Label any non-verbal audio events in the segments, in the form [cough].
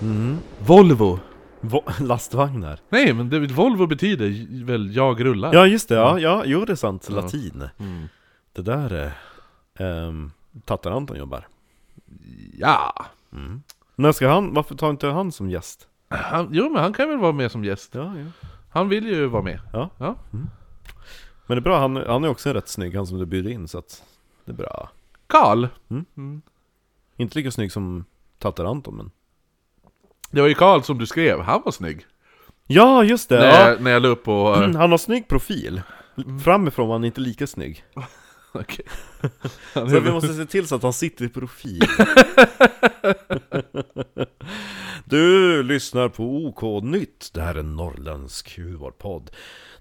Mm. Volvo! Vo- [laughs] Lastvagnar. Nej men det, Volvo betyder j- väl jag rullar? Ja just det, ja, ja jo det är sant, Ja. latin. Mm. Det där är... Um, Anton jobbar. ja. När ska han, varför tar inte han som gäst? Han, jo men han kan väl vara med som gäst? Ja, ja. Han vill ju vara med. Ja. ja. Men det är bra, han, han är också rätt snygg, han som du bjöd in så att det är bra. Karl! Inte lika snygg som Tattar Anton men... Det var ju Karl som du skrev, han var snygg. Ja just det! När, Ja. Mm. jag, när jag la upp på... eh, [clears throat] Han har snygg profil. Framifrån var han inte lika snygg. [laughs] Okej. Så vi måste se till så att han sitter i profil. Du lyssnar på OK Nytt. Det här är en norrländsk humorpodd.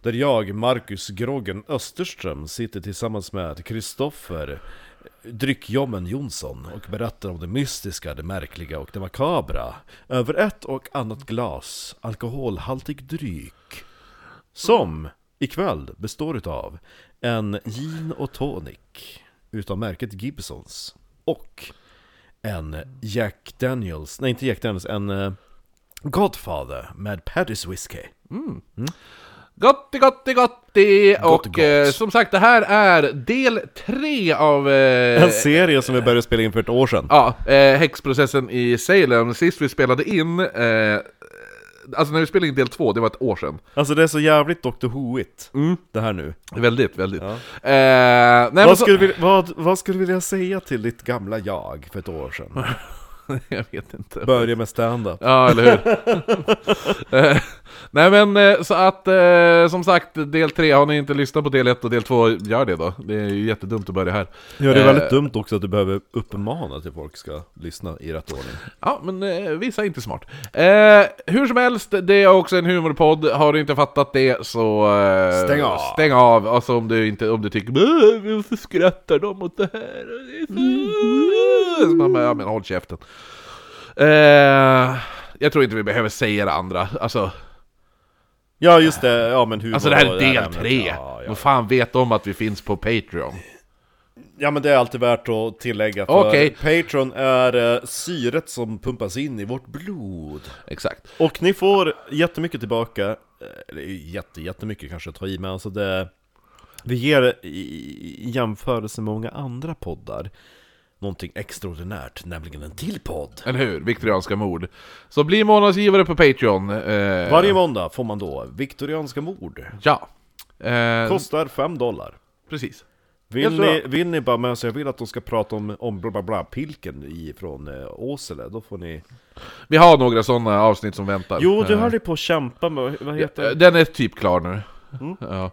Där jag, Marcus Groggen Österström, sitter tillsammans med Kristoffer Dryckjommen Jonsson och berättar om det mystiska, det märkliga och det makabra. Över ett och annat glas alkoholhaltig dryck. Som ikväll består utav en gin och tonic utav märket Gibsons och en Jack Daniels, nej inte Jack Daniels, en eh, Godfather med Paddy's Whiskey. Gotti, gotti, gotti! Gott, Och gott. Eh, som sagt, det här är del tre av... Eh, En serie som vi började spela in för ett år sedan. ja, eh, häxprocessen i Salem. Sist vi spelade in... Eh, alltså när vi spelade in del två, det var ett år sedan. Alltså det är så jävligt Dr. Who-igt, det här nu. Väldigt, väldigt. Eh, nej, men Vad så, skulle, vi, vad, vad skulle du vilja säga till ditt gamla jag för ett år [laughs] sedan? [laughs] jag vet inte. Börja med stand-up. Ja, eller [laughs] hur? Eh, Nej men eh, så att eh, som sagt, del 3, har ni inte lyssnat på del 1 och del 2, gör det då. Det är ju jättedumt att börja här. Ja, det är Eh, väldigt dumt också att du behöver uppmana till folk ska lyssna i rätt ordning. Ja, men eh, vissa är inte smart. Eh, hur som helst, det är också en humorpodd. Har du inte fattat det så... Eh, Stäng av. Stäng av! Alltså om du, inte, om du tycker "Bäh, varför skrattar de åt det här? Och det är så... så man bara, ja men håll käften. Eh, jag tror inte vi behöver säga det andra. Alltså, Ja just det, ja men hur alltså det här är var del ämnet? tre. Ja, ja. Vad fan vet de att vi finns på Patreon? Ja men det är alltid värt att tillägga för Okej. Patreon är eh, syret som pumpas in i vårt blod Exakt. Och ni får jättemycket tillbaka Eh, Det är ju jätte, jättemycket kanske att ta i men alltså det Vi ger i- i jämförelse med många andra poddar Någonting extraordinärt, nämligen en till podd Eller hur? Viktorianska mord. Så bli månadsgivare på Patreon. Eh, Varje måndag får man då Viktorianska mord Ja. Eh, Kostar 5 dollar Precis. Vill Jag tror ni, vill ni bara med oss, jag vill att de ska prata om, om bla bla bla, pilken ifrån eh, Åsele, då får ni Vi har några sådana avsnitt som väntar. Jo, du Eh, höll ju på att kämpa med, vad heter eh, Den är typ klar nu. Ja.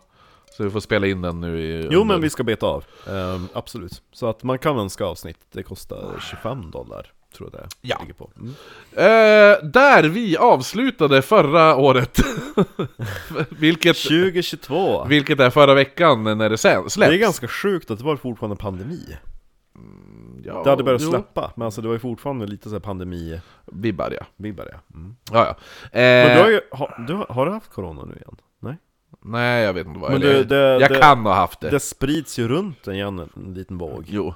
Så vi får spela in den nu i... Mm. Jo men vi ska beta av, Ehm, absolut. Så att man kan önska avsnitt, det kostar 25 dollar, tror jag det Ja. ligger på. Mm. Eh, där vi avslutade förra året. [laughs] vilket, 2022! vilket är förra veckan när det sen Det släpps. är ganska sjukt att det var fortfarande pandemi. Ja, Det hade börjat jo, släppa, men alltså det var ju fortfarande lite såhär pandemi-vibbar Vibbar ja. ja. Mm. ja, ja. Men Eh, du har ju, har du, har- har du haft corona nu igen? Nej? Nej jag vet inte vad Men det är. du, det- Jag det- kan ha haft det. Det sprids ju runt igen en liten våg. Jo.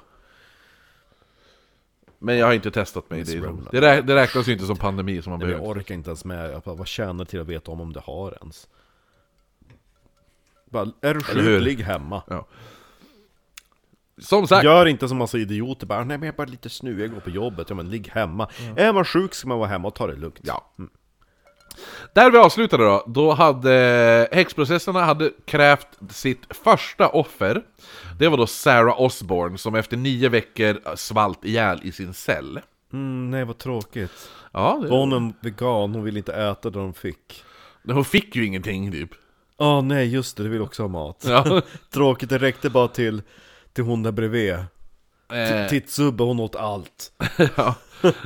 Men jag har inte testat mig. Det, Roland. det, rä- det räknas ju inte som pandemi som man Men jag behöver. orkar inte ens med, jag bara, vad tjänar till att veta om om det har ens? Bara, är du hur? sjuk, ligg hemma. Ja. Som sagt. Gör inte som massa idioter bara, nej men jag är bara lite snuvig, jag går på jobbet, ja men ligg hemma. Är man sjuk ska man vara hemma och ta det lugnt. Ja. Där vi avslutade då, då hade eh, häxprocesserna hade krävt sitt första offer. Det var då Sarah Osborne som efter nio veckor svalt ihjäl i sin cell. Mm, nej vad tråkigt. Ja, Var det, hon en vegan, hon ville inte äta det hon fick. hon fick ju ingenting typ. Åh nej just det, du vill också ha mat. [laughs] Ja. Tråkigt, det räckte bara till, till hon där bredvid. Eh, Tittsubbe, hon åt allt. ja.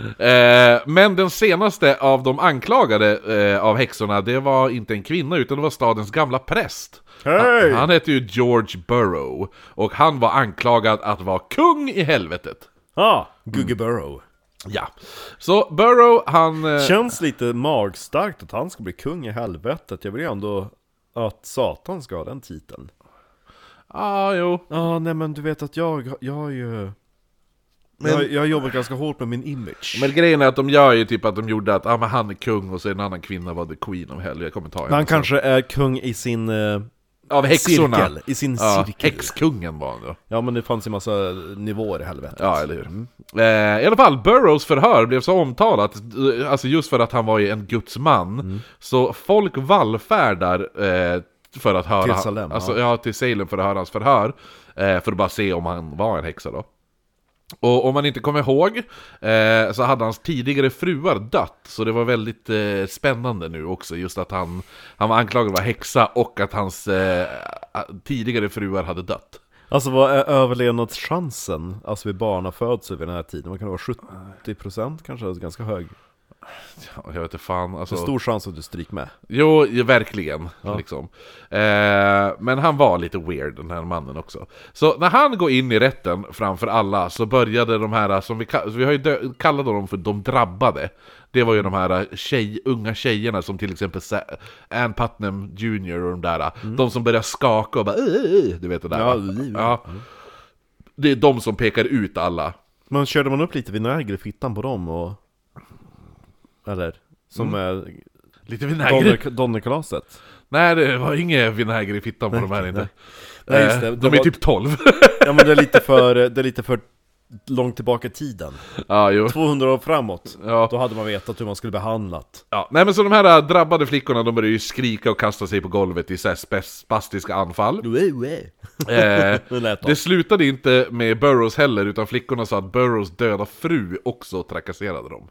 eh, men den senaste av de anklagade eh, av häxorna, det var inte en kvinna utan det var stadens gamla präst. Hej! Han hette ju George Burrow och han var anklagad att vara kung i helvetet. Ah, Gugge Burrow. Ja, så Burrow han... eh, Känns lite magstarkt att han ska bli kung i helvetet. Jag vill ju ändå att Satan ska ha den titeln. Ja, jo. Ja, nej men du vet att jag, jag har ju... Men- jag, jag jobbar ganska hårt med min image. Men grejen är att de gör ju typ att de gjorde att ah, men han är kung och så en annan kvinna var the queen of hell, jag kommer ta henne Men han sen. kanske är kung i sin eh, Av häxorna! cirkel. I sin Ja, cirkel. häxkungen var han då. Ja men det fanns ju massa nivåer i helvetet. Ja, eller hur. Eh, I alla fall, Burrows förhör blev så omtalat, eh, alltså just för att han var ju en Guds man, så folk vallfärdar eh, för att höra... Till Salem, alltså, ja. till Salem för att höra hans förhör, eh, för att bara se om han var en häxa då. Och om man inte kommer ihåg eh, så hade hans tidigare fruar dött, så det var väldigt eh, spännande nu också, just att han, han var anklagad för att vara häxa och att hans eh, tidigare fruar hade dött. Alltså vad är överlevnadschansen? Alltså vid barnafödsel vid den här tiden? Man kan vara 70% kanske, alltså ganska hög. Ja, Jag vet inte fan, alltså... Så stor chans att du stryk med. Jo, ju, verkligen. Liksom. Eh, men han var lite weird, den här mannen också. Så när han går in i rätten framför alla så började de här, som vi, ka- vi har ju dö- kallat dem för de drabbade. Det var ju de här eh, tjej, unga tjejerna som till exempel Sa- Ann Putnam Jr och de där. eh, De som börjar skaka och bara "Ey, ey, ey", du vet det där. Mm. va? Ja, liv. ja. Det är de som pekar ut alla. Men körde man upp lite vinäger i fittan på dem och... Eller? Som är Lite vinäger. donner, donnerkalaset? Nej, det var ingen vinäger i fittan på de här inte. Nej, just det. Eh, Det de är var- typ [laughs] 12. Ja men det är lite för, det är lite för långt tillbaka i tiden. ja, jo. 200 år framåt. Ja. Då hade man vetat hur man skulle behandlat. Ja, nej men så de här äh, drabbade flickorna de började ju skrika och kasta sig på golvet i så här spe- spastiska [laughs] anfall. Eh, Det lät det slutade inte med Burrows heller, utan flickorna sa att Burrows döda fru också trakasserade dem.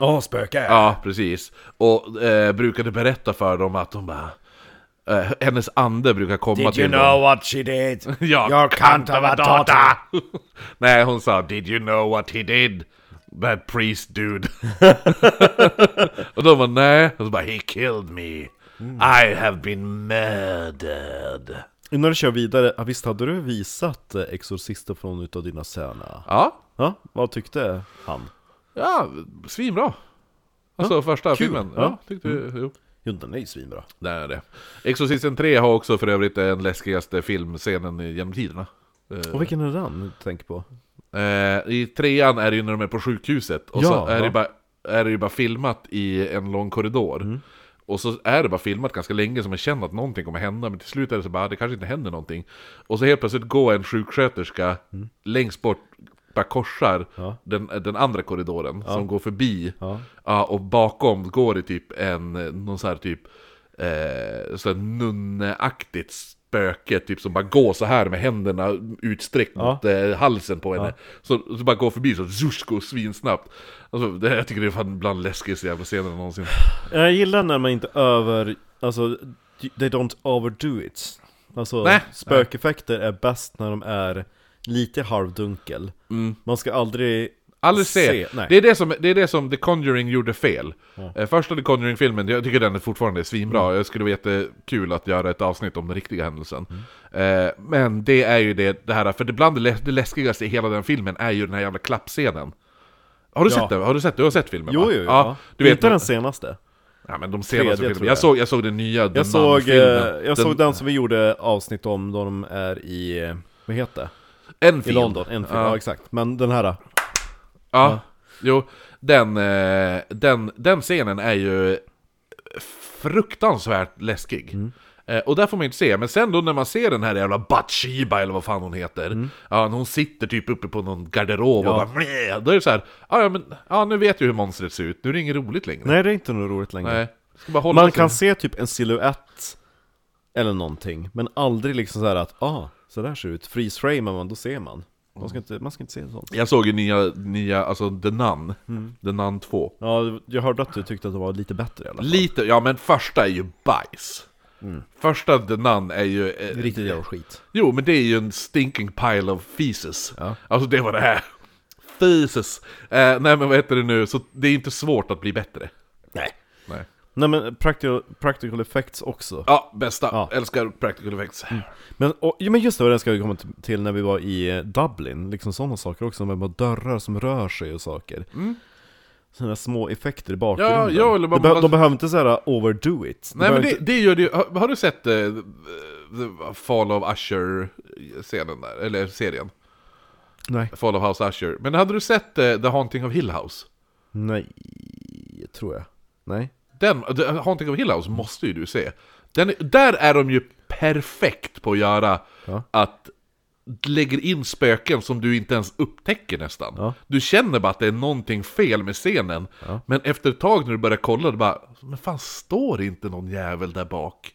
Åh, spöke! Ja, precis. Och eh, brukade berätta för dem att de bara... Eh, hennes ande brukar komma till dem. what she did? [laughs] Ja, cunt of a [laughs] nej, hon sa Did you know what he did? That priest dude. [laughs] och de var nej. Och så bara He killed me. I have been murdered. Innan du kör vidare, ja, visst hade du visat eh, Exorcisten från utav dina söner? Ja, Ja, vad tyckte han? ja svinbra. Alltså första kul. filmen. Ja, Mm. Ja. tyckte jo. Jo, den är ju svinbra. Det är det. Exorcisten 3 har också för övrigt den läskigaste filmscenen i- genom tiderna. Eh, Och vilken är den du tänker på? Eh, I trean är det ju när de är på sjukhuset, och så Ja, är, det ja. bara, är det ju bara filmat i en lång korridor. Mm. Och så är det bara filmat ganska länge, så man känner att någonting kommer hända, men till slut är det så bara, "Ah, det kanske inte händer någonting. Och så helt plötsligt går en sjuksköterska Mm. längst bort, bara korsar den, den andra korridoren, som går förbi. Ja. och bakom går det typ en, någon så här typ, eh, så här nunneaktigt spöke, typ som bara går så här med händerna utsträckt mot eh, halsen på henne. Så, så bara går förbi så zusch, går svinsnabbt. Alltså, det, jag tycker det är fan bland läskigaste jävla scenerna någonsin. Jag gillar när man inte över... Alltså, they don't overdo it. Alltså, Nej. spökeffekter är bäst när de är lite halvdunkel. Man ska aldrig... Mm. Aldrig se. Se, nej. det, är det, som, det är det som The Conjuring gjorde fel. Eh, Första The Conjuring-filmen, jag tycker den är fortfarande svinbra. Mm. Jag skulle vara jättekul att göra ett avsnitt om den riktiga händelsen. Mm. Eh, men det är ju det, det här, för det bland det, lä- det läskigaste i hela den filmen är ju den här jävla klappscenen. Har du Ja. sett den? Har du sett? Du har sett filmen Jo, va? jo, jo. Ja, du inte vet, den senaste. ja, men de tredje, senaste tror filmerna. jag. Jag såg, jag såg den nya The Jag, såg, eh, Nun-filmen. jag såg den som vi gjorde avsnitt om då de är i... eh, Vad heter det? en I film. London, en film, ja exakt. Men den här, Ja, jo. Den, eh, den, den scenen är ju fruktansvärt läskig. Mm. Eh, Och där får man ju inte se, men sen då när man ser den här jävla Batshiba eller vad fan hon heter Mm. Ja, när hon sitter typ uppe på någon garderob och bara "Meh", Då är det så här, "Ah, ja men, ja nu vet jag hur monstret ser ut, nu är det inget roligt längre nej det är inte något roligt längre. Nej. Ska bara hålla Man sig. kan se typ en siluett eller någonting, men aldrig liksom så här att ah, så där ser det ut. Freeze-framear man, då ser man. Man ska inte, man ska inte se sånt. Jag såg ju nya, nya, alltså The Nun, Mm. The Nun 2 Ja, jag hörde att du tyckte att det var lite bättre i alla fall. Lite, ja men första är ju bajs Första The Nun är ju eh, Mm. Riktigt jävla skit. Jo, men det är ju en stinking pile of feces. Ja. Alltså det var det här. Feces. Eh, nej men vad heter det nu, så det är inte svårt att bli bättre. Nej. Nej. Nej men practical, practical effects också. Ja, bästa. Ja. Mm. Älskar practical effects. Men, och, ja, men just det, och det ska vi komma t- till när vi var i eh, Dublin, liksom sådana saker också, med bara dörrar som rör sig och saker. Mm. Sådana små effekter i bakgrunden. ja, eller bara- de, be- de behöver inte såhär overdo it. De Nej men behöver det, inte- det gör det ju. Har, har du sett eh, the Fall of Usher-scenen där? Eller serien? Nej. Fall of House Usher. Men hade du sett eh, The Haunting of Hill House? Nej, tror jag. Nej. Den, The Haunting of Hill House måste ju du se. Den, där är de ju perfekt på att göra Ja. att lägger in spöken som du inte ens upptäcker nästan. Ja. Du känner bara att det är någonting fel med scenen. Ja. Men efter ett tag när du börjar kolla, du bara Men fan, står inte någon jävel där bak?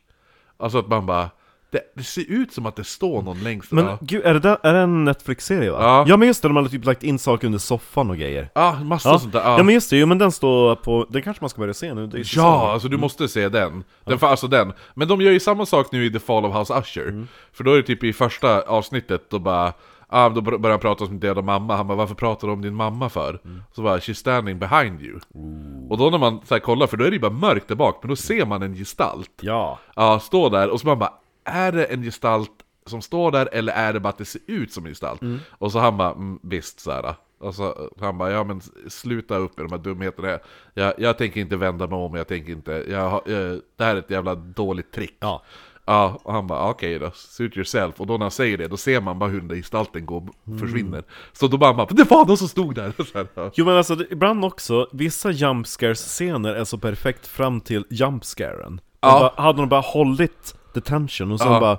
Alltså att man bara Det, det ser ut som att det står någon längst Men där. gud, är det, där, är det en Netflix-serie va? Ja. ja men just det, de hade typ lagt in saker under soffan och grejer Ja, massa Ja, sånt där. ja men just det, jo men den står på, den kanske man ska börja se nu det är Mm. ju Ja, säsong. alltså du måste se den. den för, alltså den. Men de gör ju samma sak nu i The Fall of House Usher. Mm. För då är det typ i första avsnittet, då bara... Ah, då bör- börjar han prata om sin döda mamma, han bara 'Varför pratar du om din mamma för?' Mm. Så bara 'She's standing behind you' Och då när man så här kollar, för då är det ju bara mörkt där bak, men då ser man en gestalt Ja, Ja, står där och så man bara Är det en gestalt som står där eller är det bara att det ser ut som en gestalt? Och så han bara mm, visst såhär Och så han bara ja men sluta upp med de här dumheterna jag, jag tänker inte vända mig om, jag tänker inte jag, har- eh, Det här är ett jävla dåligt trick ja, Ja, och han bara okej då, suit yourself. Och då när han säger det, då ser man bara hur den där gestalten går, Mm. försvinner. Så då bara, man bara det var någon som stod där! [laughs] Så här, ja. Jo men alltså det- ibland också, vissa jumpscares-scener är så perfekt fram till jumpscaren Ja. ja. Hade de bara hållit detention och sen Ja. bara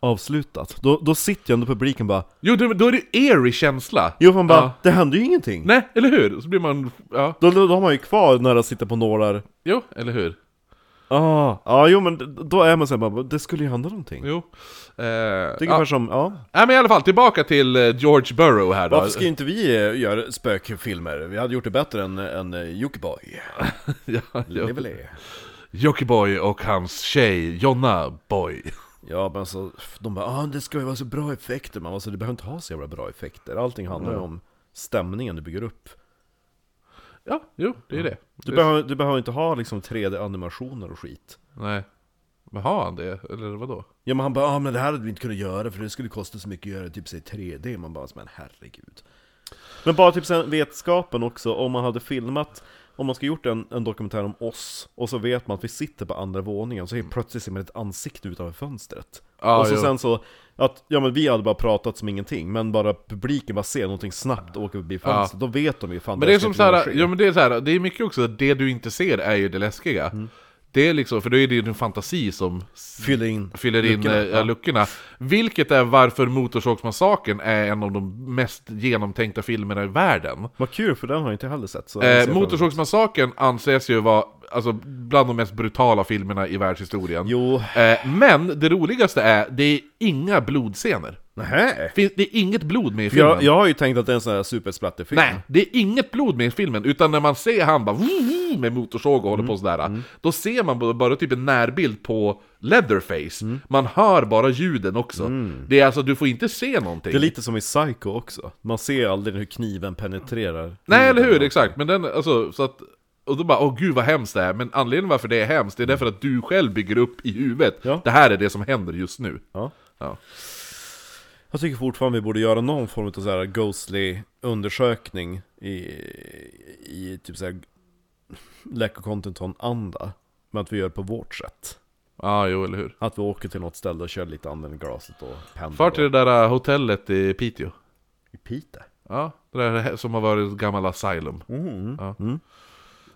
avslutat, då, då sitter ju ändå publiken bara Jo, då då är det eerie känsla! Jo man bara, Ja. det händer ju ingenting! Nej, eller hur? Så blir man, ja, Då, då, då har man ju kvar när de sitter på nålar jo, eller hur? Ah, ja jo men d- då är man såhär bara, det skulle ju hända någonting Jo. Eh, Det är ja. ungefär som, ja Nej men i alla fall, tillbaka till eh, George Burrow här då. Varför ska inte vi eh, göra spökfilmer? Vi hade gjort det bättre än, än eh, Jockiboi [laughs] [laughs] ja, ja. Leverley. Jockiboi och hans tjej Jonna Boy. Ja men alltså, de bara ah, det ska ju vara så bra effekter Man bara, alltså, du behöver inte ha så jävla bra effekter Allting handlar ju om stämningen du bygger upp Ja, jo, det är det. Du, det behöver, du behöver inte ha liksom 3D-animationer och skit Nej. Men har han det? Eller vadå? Ja men han bara ah, men det här hade vi inte kunnat göra för det skulle kosta så mycket att göra typ säg 3D Man bara men herregud Men bara typ sen vetskapen också om man hade filmat om man ska gjort en, en dokumentär om oss och så vet man att vi sitter på andra våningen så helt plötsligt ser man ett ansikte utanför fönstret Ja, Och så jo. sen så att, ja men vi hade bara pratat som ingenting men bara publiken bara ser någonting snabbt och åker förbi fönstret Då vet de ju fan Men det är ska som kunna såhär, ske. ja men det är såhär, det är mycket också att det du inte ser är ju det läskiga. Det är liksom, för då är det ju din fantasi som s- Fyller in fyller in luckorna. luckorna. Ja. luckorna. Vilket är varför Motorsågsmassakern är en av de mest genomtänkta filmerna i värden. Vad kul för den har jag inte heller sett så Eh, Motorsågsmassakern anses ju vara alltså, bland de mest brutala filmerna i världshistorien. Jo, Eh, men det roligaste är, det är inga blodscener. nähä Fin- Det är inget blod med i filmen. Jag, jag har ju tänkt att det är en sån här supersplatterfilm Nej, det är inget blod med i filmen, utan när man ser han bara "Woo, woo", med motorsåg och håller Mm, på sådär, då ser man bara, bara typ en närbild på Leatherface. Mm. Man hör bara ljuden också. Det är alltså, du får inte se någonting. Det är lite som i Psycho också, man ser aldrig hur kniven penetrerar Nej, eller hur? Exakt. Men den, alltså, så att, och då bara, åh gud vad hemskt det är. Men anledningen varför det är hemskt, det är därför att du själv bygger upp i huvudet. Ja. Det här är det som händer just nu. Ja. Ja. Jag tycker fortfarande vi borde göra någon form av så här ghostly undersökning i, i typ såhär Läck Contenton anda Men att vi gör på vårt sätt Ja, jo, eller hur. Att vi åker till något ställe och kör lite anden i glaset och pendlar Far till det där äh, hotellet i Piteå. i Piteå Ja, Mm, det där som har varit ett gammalt asylum. Ja.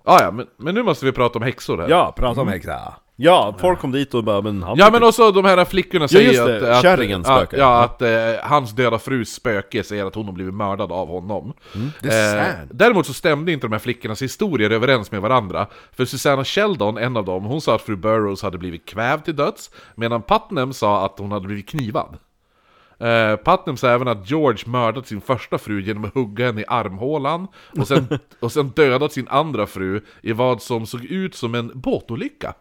Ah, ja, men, men nu måste vi prata om häxor här. Ja, prata om häxa! Mm. Ja, folk kom dit och bara men han Ja men också de här flickorna säger just det. att, Kärringen att, spökar. ja, att eh, hans döda frus spöke säger att hon har blivit mördad av honom. det är sant. Eh, däremot så stämde inte de här flickornas historier överens med varandra. För Susanna Sheldon, en av dem, hon sa att fru Burrows hade blivit kvävd till döds, medan Putnam sa att hon hade blivit knivad. Eh, Putnam sa även att George mördat sin första fru genom att hugga henne i armhålan och sen, [laughs] och sen dödat sin andra fru i vad som såg ut som en båtolycka.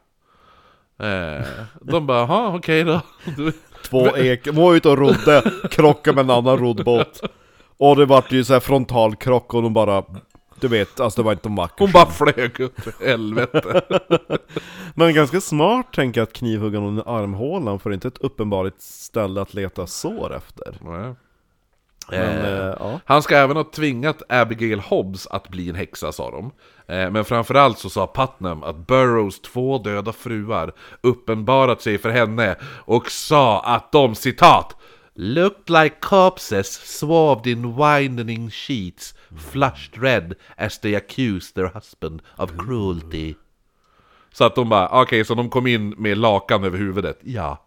Eh, de bara, jaha okej då. [laughs] [laughs] Två ek, de var ute och rodde, krockade med en annan roddbåt Och det vart ju så här frontalkrock och de bara Du vet, alltså det var inte vackert Hon bara flög upp i [laughs] helvete. Men ganska smart tänker jag att knivhugga någon i armhålan för det är inte ett uppenbart ställe att leta sår efter Nej. Men Eh, eh, ja, Han ska även ha tvingat Abigail Hobbs att bli en häxa, sa de. Eh, Men framförallt så sa Putnam att Burrows två döda fruar uppenbarat sig för henne och sa att de, citat, Looked like corpses swathed in winding sheets, flushed red as they accused their husband of cruelty. Så att de bara, okej, så de kom in med lakan över huvudet? Ja.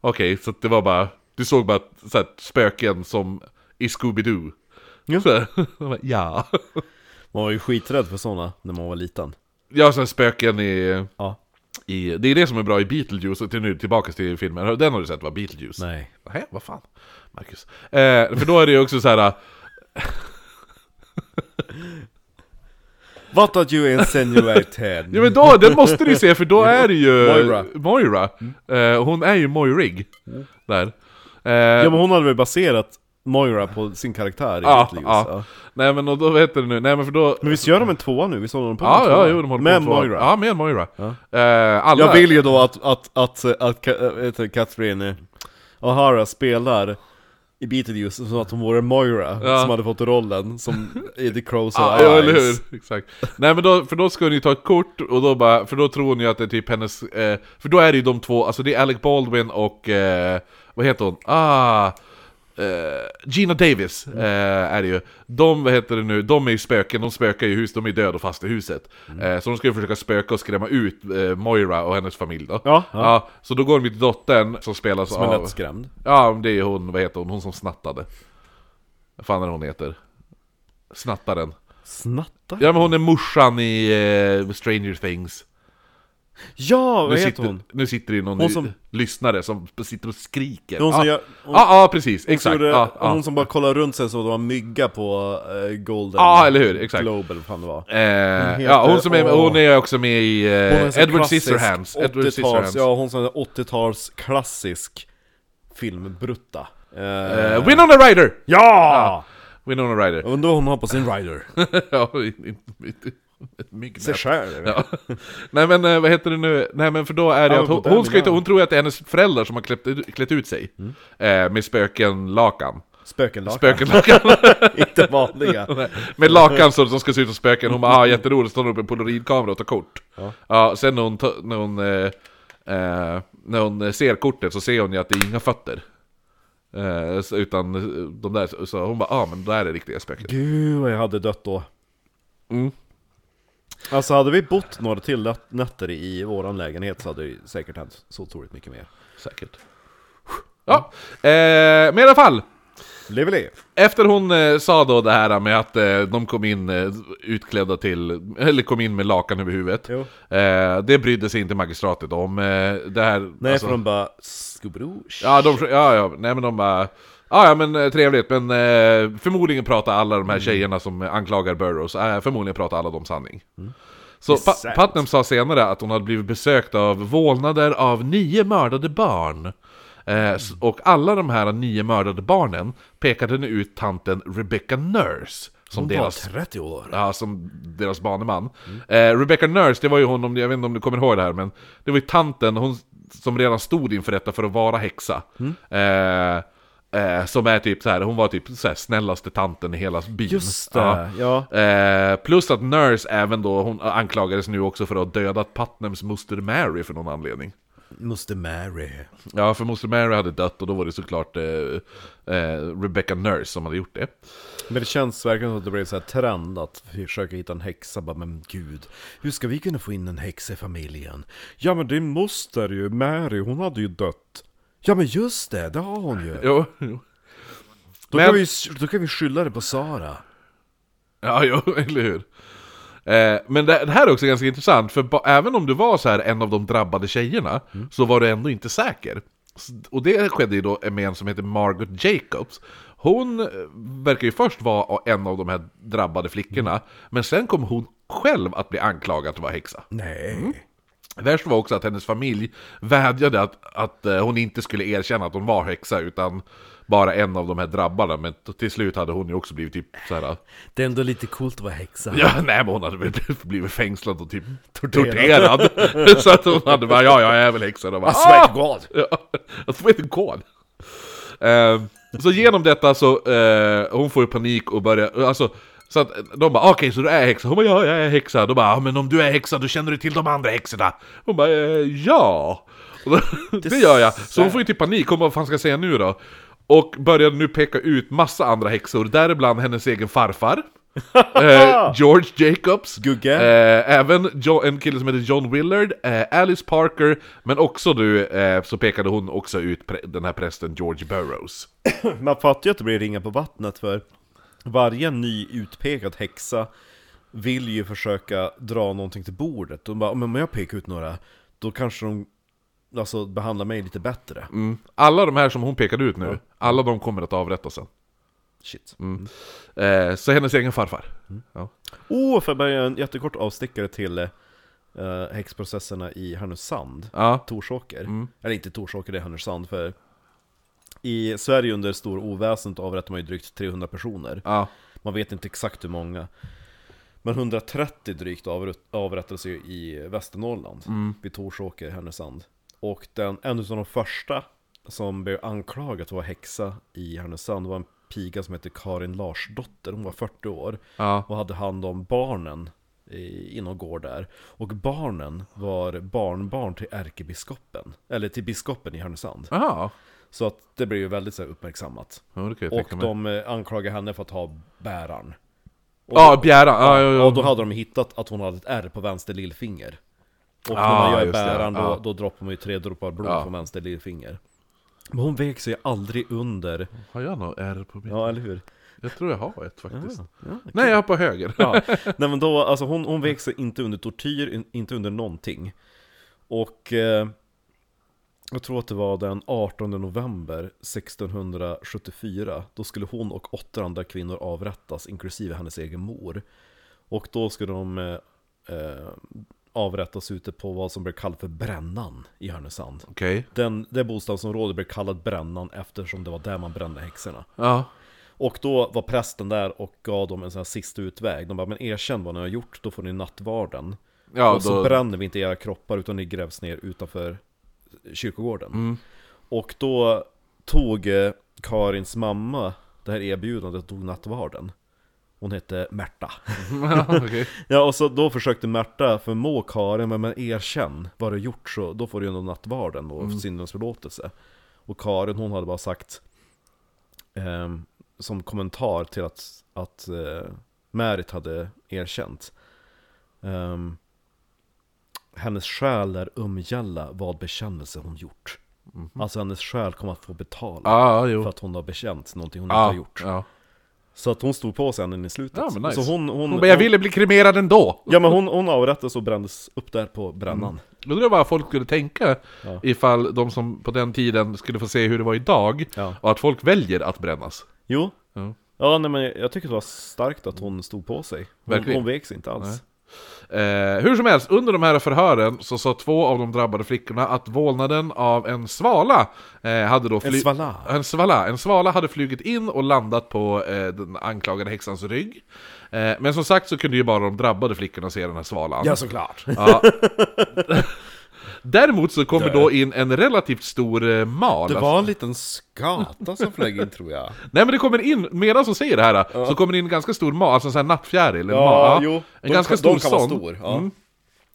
Okej, så att det var bara, du såg bara så här, spöken som i Scooby-Doo. Ja. Så här, [laughs] de bara, ja. Man var ju skiträdd för sådana när man var liten. Ja, så här, spöken i, Ja. i... Det är det som är bra i Beetlejuice, och till nu tillbaka till filmen. Den har du sett va? Beetlejuice? Nej. Nej, vad fan, Marcus. Eh, för då är det ju också så här. What are you insinuating? [laughs] Ja men då, den måste ni se för då är det ju Moira. Mm. Moira. Eh, hon är ju Moirig. Där. Eh, Ja men hon hade väl baserat Moira på sin karaktär i ja, Beetlejuice? ja. Nej men och då vet du nu, nej men för då... Men visst gör de en tvåa nu? Visst håller de på med Ja, en ja, tvåa? jo, de håller Med på med två- Moira? Ja, med Moira. Eh, alla... Jag vill ju då att, att, att, att, att, Ka- äh, Catherine O'Hara spelar i Beetlejuice som att hon vore Moira Ja. som hade fått rollen som [laughs] Eddie Crows Ja, ja, eller hur? Exakt. Nej men då, för då ska ni ta ett kort och då bara, för då tror ni att det är typ hennes, eh, för då är det ju de två, alltså det är Alec Baldwin och, eh, vad heter hon? Ah! eh, Gina Davis Mm. eh, är det ju. De, vad heter det nu, de är ju spöken, de spökar ju hus, de är döda och fast i huset. Mm. Eh, så de ska ju försöka spöka och skrämma ut eh, Moira och hennes familj då. Ja, ja. ja. Så då går de till dottern som spelas Som är av... lättskrämd. Ja, men det är ju hon, vad heter hon, hon som snattade. Vad fan är det hon heter? Snattaren. Snatta? Ja, Ja men hon är morsan i eh, Stranger Things. vad heter sitter, hon? Nu sitter det någon Hon i- som- lyssnare som sitter och skriker. Hon som ja. gör- ja, ja, precis. Exakt, Exakt. Ah, gjorde, Ja, ja. Hon som bara kollar runt sig så att det var en mygga på eh, Golden Ja, eller hur? Exakt. Globe eller vad fan det var. Eh, heter- ja, hon, som är, åh. hon är också med i eh, Hon är en sån Edward klassisk Scissorhands. Edward 80-tals Scissorhands. Ja, hon som är 80-tals klassisk filmbrutta. Eh, Eh, Winona Ryder! ja! Winona Ryder. Undrar vad hon har på sin rider. [laughs] ja, i- i- i- ett myggnät. [laughs] Sig själv. Ja. Nej men eh, vad heter det nu? Nej men för då är det Ja, att hon, modellen, hon, ska ju inte, ja. hon tror ju att det är hennes föräldrar som har klätt, ut- klätt ut sig. Mm. Eh, med spöken-lakan. Spökenlakan. Spöken-lakan. [laughs] Inte [laughs] vanliga. Med lakan så som ska se ut som spöken, hon bara ah, jätteroligt, står upp en polaroidkamera och tar kort. Ja. sen när hon, ta- när, hon, eh, eh, när hon ser kortet så ser hon ju att det är inga fötter. Eh, så- utan eh, de där, så- så hon bara ah men det där är riktiga spöken. Gud vad jag hade dött då. Mm. Alltså hade vi bott några till nat- nätter i våran lägenhet så hade det ju säkert hänt så otroligt mycket mer. Säkert. Ja, eh, men i alla fall. Liveli! Efter hon eh, sa då det här med att eh, de kom in eh, utklädda till, eller kom in med lakan över huvudet. Jo. Eh, det brydde sig inte magistratet om. Eh, det här, Nej alltså- för de bara Skubro, Ja, de, ja, ja, nej men de bara... Ja, ja men eh, trevligt, men eh, förmodligen pratar alla Mm. de här tjejerna som eh, anklagar Burroughs, eh, förmodligen pratar alla de sanning. Så Mm. Det är pa sant. Putnam sa senare att hon hade blivit besökt av vålnader av nio mördade barn. Eh, Mm. s- och alla de här nio mördade barnen pekade nu ut tanten Rebecca Nurse som hon var deras 30 år. Ja, som deras baneman. Eh, Rebecca Nurse, det var ju hon, om, jag vet inte om du kommer ihåg det här, men det var ju tanten, hon som redan stod inför detta för att vara häxa. Mm. Eh, eh, som är typ så här, hon var typ så här, snällaste tanten i hela byn. Just det, ja. Eh, plus att Nurse även då, hon anklagades nu också för att ha dödat Putnams moster Mary för någon anledning. Måste marry. Ja, för moster Mary hade dött och då var det såklart eh, eh, Rebecca Nurse som hade gjort det. Men det känns verkligen som att det blev så här trend att försöka hitta en häxa, bara men gud, hur ska vi kunna få in en häxa i familjen? Ja men din moster ju, Mary, hon hade ju dött. Ja men just det, det har hon ju. Jo, jo. Då, Men- kan, vi, då kan vi skylla det på Sara. Ja, jo, [laughs] eller hur? Eh, men det, det här är också ganska intressant, för ba, även om du var så här en av de drabbade tjejerna, så var du ändå inte säker. S- Och det skedde ju då med en som heter Margaret Jacobs. Hon eh, verkar ju först vara en av de här drabbade flickorna, men sen kom hon själv att bli anklagad att vara häxa. Nej. Mm. Värst var också att hennes familj vädjade att, att eh, hon inte skulle erkänna att hon var häxa, utan bara en av de här drabbade, men t- till slut hade hon ju också blivit typ så här Det är ändå lite coolt att vara häxa. Ja, [laughs] nej men hon hade väl blivit- blivit fängslad och typ torterad. [laughs] så att hon hade bara, ja jag är väl häxa. Och bara, "Alltså, I swear to "Ah!" God. Ja, I swear to God. Ehm, så genom detta så, eh, hon får ju panik och börjar, alltså så att de bara okej så du är häxa? Hon bara ja jag är häxa. De bara "Ja, men om du är häxa då känner du till de andra häxorna. Hon [laughs] bara "Eh, ja. Och då- Det gör jag. Så hon får ju typ panik. Hon bara vad fan ska jag säga nu då? Och började nu peka ut massa andra häxor, däribland hennes egen farfar. [laughs] eh, George Jacobs. Gugge. Eh, även jo- en kille som heter John Willard, eh, Alice Parker, men också du eh, så pekade hon också ut pre- den här prästen George Burroughs. Man fattar ju att det blir ringa på vattnet för varje ny utpekad häxa vill ju försöka dra någonting till bordet. De bara, men om jag pekar ut några, då kanske de alltså, behandlar mig lite bättre. Mm. Alla de här som hon pekade ut nu, alla de kommer att avrättas sen. Shit. Eh, så hennes egen farfar. Ja. Oh, för jag bara göra en jättekort avstickare till eh, häxprocesserna i Härnösand. Ja. Torsåker. Eller inte Torsåker, det är Härnösand. För i Sverige under stor oväsendet avrättar man ju drygt 300 personer. Ja. Man vet inte exakt hur många. Men 130 drygt avr- avrättades ju i Västernorrland, Mm. vid Torsåker, Härnösand. Och den, en av de första som blev anklagad för att vara häxa i Härnösand var en piga som hette Karin Larsdotter, hon var 40 år. Ja. Och hade hand om barnen i, inom gård där. Och barnen var barnbarn till ärkebiskopen, eller till biskopen i Härnösand. Aha. Så att det blev ju väldigt så här, uppmärksammat. Ja, det kan jag Och tänka mig. de eh, anklagar henne för att ha bäraren. Ja, Bjära. Ja, ja, ja. Och då hade de hittat att hon hade ett ärr på vänster lillfinger. Och när Ah, man gör just det, bäran ja. då, då droppar man ju tre droppar blod Ja. från vänster lillfinger. Men hon vek sig aldrig under. Har jag något R på mig? Ja, eller hur? Jag tror jag har ett faktiskt. Nej, jag har på höger. Ja. [laughs] Nej men då, alltså hon, hon vek sig inte under tortyr, in- inte under någonting. Och eh, jag tror att det var den 18 november 1674, då skulle hon och åtta andra kvinnor avrättas, inklusive hennes egen mor. Och då skulle de eh, eh, avrättas ute på vad som blev kallat för Brännan i Härnösand. [laughs] Okej. Den, det bostadsområdet blev kallat Brännan eftersom det var där man brände häxorna. Ja. Och då var prästen där och gav dem en sån här sista utväg. De bara, men erkänn vad ni har gjort, då får ni nattvarden. Ja, och så då... bränner vi inte era kroppar, utan ni grävs ner utanför kyrkogården. Mm. Och då tog eh, Karins mamma det här erbjudandet och tog nattvarden. Hon hette Märta. [laughs] ja, okej. Ja, och så då försökte Märta förmå Karin, men, men erkänn vad du gjort så då får du ju ändå nattvarden och Mm. syndens förlåtelse. Och Karin hon hade bara sagt ehm, som kommentar till att, att eh, Märit hade erkänt. ehm, hennes själ är umgälla vad bekännelse hon gjort. Alltså hennes själ kommer att få betala Mhm. Ja, jo. för att hon har bekänt någonting hon inte Ja, har gjort. ja. Så att hon stod på sig ända in i slutet. Ja, men nice. Så Alltså, hon, hon, Hon bara, jag ville bli kremerad ändå! Ja men hon, hon avrättades och brändes upp där på brännan. Undrar vad folk skulle tänka Ja. ifall de som på den tiden skulle få se hur det var idag, Ja. och att folk väljer att brännas. Jo. Ja. Ja nej, men jag- jag tycker det var starkt att hon stod på sig. Hon, Verkligen. hon veks inte alls. Eh, hur som helst, under de här förhören så sa två av de drabbade flickorna att vålnaden av en svala eh, hade då En fly- svala. En svala. En svala hade flugit in och landat på eh, den anklagade häxans rygg. Eh, men som sagt så kunde ju bara de drabbade flickorna se den här svalan. såklart. Ja. Däremot så kommer då in en relativt stor eh, mal. Det var en liten skata som flög in tror [laughs] jag. Nej men det kommer in, medan som säger det här, så kommer det in en ganska stor mal, alltså en sån här nattfjäril. En, Ja, mal, jo. en De ganska kan- stor de kan vara sån. stor, ja. Mm.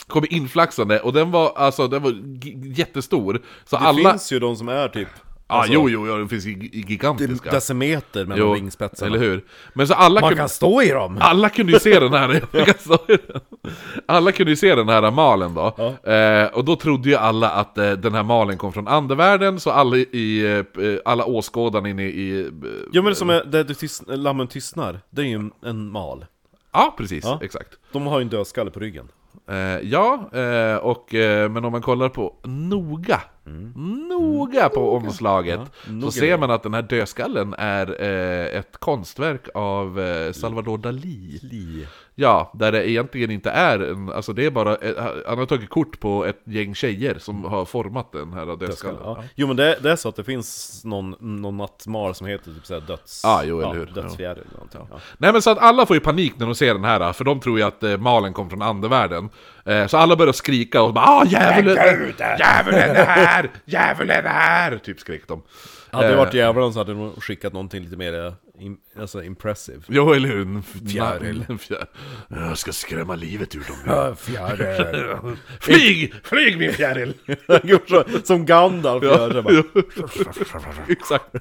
Kommer inflaxande, och den var, alltså, den var gi- jättestor. Så Det alla... finns ju de som är typ Ja, jo, jo, jo, den finns gi- gigantiska. decimeter mellan Jo, vingspetsarna. Eller hur? Men så alla Man kunde... kan stå i dem! Alla kunde ju se den här [laughs] Jag kan stå i den. Alla kunde ju se den här malen då eh, Och då trodde ju alla att eh, den här malen kom från andevärlden Så alla, i, eh, eh, alla åskådarna inne i... eh, Jo men det är som är, där du tyst, lammen tystnar, det är ju en, en mal. Ja, precis, Ja. exakt De har ju en dödskalle på ryggen. Eh, ja, eh, och, eh, men om man kollar på noga, noga på omslaget, så Mm. noga. ser man att den här dödskallen är eh, ett konstverk av eh, Salvador Dalí. Li. Ja, där det egentligen inte är en, alltså det är bara, eh, han har tagit kort på ett gäng tjejer som har format den här dödskallen. Mm. Ja. Jo men det, det är så att det finns någon, någon nattmal som heter typ såhär döds... Ja, jo, eller hur. Dödsfjäril eller någonting. Ja. Nej men så att alla får ju panik när de ser den här, för de tror ju att eh, malen kom från andevärlden. Eh, så alla börjar skrika och bara ah djävulen, djävulen är här, djävulen är här! Typ skrek de. Hade det Eh. varit djävulen så hade de skickat någonting lite mer im- alltså, impressive. Jo, eller hur? En Fjäril. fjäril. En fjäril. Jag ska skrämma livet ur dem. Fjäril. Flyg! Flyg min [laughs] fjäril! Gjort [laughs] så, som Gandalf gör. så bara, Exakt.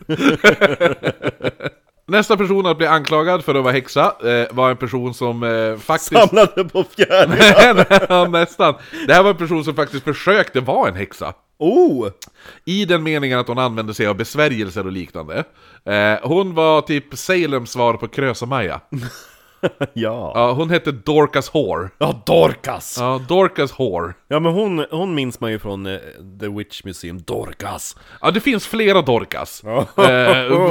Nästa person att bli anklagad för att vara häxa eh, var en person som eh, faktiskt... Samlade på fjäril. [laughs] Ja, Nästan. Det här var en person som faktiskt försökte vara en häxa. Oh! I den meningen att hon använde sig av besvärjelser och liknande. Eh, hon var typ Salems svar på [laughs] Krösa-Maja. Ja. Ja, hon hette Dorcas Hore. Ja, Dorcas! Ja, Dorcas Hore. Ja, men hon, hon minns man ju från eh, The Witch Museum. Dorcas! Ja, det finns flera Dorcas. Eh, [laughs]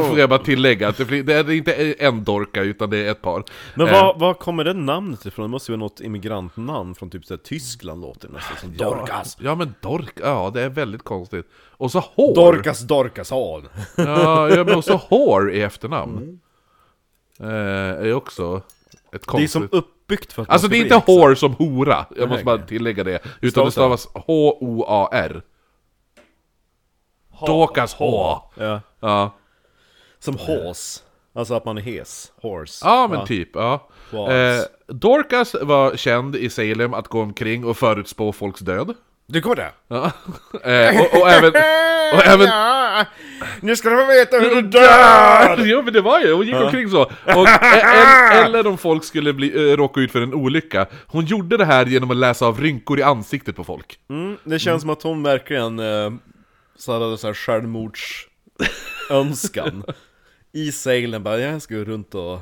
får jag bara tillägga. Att det, fli- det är inte en Dorka, utan det är ett par. Men Eh, vad, vad kommer det namnet ifrån? Det måste ju vara något immigrantnamn från typ så här, Tyskland låter det nästan som. Dorcas! Ja, men Dorka, ja det är väldigt konstigt. Och så Hår. Dorcas Dorcasson! Ja, ja, men [laughs] också Hår i efternamn. Eh, är ju också ett Mm. Det är konstigt... som uppbyggt för att man Alltså ska det är bli inte häxa. hår som hora, jag måste bara nej. tillägga det. Stavas Utan det stavas H-O-A-R. Dorcas H. Ja. Ja. Som hås. Alltså att man är hes. Horse. Ja men typ, ja. Wow. Eh, Dorcas var känd i Salem att gå omkring och förutspå folks död. Du kommer det? Ja. [laughs] eh, och, och även... Och [laughs] även Ja, nu ska du veta hur du dör! dör! Jo men det var ju, hon gick omkring så. Och, eller, eller om folk skulle bli, eh, råka ut för en olycka. Hon gjorde det här genom att läsa av rynkor i ansiktet på folk. Mm, det känns som att hon verkligen eh, så hade så här självmordsönskan. I seglen bara, jag ska gå runt och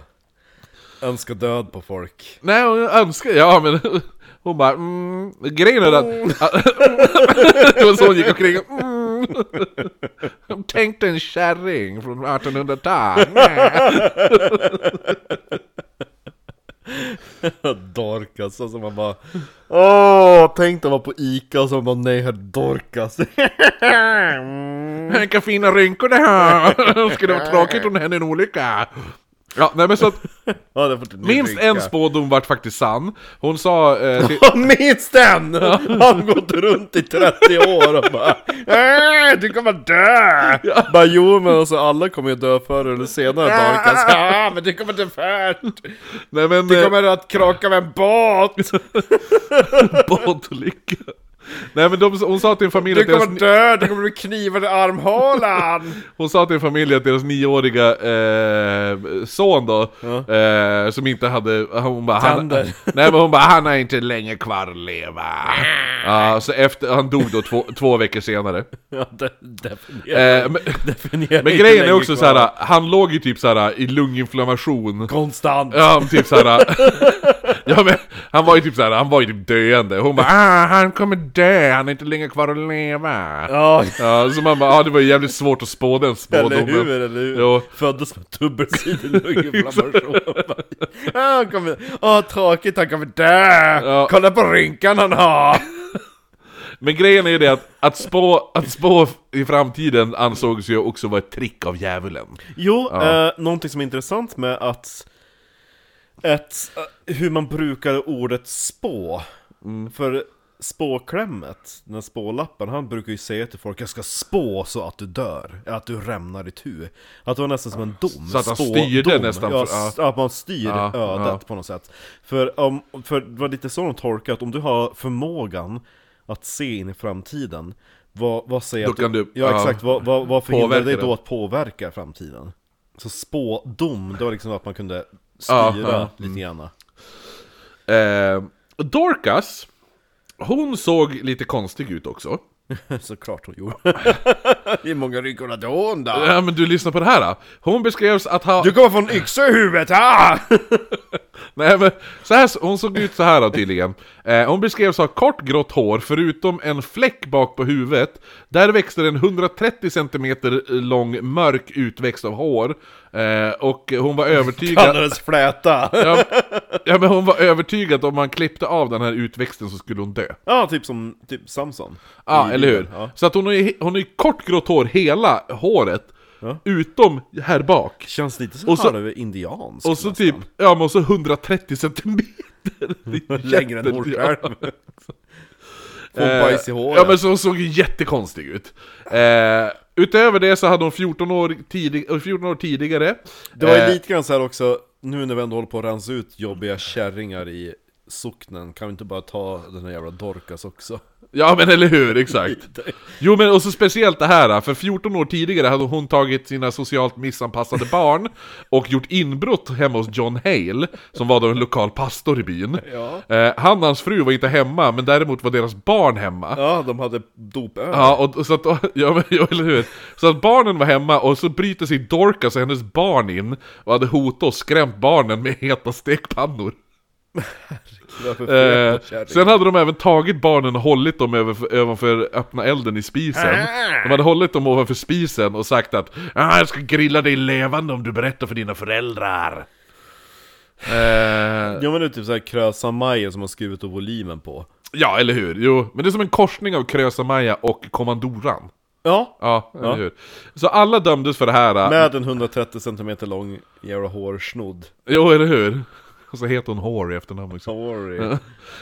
önska död på folk. [laughs] Nej, hon önskar... Ja, men [laughs] hon bara... Mm, grejen är att... [laughs] det var så hon gick omkring. Mm. Tänk dig en kärring från 1800-talet. Mm. Dorkas, alltså man bara Åh, tänk dig vara på Ica och så bara nej, här Dorkas. Vilka fina rynkor det har! Skulle vara tråkigt om det hände en olycka. Ja, nej men så [laughs] att [laughs] ja, det får inte minst dricka. en spådom vart faktiskt sann. Hon sa... Eh, [laughs] till, Minst en! Han har gått runt i 30 år och bara "Äh, Du kommer dö! Bara jo men alltså alla kommer ju dö förr eller senare Dorkas Ja men du kommer dö först! nej men... Du eh, kommer att krocka med en båt! [laughs] Båtolycka. Nej men de, hon sa till en familj Du att deras, kommer dö! Du kommer bli knivad i armhålan! Hon sa till en familj att deras nioåriga eh, son då, eh, som inte hade... Hon bara, han, Tänder. [laughs] nej men hon bara, han har inte länge kvar att [laughs] leva. Ja, så efter, han dog då två, två veckor senare. [laughs] Ja, det, definierar, Eh, men definierar men inte grejen är länge också kvar. såhär, han låg ju typ såhär i lunginflammation. Konstant! Ja, men typ såhär... [laughs] ja, men, han var ju typ såhär, han var ju typ döende. Hon bara, ah, han kommer dö, han har inte länge kvar att leva. Ja, Ja, så man bara, ah, det var ju jävligt svårt att spå den spådomen. eller hur, eller hur? Jo. Föddes med dubbelsidig [laughs] lunginflammation. ah, han kommer... Åh, tråkigt, han kommer dö! Ja. Kolla på rynkan han har! Men grejen är ju det att, att, spå, att spå i framtiden ansågs ju också vara ett trick av djävulen. Jo, eh, någonting som är intressant med att... Ett, eh, hur man brukar ordet spå. Mm. För spåklämmet, den här spålappen, han brukar ju säga till folk Jag ska spå så att du dör, att du rämnar ditt huvud Att det var nästan som en dom Så att han spådom. styrde nästan ja, för- ja. s- Att man styr Ja, ödet ja. på något sätt för, om, för det var lite så de tolkade, att om du har förmågan att se in i framtiden Vad, vad säger Då att kan du- Ja ja. exakt, vad, vad, vad förhindrar Påverka dig det. då att påverka framtiden? Så spådom, det var liksom att man kunde Ja, styra ja. Mm. lite grann. Eh, Dorcas, hon såg lite konstig ut också. [laughs] Såklart hon gjorde. [laughs] Hur många rynkor hade hon då? Ja men du lyssnar på det här då. Hon beskrevs att ha... Du kommer få en yxa i huvudet! [laughs] Ah! Nej men, så här, hon såg ut så här då tydligen. Eh, hon beskrevs ha kort grått hår, förutom en fläck bak på huvudet. Där växte en 130 cm lång mörk utväxt av hår. Eh, och hon var övertygad... Kallades fläta! Ja, ja men hon var övertygad om man klippte av den här utväxten så skulle hon dö. Ja, typ som typ Samson. Ja, I eller hur? Bibeln, Ja. Så att hon har ju, hon har ju kort grått hår hela håret, utom här bak. Känns lite så, Och så- halvindiansk. Och så typ, ja men och så 130 centimeter! Det är [laughs] Längre än jätte- hårskärm. [laughs] ja. Får bajs i håret. Eh, Ja men så hon såg ju jättekonstig ut. Eh, Utöver det så hade hon 14 år, tidig, 14 år tidigare Det var ju eh, lite grann så här också, nu när vi ändå håller på att rensa ut jobbiga kärringar i socknen, kan vi inte bara ta den här jävla Dorcas också? Ja men eller hur, exakt! Jo men och så speciellt det här, för 14 år tidigare hade hon tagit sina socialt missanpassade barn och gjort inbrott hemma hos John Hale, som var då en lokal pastor i byn. Ja. Eh, han och hans fru var inte hemma, men däremot var deras barn hemma. Ja, de hade dopöl. Ja, och, och så att, [laughs] ja, men, ja, eller hur? Så att barnen var hemma och så bryter sig Dorcas och hennes barn in och hade hotat och skrämt barnen med heta stekpannor. Det var för Eh, feta kärringar. sen hade de även tagit barnen och hållit dem över, ovanför öppna elden i spisen. Ah. De hade hållit dem ovanför spisen och sagt att ah, jag ska grilla dig levande om du berättar för dina föräldrar. Eh, Ja men det är typ såhär Krösa-Maja som har skrivit upp volymen på. ja, eller hur? Jo, men det är som en korsning av Krösa-Maja och Kommandoran. Ja, Ja, eller Ja. hur? Så alla dömdes för det här. eh, med en 130 cm lång jävla hårsnodd. Jo, eller hur? Och så heter hon Hår i efternamn också. Sorry.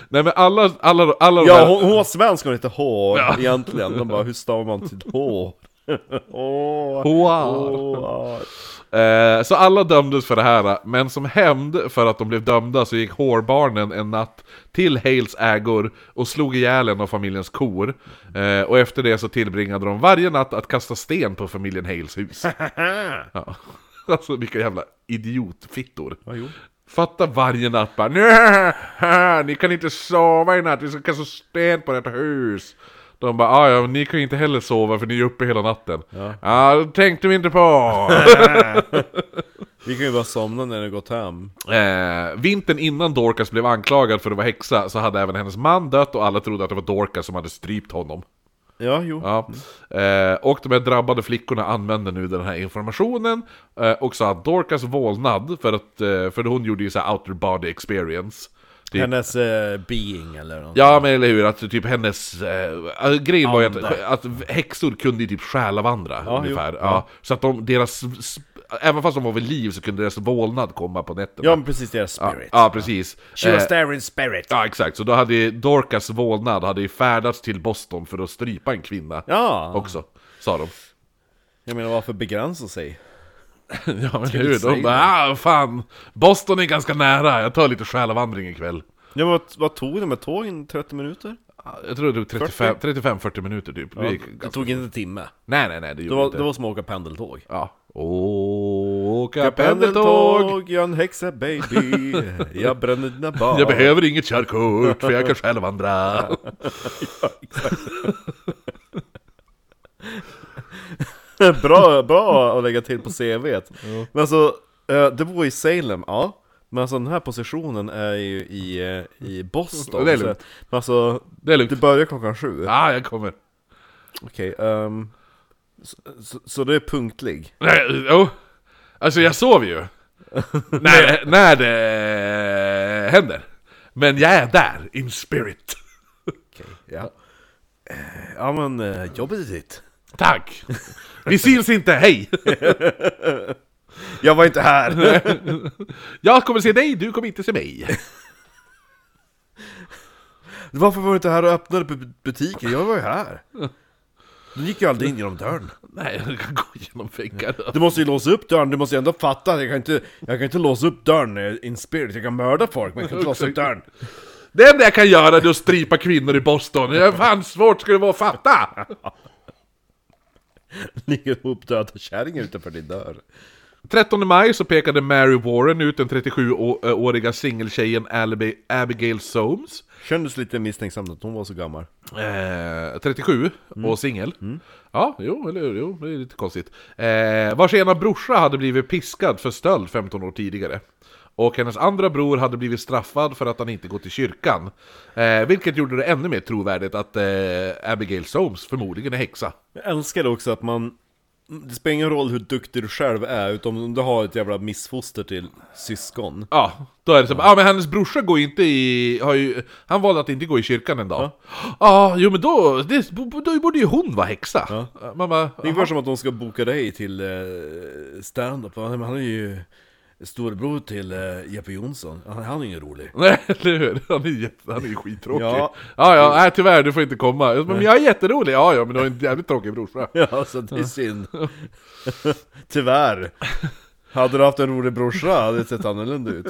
Nej men alla, alla, alla de [laughs] Ja, här... hon, hon var svensk, hon hette H egentligen. De bara, hur stavar man till H? [laughs] Åh, Hår. åh. Eh, så alla dömdes för det här, men som hämnd för att de blev dömda så gick hårbarnen en natt till Hales ägor och slog ihjäl en av familjens kor. Eh, och efter det så tillbringade de varje natt att kasta sten på familjen Hales hus. ja. [laughs] Alltså vilka jävla idiotfittor. Ja, jo. Fatta varje natt bara "Nä, [laughs] Ni kan inte sova i natt, vi ska kasta sten på detta hus. De bara "Ah, ja, men ni kan ju inte heller sova för ni är uppe hela natten. Ja, det tänkte vi inte på. Vi kan ju bara somna när det gått hem. Eh, vintern innan Dorcas blev anklagad för att vara häxa så hade även hennes man dött och alla trodde att det var Dorcas som hade strypt honom. Ja, jo. Ja. Eh, och de här drabbade flickorna använde nu den här informationen eh, och sa att Dorcas vålnad, för, att, eh, för hon gjorde ju så här outer body experience. Typ. Hennes eh, being eller något. Ja men eller hur, att typ hennes... Eh, äh, grejen var ju att, att häxor kunde ju typ själavandra Ja, ungefär. jo. Ja. Så att de, deras... Även fast de var vid liv så kunde deras vålnad komma på nätterna. Ja, men precis, deras ja, spirit. ja precis. She Eh, was there in spirit. Ja, exakt. Så då hade ju Dorcas vålnad hade ju färdats till Boston för att strypa en kvinna Ja, också, sa de. jag menar varför begränsa sig? [laughs] ja, men hur? De sig. bara, ah, fan, Boston är ganska nära, jag tar lite själavandring ikväll. Ja, men vad, vad tog det med tågen? 30 minuter? Ja, Jag tror det tog 35-40 minuter typ. Det gick Det ganska... tog inte en timme. Nej, nej, nej, det Det gjorde det var, inte. det var som att åka pendeltåg. Ja. Åka pendeltåg! jag är en häxa baby. [laughs] Jag bränner dina barn. Jag behöver inget körkort, för jag kan [laughs] självandra. bra, bra att lägga till på CVt. Men alltså, eh, det var i Salem, ja. Men alltså den här positionen är ju i, eh, i Boston. Det är så- lugnt. Men alltså, Det är lugnt. det börjar klockan sju. Ah, jag kommer. Okej, ehm, så, så, så det är punktlig. Nej, jo. Alltså jag sov ju. när, när det händer. Men jag är där, in spirit. Ja. Eh, Ja men eh, jobbet är ditt. Tack! Vi syns inte, hej! Jag var inte här! Jag kommer se dig, du kommer inte se mig. [laughs] Varför var du inte här och öppnade bu- butiken? Jag var ju här! Du gick ju aldrig in genom dörren. Nej, jag kan gå igenom väggar. Du måste ju låsa upp dörren, du måste ju ändå fatta att jag kan inte, jag kan inte låsa upp dörren eh, in spirit, jag kan mörda folk men jag kan inte låsa upp dörren. Det enda jag kan göra är att strypa kvinnor i Boston. Hur fan svårt ska det vara att fatta? Ligger ihop döda kärringar utanför din dörr. 13 maj så pekade Mary Warren ut den 37-åriga singeltjejen Alibi- Abigail Soames. Kändes lite misstänksamt att hon var så gammal. Eh, 37 och singel. Ja, jo, eller hur? Jo, det är lite konstigt. Eh, vars ena brorsa hade blivit piskad för stöld 15 år tidigare. Och hennes andra bror hade blivit straffad för att han inte gått till kyrkan. Eh, vilket gjorde det ännu mer trovärdigt att eh, Abigail Soames förmodligen är häxa. Jag älskar det också att man, det spelar ingen roll hur duktig du själv är, utom om du har ett jävla missfoster till syskon. Ja, då är det så ja. ah, men hennes brorsa går inte i... Har ju, han valde att inte gå i kyrkan en dag. Ja, ah, jo men då, det, då borde ju hon vara häxa. Man bara, Det är ungefär som att de ska boka dig till eh, stand-up, Ja, men han är ju storebror till eh, Jeppe Jonsson. Han, han är ingen rolig. [laughs] [laughs] Nej, eller hur? Han är, jätte, han är ju skittråkig. Ja. Ja, ja, nej, tyvärr, du får inte komma. Men jag är jätterolig! Ja, ja, men du har en jävligt tråkig brorsa. Ja, så det är synd. [laughs] Tyvärr. Hade du haft en rolig brorsa hade det sett annorlunda ut.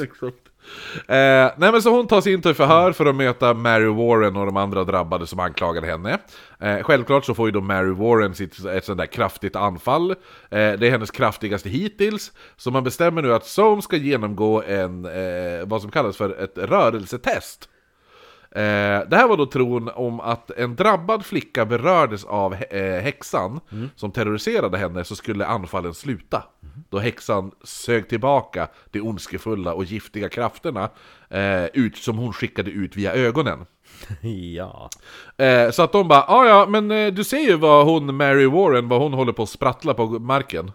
Eh, nej men så hon tas in till förhör för att möta Mary Warren och de andra drabbade som anklagade henne. Eh, självklart så får ju då Mary Warren sitt, ett sånt där kraftigt anfall. Eh, det är hennes kraftigaste hittills. Så man bestämmer nu att Soam ska genomgå en, eh, vad som kallas för ett rörelsetest. Eh, det här var då tron om att en drabbad flicka berördes av hä- eh, häxan som terroriserade henne så skulle anfallen sluta. Då häxan sög tillbaka de ondskefulla och giftiga krafterna eh, ut, som hon skickade ut via ögonen. Ja. Eh, så att de bara, ja ja, men eh, du ser ju vad hon, Mary Warren, vad hon håller på att sprattla på marken.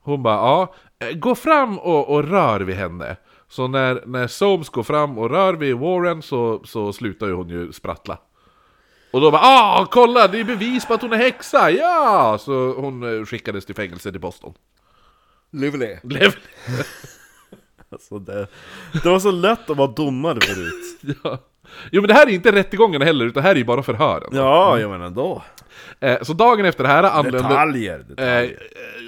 Hon bara, ja, eh, gå fram och, och rör vid henne. Så när, när Soames går fram och rör vid Warren så, så slutar ju hon ju sprattla. Och då bara, ah kolla det är bevis på att hon är häxa, ja! Så hon eh, skickades till fängelse i Boston. [laughs] Livlig. Blev... Alltså det, det var så lätt att vara domare förut. ja. Jo men det här är inte rättegången heller, utan här är ju bara förhören. Ja, jag menar då. Eh, så dagen efter det här anlände... Detaljer. Eh, eh,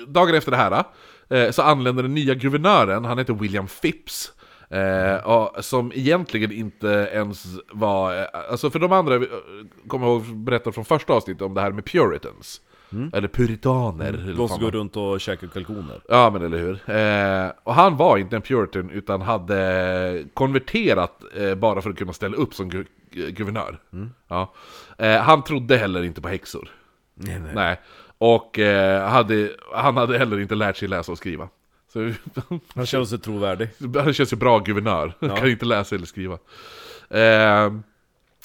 dagen efter det här eh, så anländer den nya guvernören, han heter William Phipps. Eh, och, som egentligen inte ens var, eh, alltså för de andra, eh, kommer jag ihåg berätta från första avsnittet om det här med puritans. Eller puritaner. eller De vad som fan går runt och käkar kalkoner. Ja men eller hur. Eh, och han var inte en puritan utan hade konverterat eh, bara för att kunna ställa upp som gu- gu- guvernör. Ja. Eh, han trodde heller inte på häxor. Nej, nej. Nej. Och eh, hade, han hade heller inte lärt sig läsa och skriva. Så [laughs] Han känner sig trovärdig. [laughs] han känns ju bra guvernör. Kan inte läsa eller skriva. Eh,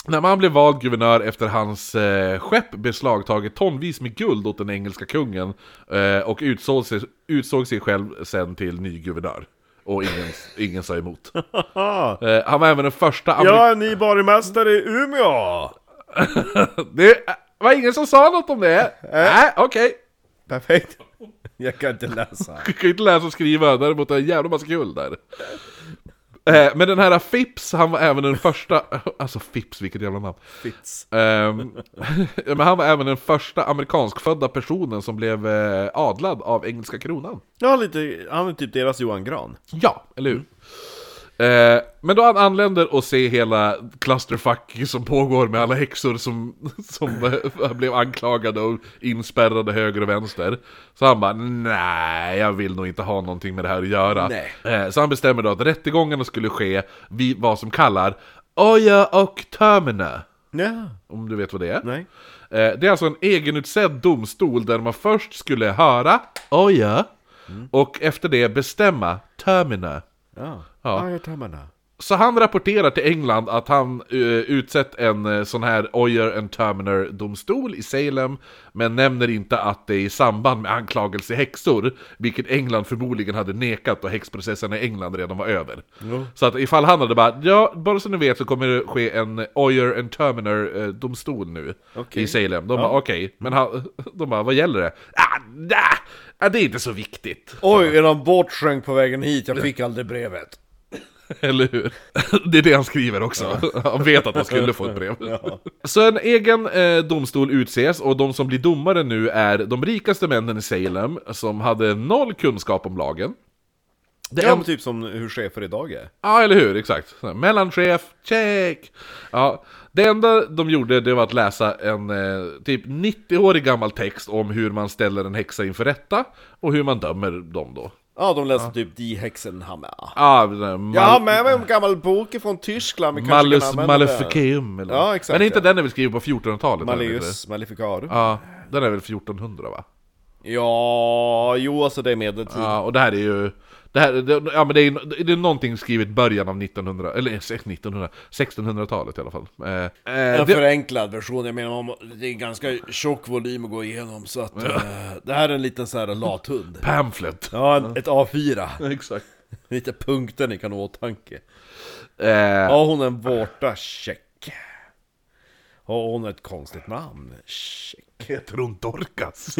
när man blev vald guvernör efter hans eh, skepp beslagtagit tonvis med guld åt den engelska kungen eh, och utsåg sig, utsåg sig själv sen till ny guvernör. Och ingen, [laughs] ingen sa emot. Eh, han var även den första amerikanen... Jag är ny borgmästare i Umeå! Det var ingen som sa något om det! Nej, okej. Perfekt. Jag kan inte läsa. Jag kan ju inte läsa och skriva, däremot har jag en jävla massa kul där. Eh, Men den här Phipps, han var även den första... Alltså Phipps, vilket jävla namn. Fitz. Ehm, [laughs] Men han var även den första amerikanskfödda personen som blev eh, adlad av engelska kronan. Ja, lite, han är typ deras Johan Gran. Ja, eller hur? Eh, Men då han anländer och ser hela clusterfuck som pågår med alla häxor som, [laughs] som eh, blev anklagade och inspärrade höger och vänster. Så han bara nej, jag vill nog inte ha någonting med det här att göra. Nej. Eh, Så han bestämmer då att rättegångarna skulle ske vid vad som kallar Oja och Termina. Ja. Om du vet vad det är? Nej. Eh, Det är alltså en egenutsedd domstol där man först skulle höra Oja Mm. och efter det bestämma Termina. Ja. Ja. Ja, jag tar med den här. Så han rapporterar till England att han eh, utsett en eh, sån här Oyer and Terminer domstol i Salem Men nämner inte att det är i samband med anklagelse i häxor Vilket England förmodligen hade nekat och häxprocessen i England redan var över Jo. Så att ifall han hade bara Ja, bara så ni vet så kommer det ske en Oyer and Terminer eh, domstol nu Okej. I Salem, de bara okej, men han, [laughs] de bara vad gäller det? Ah, nah, ah, det är inte så viktigt Oj, är de bortskänkt på vägen hit? Jag fick aldrig brevet. Eller hur? [laughs] Det är det han skriver också. [laughs] Han vet att han skulle få ett [laughs] brev. Så en egen eh, domstol utses och de som blir domare nu är de rikaste männen i Salem som hade noll kunskap om lagen. Det Ja, en- men typ som hur chefer idag är. Ja, eller hur? Exakt. Så här, Mellanchef, check! Ja, det enda de gjorde det var att läsa en eh, typ 90-årig gammal text om hur man ställer en häxa inför rätta och hur man dömer dem då. Ja, de läser typ Die Hexenhammer. Ah, den här mal- Jag har med mig en gammal bok från Tyskland, vi kanske Malus kan använda den. Maleficum eller Ja, exakt, Men det är inte ja. den är väl skriven på 1400-talet? eller? Malleus Maleficarum. Ja, den är väl 1400 va? Ja, jo alltså det är medeltid. Ja, och det här är ju... Det här, det, ja men det är, det är någonting skrivet början av 1900, eller eh, 1900, 1600-talet i alla fall. Eh, eh, En det, förenklad version, jag menar om- det är en ganska tjock volym att gå igenom så att eh, det här är en liten så här lathund. pamphlet! Ja, en, ett A4. Exakt. Lite punkter ni kan ha i åtanke. Eh, Ja, hon är en vårta, check. har hon ett konstigt namn. Check. [laughs] Heter hon Dorcas?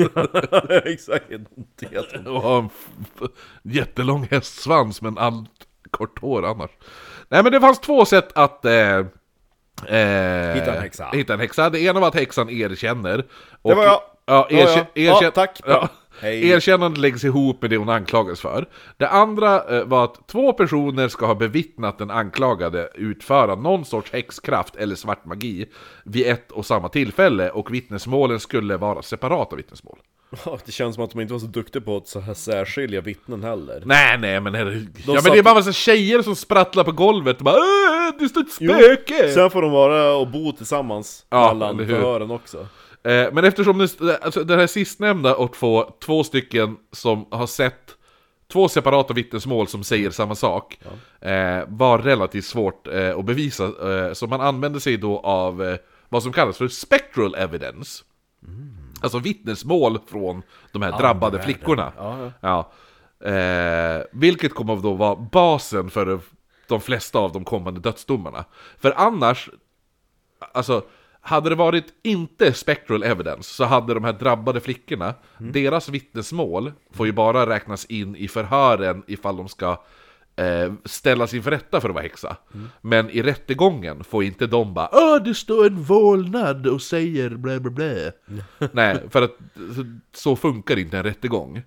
Exakt, inte [laughs] helt Och har en f- f- jättelång hästsvans men allt kort hår annars. Nej men det fanns två sätt att... Eh, eh, hitta en häxa. Hitta en häxa. Det ena var att häxan erkänner. Och, var jag. Ja, Det var erkä- jag. Ja, erkä- tack. Ja, Hej. Erkännandet läggs ihop med det hon anklagas för. Det andra eh, var att två personer ska ha bevittnat den anklagade utföra någon sorts häxkraft eller svart magi vid ett och samma tillfälle och vittnesmålen skulle vara separata vittnesmål. Ja, det känns som att de inte var så duktiga på att så här särskilja vittnen heller. Nej, nej, men herregud. Ja, men satt- det är bara massa tjejer som sprattlar på golvet och bara "Äh, det står ett spöke! Sen får de vara och bo tillsammans, Ja, mellan eller hur? förhören också. Eh, men eftersom det, st- alltså, det här sistnämnda och två, två stycken som har sett två separata vittnesmål som säger samma sak eh, var relativt svårt eh, att bevisa, eh, så man använde sig då av eh, vad som kallas för spectral evidence. Mm. Alltså vittnesmål från de här drabbade världen. flickorna. Ja, Ja. Eh, vilket kommer då vara basen för de flesta av de kommande dödsdomarna. För annars, alltså, hade det varit inte spectral evidence så hade de här drabbade flickorna, deras vittnesmål får ju bara räknas in i förhören ifall de ska eh, ställas inför rätta för att vara häxa. Men i rättegången får inte de bara Åh, det står en vålnad och säger blä blä blä. Nej, för att så- så funkar inte en rättegång. Men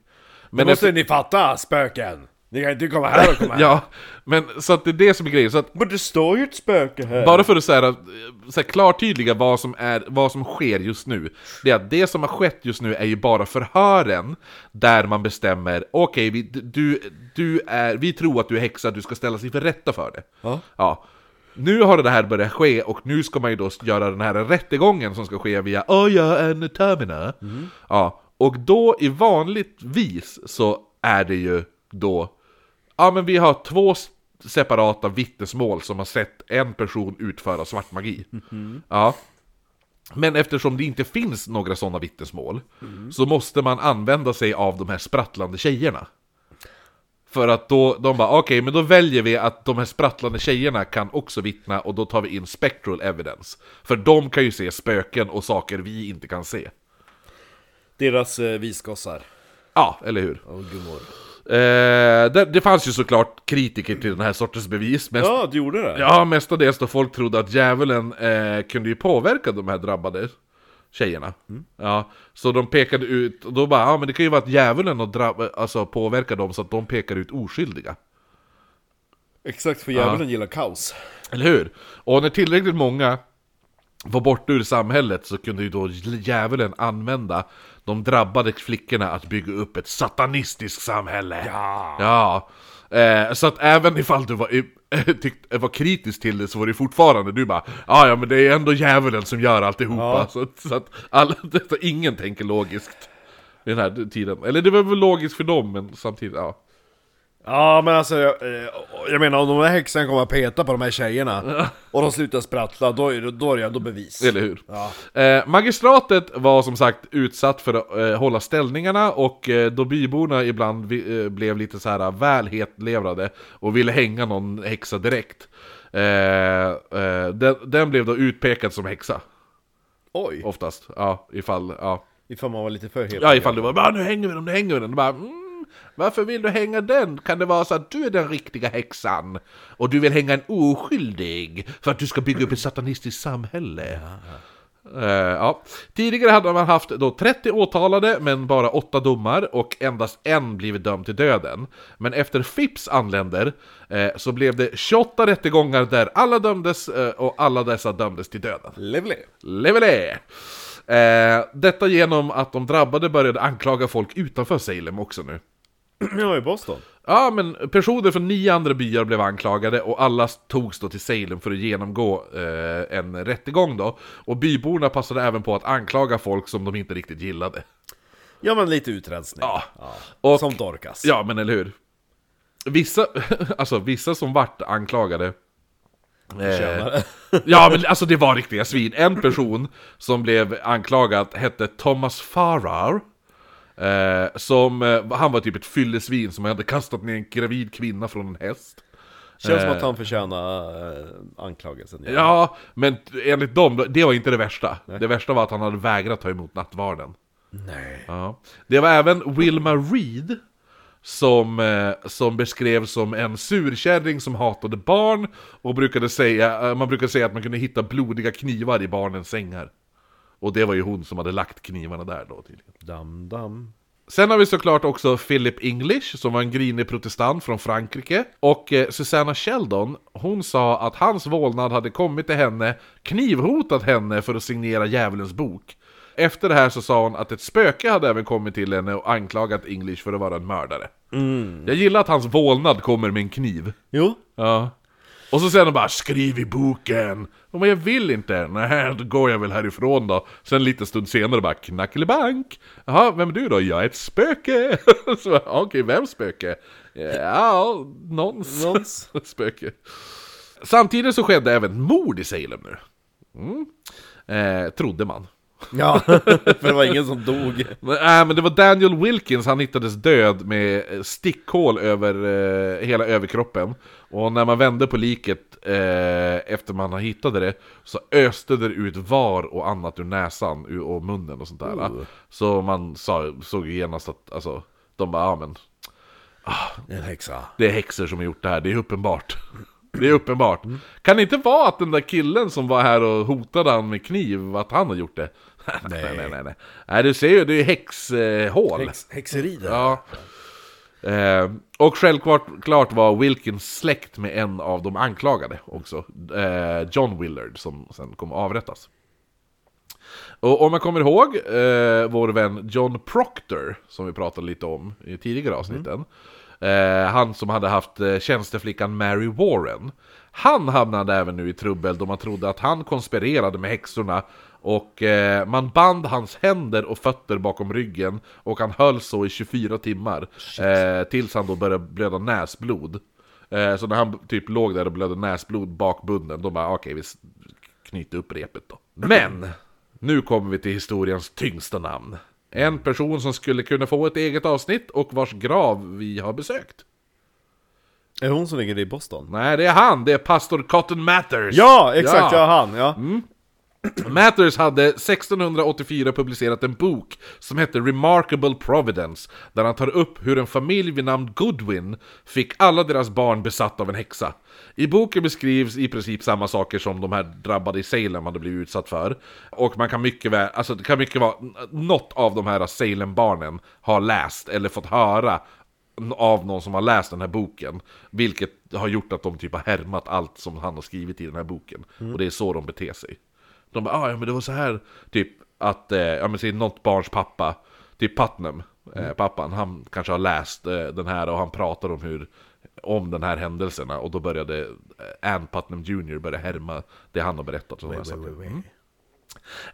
Men måste ni fatta, spöken! Ni kan inte komma här och komma [laughs] här. Ja, men så att det är det som är grejen. Så att Men det står ju ett spöke här! bara för att säga så här klartydliga vad som, är, vad som sker just nu. Det är att det som har skett just nu är ju bara förhören. Där man bestämmer, okej, vi, du, du är, vi tror att du är häxa, du ska ställas inför rätta för det. Ja. Ja. Nu har det här börjat ske och nu ska man ju då göra den här rättegången som ska ske via "Åh, jag är en termina. Ja. Och då i vanligtvis så är det ju då Ja men vi har två s- separata vittnesmål som har sett en person utföra svart magi. Ja. Men eftersom det inte finns några sådana vittnesmål så måste man använda sig av de här sprattlande tjejerna. För att då, de bara, okej, men då väljer vi att de här sprattlande tjejerna kan också vittna och då tar vi in spectral evidence. För de kan ju se spöken och saker vi inte kan se. Deras eh, visgossar Ja, eller hur? och gummor. Eh, det, det fanns ju såklart kritiker till den här sortens bevis, men Ja, du gjorde det? Ja, mestadels då folk trodde att djävulen eh, kunde ju påverka de här drabbade tjejerna. Ja, så de pekade ut, och då bara, ja men det kan ju vara att djävulen har drabb- alltså, påverkar dem så att de pekar ut oskyldiga. Exakt, för djävulen gillar kaos. Eller hur? Och när tillräckligt många var borta ur samhället så kunde ju då djävulen använda de drabbade flickorna att bygga upp ett satanistiskt samhälle. Ja. Ja. Eh, så att även ifall du var, i- [laughs] tyckt, var kritisk till det så var det fortfarande du bara "Ah, ja men det är ändå djävulen som gör alltihopa. Ja. [laughs] Så, att- så att alla, [laughs] så ingen tänker logiskt i den här tiden. Eller det var väl logiskt för dem men samtidigt, ja. Ja, men alltså jag, eh, jag menar om de här häxan kommer att peta på de här tjejerna och de slutar sprattla, då är det, då är det ändå bevis. Eller hur? Eh, magistratet var som sagt utsatt för att eh, hålla ställningarna och eh, då byborna ibland vi, eh, blev lite så här väl hetlevrade och ville hänga någon häxa direkt. Eh, eh, den, den blev då utpekad som häxa, Oj, oftast. Ja, ifall, ja. ifall man var lite för het. Ja, ifall du var bara nu hänger vi den, nu hänger vi den. Bara, mm, varför vill du hänga den? Kan det vara så att du är den riktiga häxan? Och du vill hänga en oskyldig för att du ska bygga upp ett satanistiskt samhälle? Eh, ja. Tidigare hade man haft då 30 åtalade men bara 8 domar och endast en blivit dömd till döden. Men efter Phipps anländer eh, så blev det 28 rättegångar där alla dömdes eh, och alla dessa dömdes till döden. Lively. Levele! Eh, detta genom att de drabbade började anklaga folk utanför Salem också nu. [clears throat] Ja, i Boston. Ja, men personer från nio andra byar blev anklagade och alla togs då till Salem för att genomgå eh, en rättegång då. Och byborna passade även på att anklaga folk som de inte riktigt gillade. Ja, men lite utrensning. Ja. Och, Som Dorcas. Ja, men eller hur? Vissa, [laughs] alltså vissa som vart anklagade eh, Tjänare. [laughs] Ja men alltså det var riktiga svin. En person som blev anklagad hette Thomas Farrar. Eh, som, eh, han var typ ett fyllesvin som hade kastat ner en gravid kvinna från en häst. Känns som att han förtjänar eh, anklagelsen. Ja, men enligt dem, det var inte det värsta. Det värsta var att han hade vägrat ta emot nattvarden. Nej. Ja. Det var även Wilma Reed som, eh, som beskrevs som en surkärring som hatade barn och brukade säga, eh, man brukade säga att man kunde hitta blodiga knivar i barnens sängar. Och det var ju hon som hade lagt knivarna där då tydligen. Dam, dam. Sen har vi såklart också Philip English som var en grinig protestant från Frankrike. Och eh, Susanna Sheldon, hon sa att hans vålnad hade kommit till henne, knivhotat henne för att signera djävulens bok. Efter det här så sa hon att ett spöke hade även kommit till henne och anklagat English för att vara en mördare. Jag gillar att hans vålnad kommer med en kniv. Jo. Ja. Och så säger de bara 'Skriv i boken!' Och men jag vill inte! Nej, då går jag väl härifrån då. Sen lite stund senare bara 'Knackelibank!' Jaha, vem är du då? Jag är ett spöke! [laughs] så bara, Okej, vems spöke? Ja, någons [laughs] Någons. spöke. Samtidigt så skedde även mord i Salem nu. Mm. Eh, trodde man. [laughs] Ja, för det var ingen som dog. Men, äh, men det var Daniel Wilkins, han hittades död med eh, stickhål över eh, hela överkroppen. Och när man vände på liket eh, efter man har hittade det så öste det ut var och annat ur näsan ur- och munnen och sånt där. va. Så man sa, såg ju genast att, alltså, de bara, ja men En häxa. det är häxor som har gjort det här, det är uppenbart. [laughs] Det är uppenbart. Kan det inte vara att den där killen som var här och hotade han med kniv, att han har gjort det? [laughs] Nej, nej, nej. Nej, nej. du ser ju, det är ju häxhål. Häx, häxeri där. Ja. Eh, och självklart klart var Wilkins släkt med en av de anklagade också. Eh, John Willard som sen kom att avrättas. Och om man kommer ihåg eh, vår vän John Proctor som vi pratade lite om i tidigare avsnitten. Eh, han som hade haft eh, tjänsteflickan Mary Warren. Han hamnade även nu i trubbel då man trodde att han konspirerade med häxorna och eh, man band hans händer och fötter bakom ryggen och han höll så i 24 timmar eh, tills han då började blöda näsblod. Eh, så när han typ låg där och blödde näsblod bakbunden, då bara okej, vi s- knyter upp repet då. Men! Nu kommer vi till historiens tyngsta namn. En person som skulle kunna få ett eget avsnitt och vars grav vi har besökt. Är det hon som ligger i Boston? Nej, det är han! Det är pastor Cotton Matters! Ja, exakt! Ja, han. Ja. Mm. Matters hade 1684 publicerat en bok som hette Remarkable Providence, där han tar upp hur en familj vid namn Goodwin fick alla deras barn besatt av en häxa. I boken beskrivs i princip samma saker som de här drabbade i Salem hade blivit utsatt för. Och man kan mycket väl, alltså det kan mycket vara, något av de här Salem-barnen har läst eller fått höra av någon som har läst den här boken. Vilket har gjort att de typ har härmat allt som han har skrivit i den här boken. Och det är så de beter sig. De bara, ah, ja men det var så här, typ att, eh, ja men säg något barns pappa, typ Putnam, eh, pappan, han kanske har läst eh, den här och han pratar om hur, om den här händelserna och då började eh, Ann Putnam Jr. börja härma det han har berättat. Wait,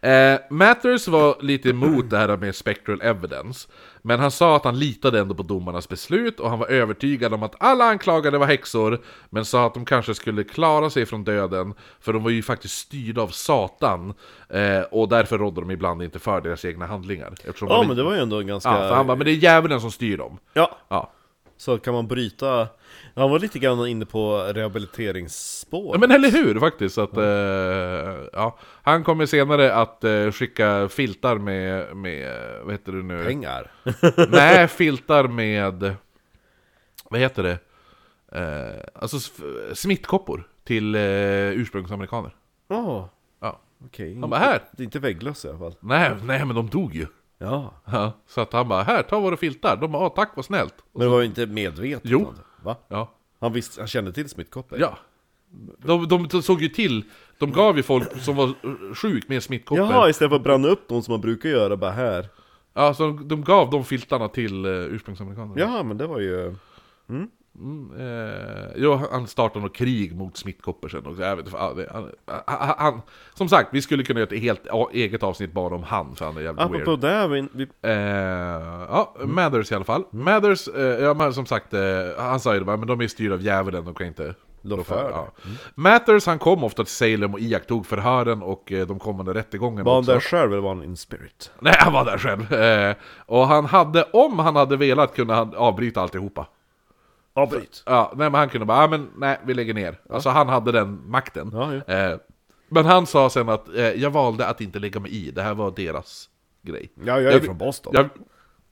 Eh, Matters var lite emot det här med spectral evidence, men han sa att han litade ändå på domarnas beslut och han var övertygad om att alla anklagade var häxor, men sa att de kanske skulle klara sig från döden, för de var ju faktiskt styrda av Satan, eh, och därför rådde de ibland inte för deras egna handlingar. Eftersom ja, de men det var ju ändå en ganska... ja, för han bara, men det är djävulen som styr dem. Ja, Ja. så kan man bryta... Han var lite grann inne på rehabiliteringsspår. Ja, men eller hur faktiskt. Att, eh, ja. Han kommer senare att eh, skicka filtar med, med, eh, vad heter det nu? Pengar. Nej, filtar med... Vad heter det? Eh, alltså s- smittkoppor till eh, ursprungsamerikaner. Ja, [laughs] Ja. okej. Han bara, här! Det är inte vägglöss i alla fall. Nej, nej, men de dog ju. Ja. Ja, så att han bara, här, ta våra filtar. De bara, ah, tack vad snällt. Men det var ju inte medvetet. Jo. om det, Va? Ja, Han, visste, han kände till smittkoppor? ja. De, de, såg ju till, de gav ju folk som var eh, sjuk med smittkoppor. Jaha, istället för att bränna upp dem som man brukar göra bara här. Ja, så de, de gav de filtarna till eh, ursprungsamerikanerna. Ja, men det var ju... Mm, eh, jo, han startade något krig mot smittkoppor sen också. Jag vet, inte, fan, det- han, han, han, som sagt, vi skulle kunna göra ett helt a- eget avsnitt bara om han, för han är jävligt weird. Apropå det, vi, vi... Eh, ja, Mathers i alla fall. Mathers, eh, ja, men som sagt, eh, han sa ju det bara, men de är styrda av djävulen, de kan inte... Då rå för det. Mm. ja. Mathers, han kom ofta till Salem och iakttog förhören och eh, de kommande rättegångarna var han också. där själv eller var han in spirit? Nej, han var där själv. Eh, och han hade, om han hade velat, kunde han avbryta alltihopa. Avbryt. Ja, nej, men han kunde bara, ah, men nej, vi lägger ner. Alltså han hade den makten. Ja, ja. Eh, men han sa sen att eh, jag valde att inte lägga mig i, det här var deras grej. Ja, jag är vill- från Boston. Jag,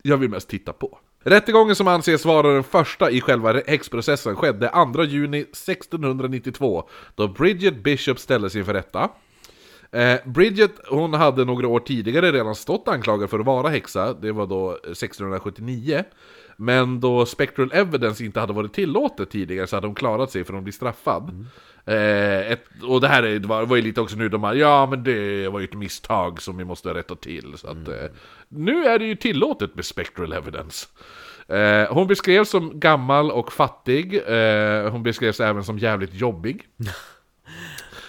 jag vill mest titta på. Rättegången som anses vara den första i själva häxprocessen skedde 2 juni 1692 då Bridget Bishop ställdes inför rätta. Eh, Bridget, hon hade några år tidigare redan stått anklagad för att vara häxa, det var då 1679. Men då Spectral Evidence inte hade varit tillåtet tidigare så hade hon klarat sig från att bli straffad. Eh, ett, och det här är, det var, var ju lite också nu de här, ja men det var ju ett misstag som vi måste rätta till. Så att, eh, nu är det ju tillåtet med Spectral Evidence. Eh, hon beskrevs som gammal och fattig, eh, hon beskrevs även som jävligt jobbig.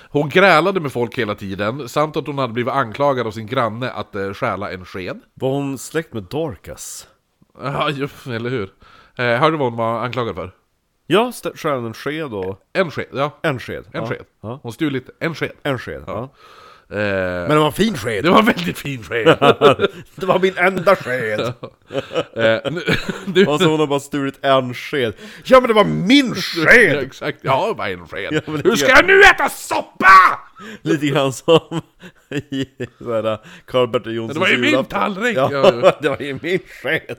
Hon grälade med folk hela tiden, samt att hon hade blivit anklagad av sin granne att eh, stjäla en sked. Var hon släkt med Dorcas? Ja, ju- eller hur? Eh, hörde du vad hon var anklagad för? Ja, st- stjäl en sked och... En sked, ja. En sked. En ja. sked. Ja. Hon stulit en sked. En sked, ja. Eh, Men det var en fin sked! [laughs] det var en väldigt fin sked! Det var min enda sked! eh, nu, [laughs] nu, Och så hon har bara stulit en sked. Ja men det var min ja, sked! exakt. Ja, bara en sked. men det- Hur ska jag nu äta soppa? [laughs] Lite grann som i såhär Karl-Bertil Jonssons Det var ju min julafton. tallrik! Ja, [laughs] det var ju min sked!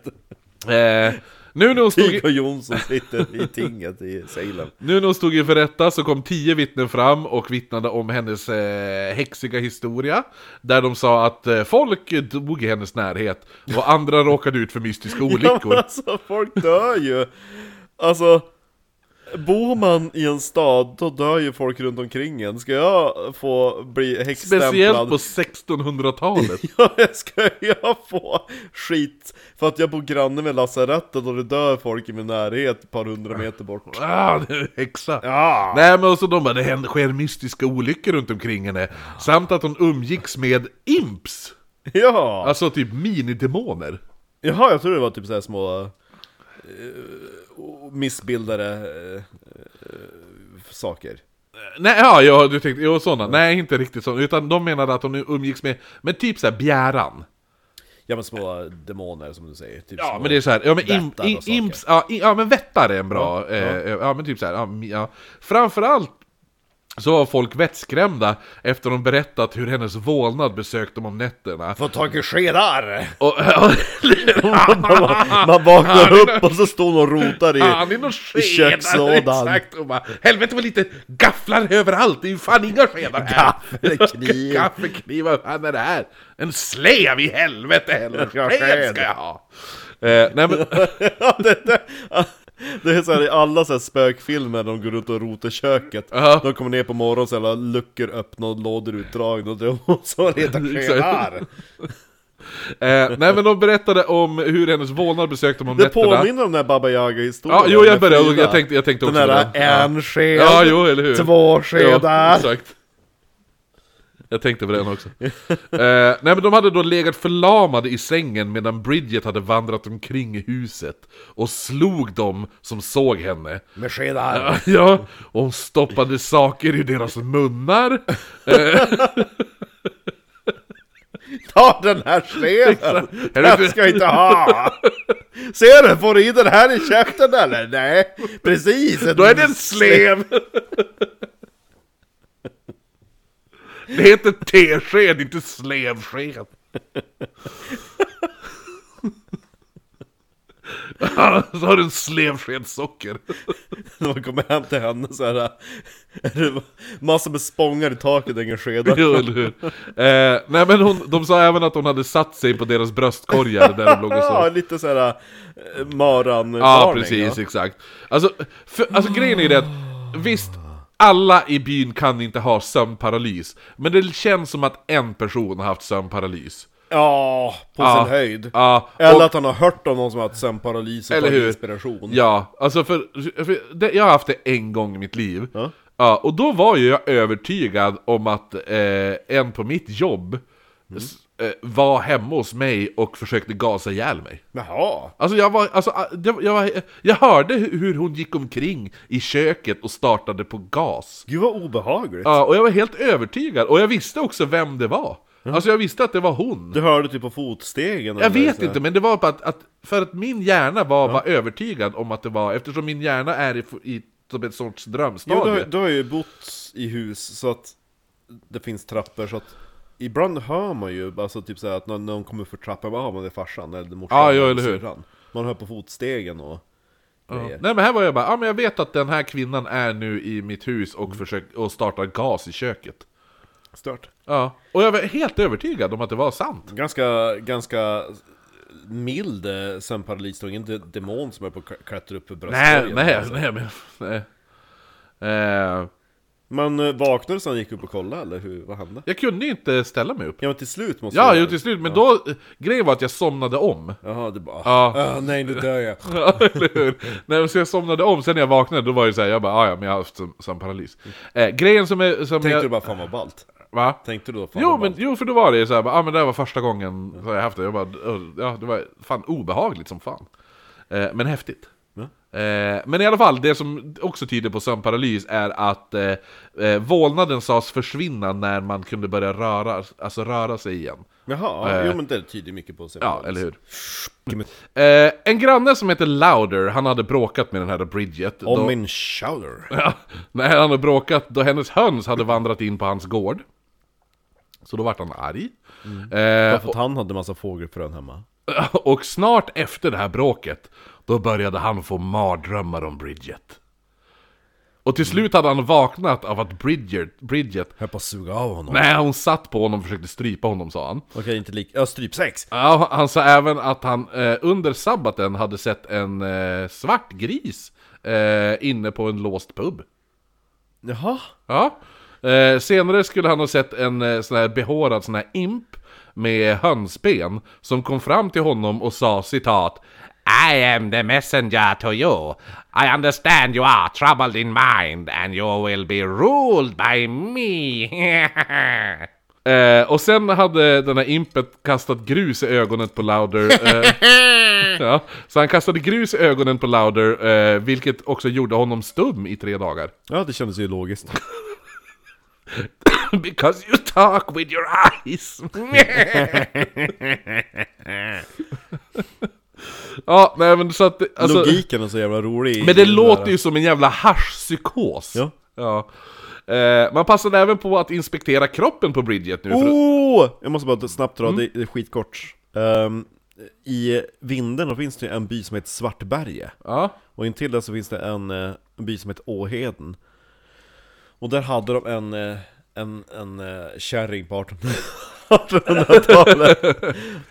Eh, nu när hon stod i- Viggo Jonsson sitter i tinget i Salem. Nu när hon stod inför rätta så kom tio vittnen fram och vittnade om hennes eh, häxiga historia. Där de sa att eh, folk dog i hennes närhet och [laughs] andra råkade ut för mystiska Ja, men olyckor. alltså folk dör ju! Alltså, bor man i en stad, då dör ju folk runt omkring en. Ska jag få bli häxstämplad? Speciellt på 1600-talet. [laughs] Ja, jag ska jag få skit för att jag bor granne med lasarettet och det dör folk i min närhet ett par hundra meter bort? Ah, det är häxa! Ja! Nej men och så de bara, det händer, sker mystiska olyckor runt omkring henne. Samt att hon umgicks med imps! Ja! Alltså typ minidemoner. Jaha, jag tror det var typ såhär små eh, missbildade eh, eh, saker. Eh, Nej, ja, ja du tänkte, jo sådana. Nej, inte riktigt sådana. Utan de menade att hon umgicks med, men typ såhär bjäran. Ja men små demoner som du säger. Typ Ja, små- men det är så här, ja men im, Vättar och i, saker. imps, ja, i, ja men vättar är en bra, ja, eh, ja men typ så här, ja, mi- ja. Framförallt så var folk vettskrämda efter de berättat hur hennes vålnad besökt dem om nätterna. Få tag [laughs] i skedar! [laughs] Och, Man vaknar upp och så står någon och rotar i... Fan, det är någon I skedar! kökslådan. Exakt! Och bara, helvete vad lite gafflar överallt! Det är ju fan inga skedar här! [laughs] Gaffel, kniv. Gaffel, kniv, vad fan är det här? En slev i helvete heller! Ja, Sked sked. ska jag ha! Eh, nej men... [laughs] Ja, det, det, det är såhär i alla så här spökfilmer, de går runt och rotar i köket. Ja. De kommer ner på morgonen så är alla luckor öppna och lådor utdragna och det- och så [laughs] letar skedar. Eh, nej men de berättade om hur hennes vålnad besökte dem om Det nätterna. påminner om den här Baba Yaga-historien. Ja, jo jag med började, Frida. jag tänkte, jag tänkte Den också där på den. en sked, Ja, jo, eller hur? två skedar. exakt. Jag tänkte på den också. eh, nej men de hade då legat förlamade i sängen medan Bridget hade vandrat omkring i huset och slog dem som såg henne. med skedar. Ja, och hon stoppade saker i deras munnar. Ta den här skeden! Helvete. Den ska jag inte ha! Ser du? Får du i den här i käften eller? Nej, precis! Då är det en slev! Det heter tesked, inte slevsked. Så har du en slevsked socker. När man kommer hem till henne så här, är det massor med spångar i taket och ingen skedar. Jo, eller hur? Eh, nej men hon, de sa även att hon hade satt sig på deras bröstkorgar där de låg och Ja, sov. lite eh, såhär maran Ja, precis, exakt. Alltså, för, alltså grejen är ju det att, visst, alla i byn kan inte ha sömnparalys, men det känns som att en person har haft sömnparalys. Ja, på Ja. sin höjd. Ja, Eller och, att han har hört om någon som har haft sömnparalys och Eller tagit hur? inspiration. ja alltså för, för det, jag har haft det en gång i mitt liv. Ja. Ja, och då var ju jag övertygad om att eh, en på mitt jobb s- eh, var hemma hos mig och försökte gasa ihjäl mig. Jaha. Alltså jag var, alltså ah, det, var- jag, var, jag hörde hu- hur hon gick omkring i köket och startade på gas. Gud vad obehagligt. Ja, och jag var helt övertygad, och jag visste också vem det var. Alltså jag visste att det var hon. Du hörde typ på fotstegen? Jag eller vet sådär. inte, men det var på att, att för att min hjärna var, var övertygad om att det var, eftersom min hjärna är i, i som ett sorts Jo, du, drömstadie. har- du har ju bott i hus så att det finns trappor så att Ibland hör man ju, alltså typ såhär att när någon kommer upp för trappan, bara ah, men det är farsan eller morsan Ja, ja, eller hur. syrran." Man hör på fotstegen och Ja. grejer. Nej men här var jag bara, ja men jag vet att den här kvinnan är nu i mitt hus och, försöker, och startar gas i köket. Stört. Ja. Och jag var helt övertygad om att det var sant. Ganska, ganska mild eh, sömnparalys, ingen de- demon som är på att klättra upp för Nej, bröstkorgen nej, Alltså. nej men... Nej. Eh, Man eh, vaknade sen gick upp och kollade eller hur, vad hände? jag kunde ju inte ställa mig upp. Ja men till slut måste Ja, du- jo till slut, men då... eh, Grejen var att jag somnade om. Jaha, du bara Ja. ah, nej nu dör jag Ja, eller hur? Nej, men så jag somnade om, sen när jag vaknade då var det så här, jag bara "Ah, ja men jag har haft som, som paralys. Eh, grejen som, är, som Tänkte jag... du bara fan vad ballt? Va? Tänkte du då fan Jo, vad men, ballt? jo, för då var det ju så här, bara, ah, men det här var första gången så jag haft det. Jag bara, "Ugh, ja, det var fan obehagligt som fan. Eh, men häftigt. Ja. Eh, men i alla fall, det som också tyder på sömnparalys är att eh, eh, vålnaden sades försvinna när man kunde börja röra, alltså röra sig igen. Jaha, ja, jo men det tyder ju mycket på sig Eh, Ja, eller hur? Om Eh, en granne som heter Louder, han hade bråkat med den här Bridget. Då- min shower Ja, när han hade bråkat då hennes höns hade vandrat in på hans gård. Så då vart han arg. Eh, För att han hade massa fågelfrön hemma och, och snart efter det här bråket, då började han få mardrömmar om Bridget. Och till slut hade han vaknat av att Bridget, Bridget Höll på att suga av honom nej hon satt på honom och försökte strypa honom sa han. Okej, inte lik... Ja, strypsex! Ja, han sa även att han eh, under sabbaten hade sett en eh, svart gris eh, inne på en låst pub. Jaha? Ja. Eh, senare skulle han ha sett en eh, sån här behårad sån här imp med hönsben som kom fram till honom och sa citat I am the messenger to you. I understand you are troubled in mind and you will be ruled by me. [laughs] eh, och sen hade den här impet kastat grus i ögonen på Louder. Eh, ja, så han kastade grus i ögonen på Louder, eh, vilket också gjorde honom stum i tre dagar. Ja, det kändes ju logiskt Because you talk with your eyes. ja, nej men så att... Alltså, Logiken är så jävla rolig i men det den låter där- ju som en jävla haschpsykos. Ja. ja. Eh, man passade även på att inspektera kroppen på Bridget nu. för- Oh! Jag måste bara snabbt Mm. dra, det, det är skitkort Ehm, I Vindeln finns det ju en by som heter Svartberge Ja. Och intill där så finns det en, eh, en by som heter Åheden Och där hade de en, eh, en, en eh, kärring på 1800-talet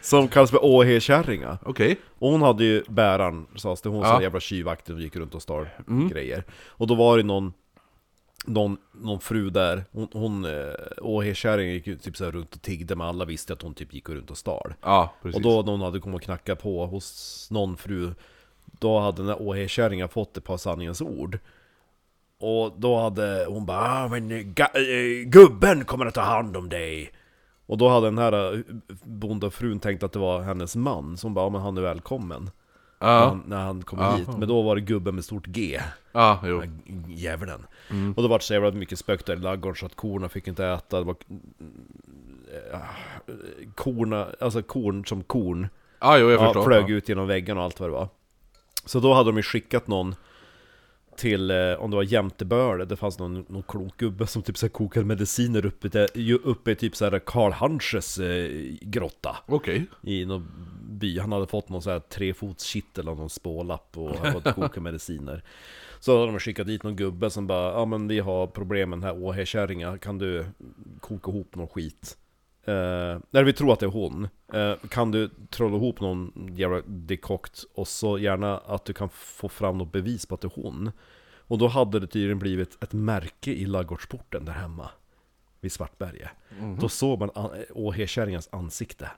Som kallas för Åhekärringa Okej. Och hon hade ju bäraren, sades det, hon som Ja. var jävla tjuvaktig och gick runt och stal grejer Och då var det någon någon, någon fru där, hon, hon eh, Åhekärringen gick ju typ så här runt och tiggde men alla visste att hon typ gick runt och stal Ja, precis. och då när hon hade kommit och knackat på hos någon fru Då hade den där åhekärringen fått ett par sanningens ord Och då hade hon bara ah, men eh, ga- eh, gubben kommer att ta hand om dig Och då hade den här eh, bondafrun tänkt att det var hennes man Så hon bara ah, men han är välkommen när, Ja, han, när han kommer hit Men då var det gubben med stort G ja jo. Djävulen. Och då var det så jävla mycket spök där i ladugården så att korna fick inte äta. Det var eh, korna, alltså korn som korn. Ja, jo, jag Ja, förstår. flög ja. ut genom väggarna och allt vad det var. Så då hade de ju skickat någon till, eh, om det var Jämteböle, det fanns någon, någon klok gubbe som typ så här kokade mediciner uppe, där, ju uppe i typ så här Karl Hanches eh, grotta. Okej. I någon by, han hade fått någon så här trefotskittel av någon spålapp och han fått koka mediciner Så hade de skickat dit någon gubbe som bara Ja men vi har problem med den här åhäkärringen, kan du koka ihop någon skit? Eh, nej vi tror att det är hon Eh, Kan du trolla ihop någon jävla dekokt och så gärna att du kan få fram något bevis på att det är hon Och då hade det tydligen blivit ett märke i ladugårdsporten där hemma Vid Svartberge Mhm. Då såg man an- åhäkärringens ansikte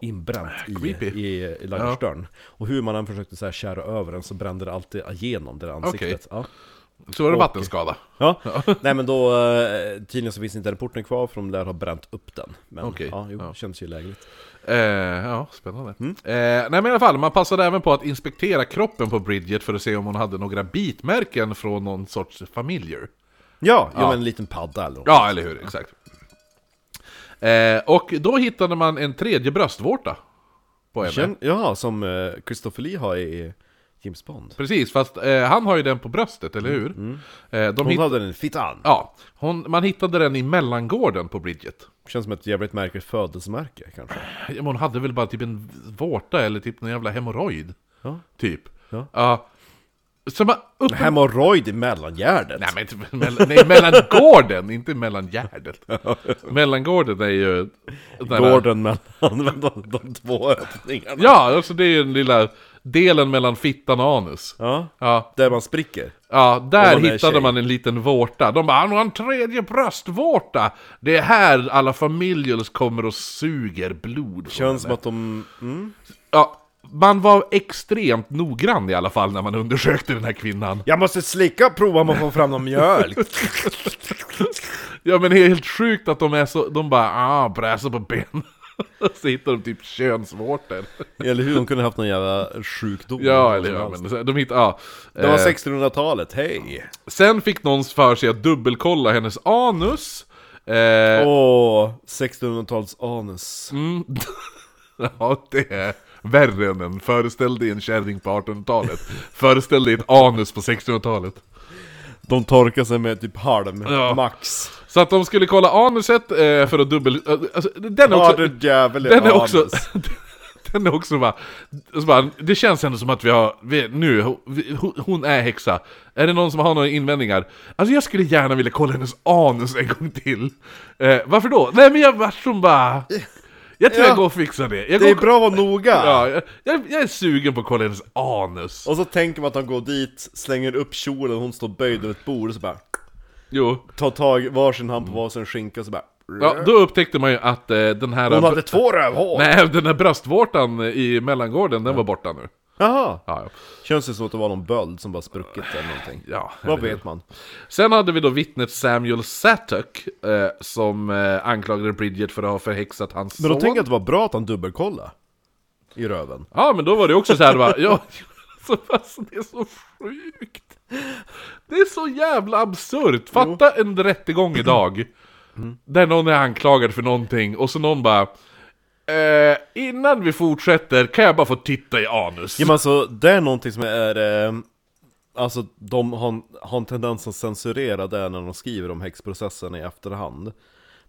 inbränt i, creepy. i, i ladugårdsdörren. Och hur man än försökte så här kära över den så brände det alltid igenom det där ansiktet. Ja. Så var det vattenskada. Ja. [laughs] Nej men då, eh, tydligen så finns inte den porten kvar för de lär ha bränt upp den. Men Okej, ja, jo, ja. känns ju lägligt. Eh, ja, spännande. Eh, nej men i alla fall, man passade även på att inspektera kroppen på Bridget för att se om hon hade några bitmärken från någon sorts familjer. Ja, ja. Ja. men en liten padda eller något. Ja, eller hur? Exakt. Eh, och då hittade man en tredje bröstvårta på henne. Känn, ja, som eh, Christopher Lee har i James Bond. Precis, fast eh, han har ju den på bröstet, eller hur? Eh, de Mm. Hon hitt- hade den i fittan. ja, hon, man hittade den i mellangården på Bridget. Känns som ett jävligt märkligt födelsemärke kanske. Ja, men Hon hade väl bara typ en vårta eller typ någon jävla hemorrojd. Ja. Typ. Ja. så man upp... Hemorrojd i mellangärdet. Nej, men inte mellan, nej, mellangården, inte [laughs] mellangärdet. Mellangården är ju... Gården mellan [laughs] de, de två öppningarna. Ja, alltså det är ju den lilla delen mellan fittan och anus. Ja. Ja, Där man spricker. ja Om där man är hittade tjej. man en liten vårta. De bara, han har en tredje bröstvårta! Det är här alla familjer kommer och suger blod. från Känns som henne. att de... Mm. Ja, man var extremt noggrann i alla fall när man undersökte den här kvinnan. Jag måste slicka och prova om man får fram någon mjölk. Ja men det är helt sjukt att de är så, de bara ah, bräser på ben. [laughs] så hittar de typ könsvårtor. [laughs] Eller hur, hon kunde haft någon jävla sjukdom. Ja eller ja, men så- de hittar, ja. Mm, Det var Eh, 1600-talet, hej! Sen fick någon för sig att dubbelkolla hennes anus. [laughs] Eh, Åh, 1600-tals anus. mm, ja det är värre än en föreställ dig en kärring på [laughs] 1800-talet. föreställ dig ett anus på 1600-talet. De torkar sig med typ halm, Ja. max. Så att de skulle kolla anuset eh, för att dubbel... eh, Alltså, den är också... Ja du jävel i Den är anus. också... [laughs] Den är också bara, så bara... Det känns ändå som att vi har... Vi, nu, ho- vi, ho- hon är häxa. Är det någon som har några invändningar? Alltså jag skulle gärna vilja kolla hennes anus en gång till. Eh, varför då? Nej men jag vart som bara... Jag tror Ja. jag går och fixar det. Jag Det är går, bra att vara noga! ja, jag, jag, jag är sugen på att kolla hennes anus. Och så tänker man att han går dit, slänger upp kjolen, hon står böjd över ett bord och så bara Jo. Tar tag varsin hand på varsin skinka och så bara Ja, då upptäckte man ju att eh, den här... Hon hade två rövhål! Nej, den här bröstvårtan i mellangården, den var borta nu. Jaha! Ja, ja. Känns det som att det var någon böld som bara spruckit eller någonting? ja Vad eller hur. vet man? Sen hade vi då vittnet Samuel Satuk, eh, som eh, anklagade Bridget för att ha förhäxat hans Men då son. tänker jag att det var bra att han dubbelkollade I röven Ja, men då var det också så här, va? Ja, [laughs] alltså, alltså, det är så sjukt. Det är så jävla absurt. Fatta en rättegång idag, där någon är anklagad för någonting, och så någon bara... Eh, innan vi fortsätter, kan jag bara få titta i anus? Ja men alltså, det är någonting som är... Eh, alltså de har, en- har en tendens att censurera det när de skriver om häxprocessen i efterhand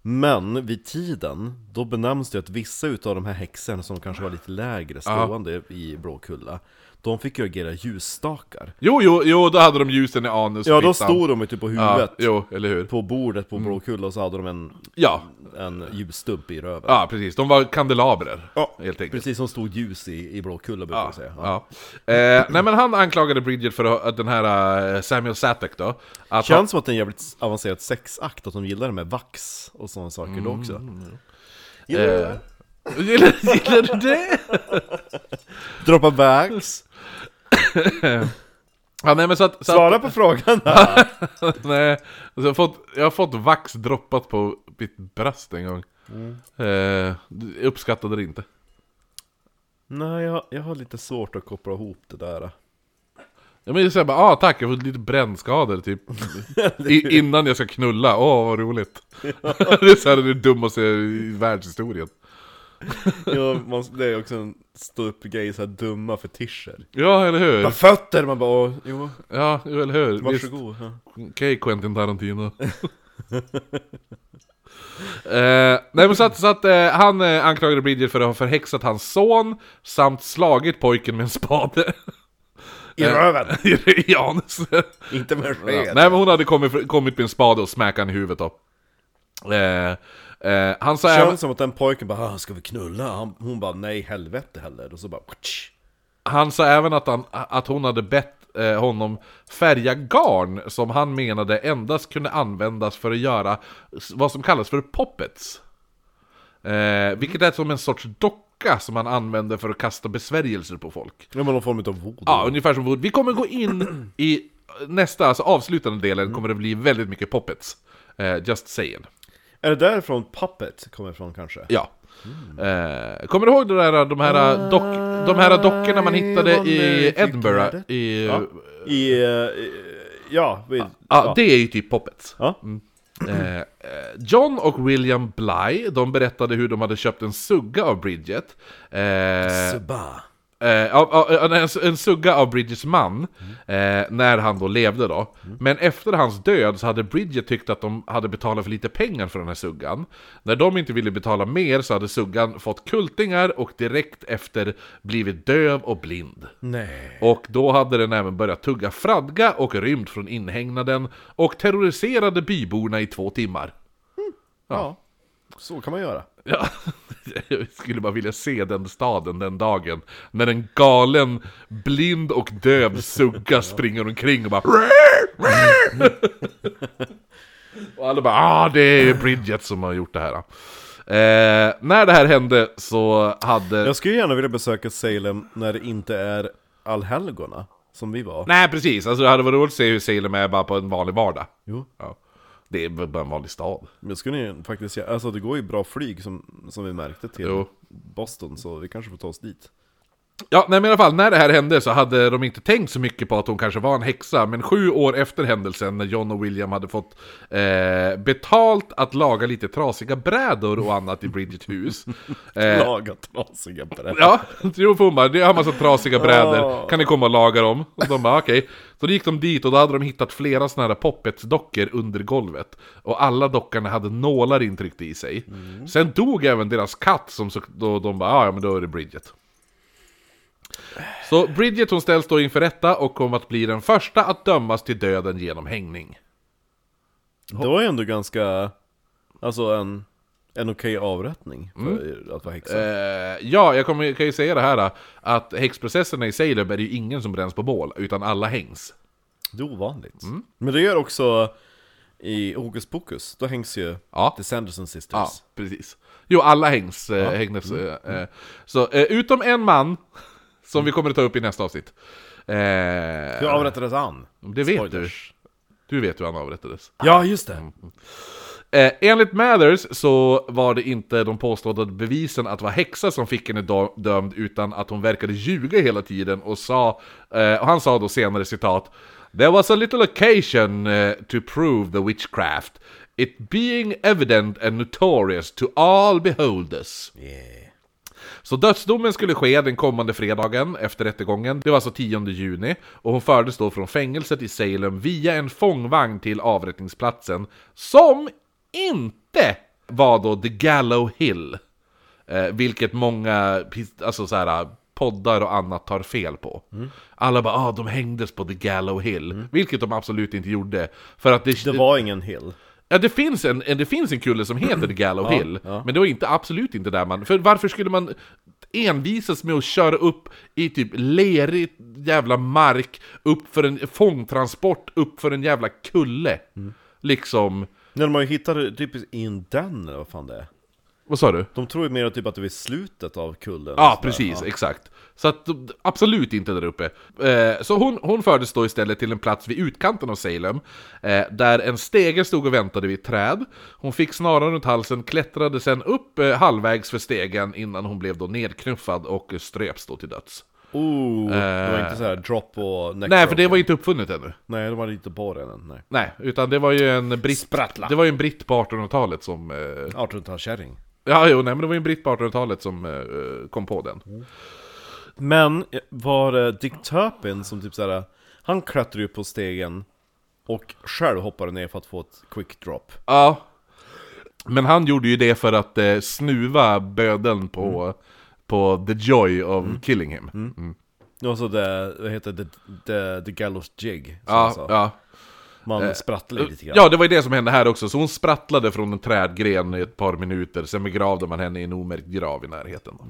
Men vid tiden, då benämns det att vissa utav de här häxorna som kanske var lite lägre stående i Blåkulla De fick ju agera ljusstakar Jo, jo, jo, då hade de ljusen i anus. Ja då fittan. stod de ju typ på Ja, huvudet jo, eller hur? På bordet Mm. på Blåkulla och så hade de en, Ja, en ljusstump i röven ja precis. De var kandelabrer, Ja, helt enkelt. Precis som stod ljus i, i Blåkulla brukar jag säga ja. Ja. Eh, nej men han anklagade Bridget för att- att den här eh, Samuel Satek då, att han, Känns som att det är en jävligt avancerad sexakt, att de gillar det med vax och sådana saker då Mm, också Gillar du Eh. det? [laughs] gillar, gillar du det? Droppa vax, Ja, nej men [laughs] så att, så att svara på frågan [laughs] här. nej, alltså, jag, har fått, jag har fått vax droppat på mitt bröst en gång. Mm. Eh, jag uppskattade det inte. Nej, jag, jag har lite svårt att koppla ihop det där Jag menar såhär bara, ah tack, jag har fått lite brännskador [laughs] typ. I, innan jag ska knulla, åh vad roligt. [laughs] det är såhär det dummaste i världshistorien. ja, man, Det är också en ståuppgrej, såhär dumma fetischer Ja, eller hur? Med fötter, man bara åh, jo, Ja, jo, eller hur? Visst. varsågod ja. Okej Quentin Tarantino. [laughs] eh, nej men så att, så att eh, han eh, anklagade Bridget för att ha förhäxat hans son samt slagit pojken med en spade [laughs] I röven, i anus. [laughs] inte med nej sked men hon hade kommit, kommit med en spade och smäckat han i huvudet då. Eh, eh, han sa även, Känns som att den pojken bara "Ah, 'Ska vi knulla?' Han, hon bara 'Nej helvete heller' och så bara "Tsch." Han sa även att, han, att hon hade bett eh, honom färga garn som han menade endast kunde användas för att göra s- vad som kallas för poppets. Eh, vilket är som en sorts docka som han använde för att kasta besvärjelser på folk. Ja men någon form utav voodoo Ja, ungefär som Wood. Vi kommer gå in i nästa, alltså avslutande delen, kommer det bli väldigt mycket poppets. Eh, just saying. Är det därifrån Puppet kommer ifrån kanske? Ja. Eh, kommer du ihåg det där, de här, dock, de här dockorna man hittade i Edinburgh? I, I, eh, i ja, vid, Ja, det är ju typ poppets. ja. Eh, eh, John och William Bly, de berättade hur de hade köpt en sugga av Bridget. Eh, Suba. Eh, av- av- en, en sugga av Bridgets man, eh, när han då levde då. Men efter hans död så hade Bridget tyckt att de hade betalat för lite pengar för den här suggan. När de inte ville betala mer så hade suggan fått kultingar och direkt efter blivit döv och blind. Nej. Och då hade den även börjat tugga fradga och rymt från inhägnaden och terroriserade byborna i två timmar. Ja. Så kan man göra. Ja, [laughs] jag skulle bara vilja se den staden den dagen. När en galen, blind och döv sugga springer omkring och bara... [laughs] Och alla bara ah, det är Bridget som har gjort det här. Eh, när det här hände så hade... Jag skulle gärna vilja besöka Salem när det inte är allhelgona, som vi var. Nej precis, alltså det hade varit roligt att se hur Salem är bara på en vanlig vardag. Jo. Ja. Det är bara en vanlig stad. Men Jag skulle ju faktiskt göra, alltså det går ju bra flyg som, som vi märkte till Jo. Boston, så vi kanske får ta oss dit. Ja, nej, men i alla fall, när det här hände så hade de inte tänkt så mycket på att hon kanske var en häxa, men sju år efter händelsen när John och William hade fått eh, betalt att laga lite trasiga brädor och annat i Bridgets [laughs] hus. Eh, Laga [laughs] trasiga brädor. Ja, jo för hon bara, det har en massa trasiga brädor, Åh. kan ni komma och laga dem? Och de bara okej. Så då gick de dit och då hade de hittat flera sådana här poppetsdockor under golvet. Och alla dockorna hade nålar intryckta i sig. Sen dog även deras katt som så, då de bara, "Ah, ja men då är det Bridget. Så Bridget hon ställs då inför rätta och kommer att bli den första att dömas till döden genom hängning. Det var ju ändå ganska, alltså en, en okej avrättning för att vara häxa. Mm. Eh, ja, jag kommer, kan ju säga det här att häxprocesserna i Salem är det ju ingen som bränns på bål, utan alla hängs. Det är ovanligt. Mm. Men det gör också i Hokus Pokus, då hängs ju Ja. The Sanderson Sisters. Ja, precis. Jo, alla hängs. eh, hängdes, Mm. eh, eh, så, eh, utom en man, som vi kommer att ta upp i nästa avsnitt. Eh, Hur avrättades han? det vet Spoilers. du. Du Mm. vet hur han avrättades. Ja, just det! Eh, enligt Mathers så var det inte de påstådda bevisen att det var häxa som fick henne dö- dömd, utan att hon verkade ljuga hela tiden och sa, eh, och han sa då senare citat There was a little occasion eh, to prove the witchcraft, it being evident and notorious to all beholders. Yeah. Så dödsdomen skulle ske den kommande fredagen efter rättegången. Det var alltså 10 juni. Och hon fördes då från fängelset i Salem via en fångvagn till avrättningsplatsen. Som inte var då The Gallow Hill. Eh, vilket många pis- alltså så här, poddar och annat tar fel på. Alla bara ah, de hängdes på The Gallow Hill. Vilket de absolut inte gjorde. För att det, Det var ingen hill. Ja, det finns en, en, det finns en kulle som [clears throat] heter The Gallow Hill, ja. men det var inte, absolut inte där man... För varför skulle man envisas med att köra upp i typ lerig jävla mark, upp för en fångtransport, upp för en jävla kulle? Mm. Liksom... När de har ju hittat det typ i en den eller vad fan det är. Vad sa du? De tror ju mer typ att det är vid slutet av kullen. och Ja, sådär. precis, exakt. Så att, absolut inte där uppe. Eh, så hon, hon fördes då istället till en plats vid utkanten av Salem, eh, där en stege stod och väntade vid ett träd. Hon fick snaran runt halsen, klättrade sen upp eh, halvvägs för stegen innan hon blev då nedknuffad och ströps då till döds. Oh, det var inte så här drop och neck Eh. Nej, för det var ju inte uppfunnet ännu. Nej, de hade inte på den än, nej. Nej, utan det var ju en britt, Sprattla! det var ju en britt på 1800-talet som... Eh, 1800-talskärring. ja, jo, nej, men det var ju en britt på 1800-talet som eh, kom på den. Men eh, var det Dick Turpin som typ såhär, han klättrade upp på stegen och själv hoppade ner för att få ett quick drop. Ja. Men han gjorde ju det för att eh, snuva bödeln på, på the joy of killing him. Och så det, vad heter det, the, the gallows jig, som han Ja, sa. ja. Man sprattlar lite grann. ja, det var ju det som hände här också. Så hon sprattlade från en trädgren i ett par minuter, sen begravde man henne i en omärkt grav i närheten. Då.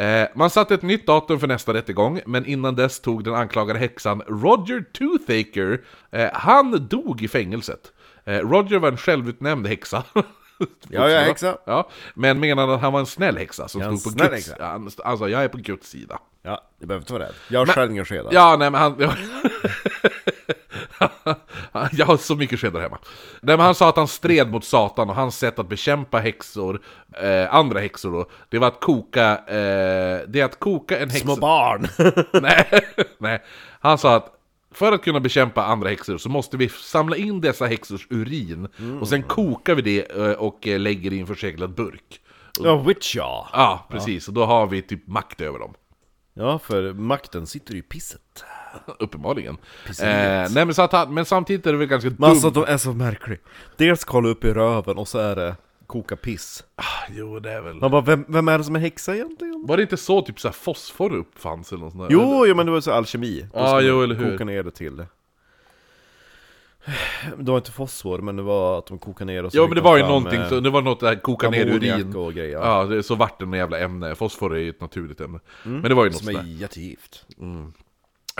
Mm. Eh, man satte ett nytt datum för nästa rättegång, men innan dess tog den anklagade häxan Roger Toothaker, eh, han dog i fängelset. Eh, Roger var en självutnämnd häxa. [laughs] Ja, jag är häxa. Ja, men menade att han var en snäll häxa som Jag är en stod på snäll Guds... häxa. Ja, Han, han sa jag är på Guds sida. Ja, du behöver inte vara rädd. Jag har själv ingen skeda. Ja, nej men han... [laughs] jag har så mycket skedar hemma. Nej men han sa att han stred mot Satan och hans sätt att bekämpa häxor, eh, andra häxor då, det var att koka, [laughs] eh, det är att koka en häxa... Små barn! nej, nej. Han sa att För att kunna bekämpa andra häxor så måste vi samla in dessa häxors urin och sen kokar vi det eh, och eh, lägger i en förseglad burk. [laughs] Ja, witch ja. Ja, precis. Och då har vi typ makt över dem. Ja, för makten sitter ju i pisset. Uppenbarligen. Eh, nej, Precis. men, så att, han- men samtidigt är det väl ganska Men alltså dumt. de är så märkliga. Dels kolla upp i röven och så är det koka piss. Ah, jo, det är väl... Man bara, vem, vem är det som är häxa egentligen? Var det inte så typ så här fosfor uppfanns eller något sånt där? Jo, jo men det var ju så alkemi. Då Ja, ska man jo, eller hur. Koka ner det till det. Det var inte fosfor, men det var att de kokade ner och så Ja fick men det de var ju fram, någonting, eh, så, det var något där koka ner ammoniak urin och grejer. Ja, det, så vart det något jävla ämne, fosfor är ju ett naturligt ämne Men det var ju något Mm, Som sånt är där jättegift.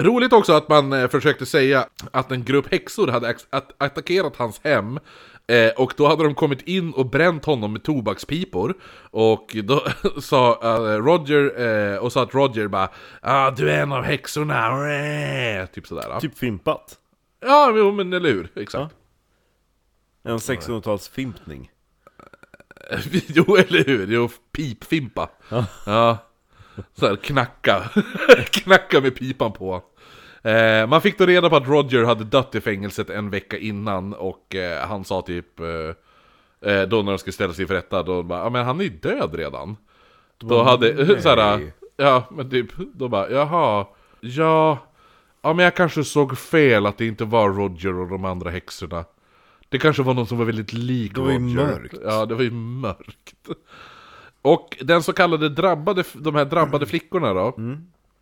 Roligt också att man eh, försökte säga att en grupp häxor hade ax- att attackerat hans hem eh, Och då hade de kommit in och bränt honom med tobakspipor Och då [laughs] sa eh, Roger, eh, och sa att Roger bara ah, du är en av häxorna, Rrrr." typ sådär ja. Typ fimpat. Ja, jo, men eller hur, exakt En 1600-talsfimpning. jo, [laughs] eller hur? Jo, pipfimpa. Ja. Så här, knacka. [laughs] knacka med pipan på. Eh, man fick då reda på att Roger hade dött i fängelset en vecka innan och eh, han sa typ... Eh, eh, då när de skulle ställa sig för rätta, då bara ja men han är ju död redan. Då hade... [laughs] Så här, nej. ja, men typ... Då bara jaha... Ja... Ja men jag kanske såg fel att det inte var Roger och de andra häxorna. Det kanske var någon som var väldigt lik var ju Roger. mörkt. Ja, det var ju mörkt. Och den så kallade drabbade, de här [clears throat] drabbade flickorna då,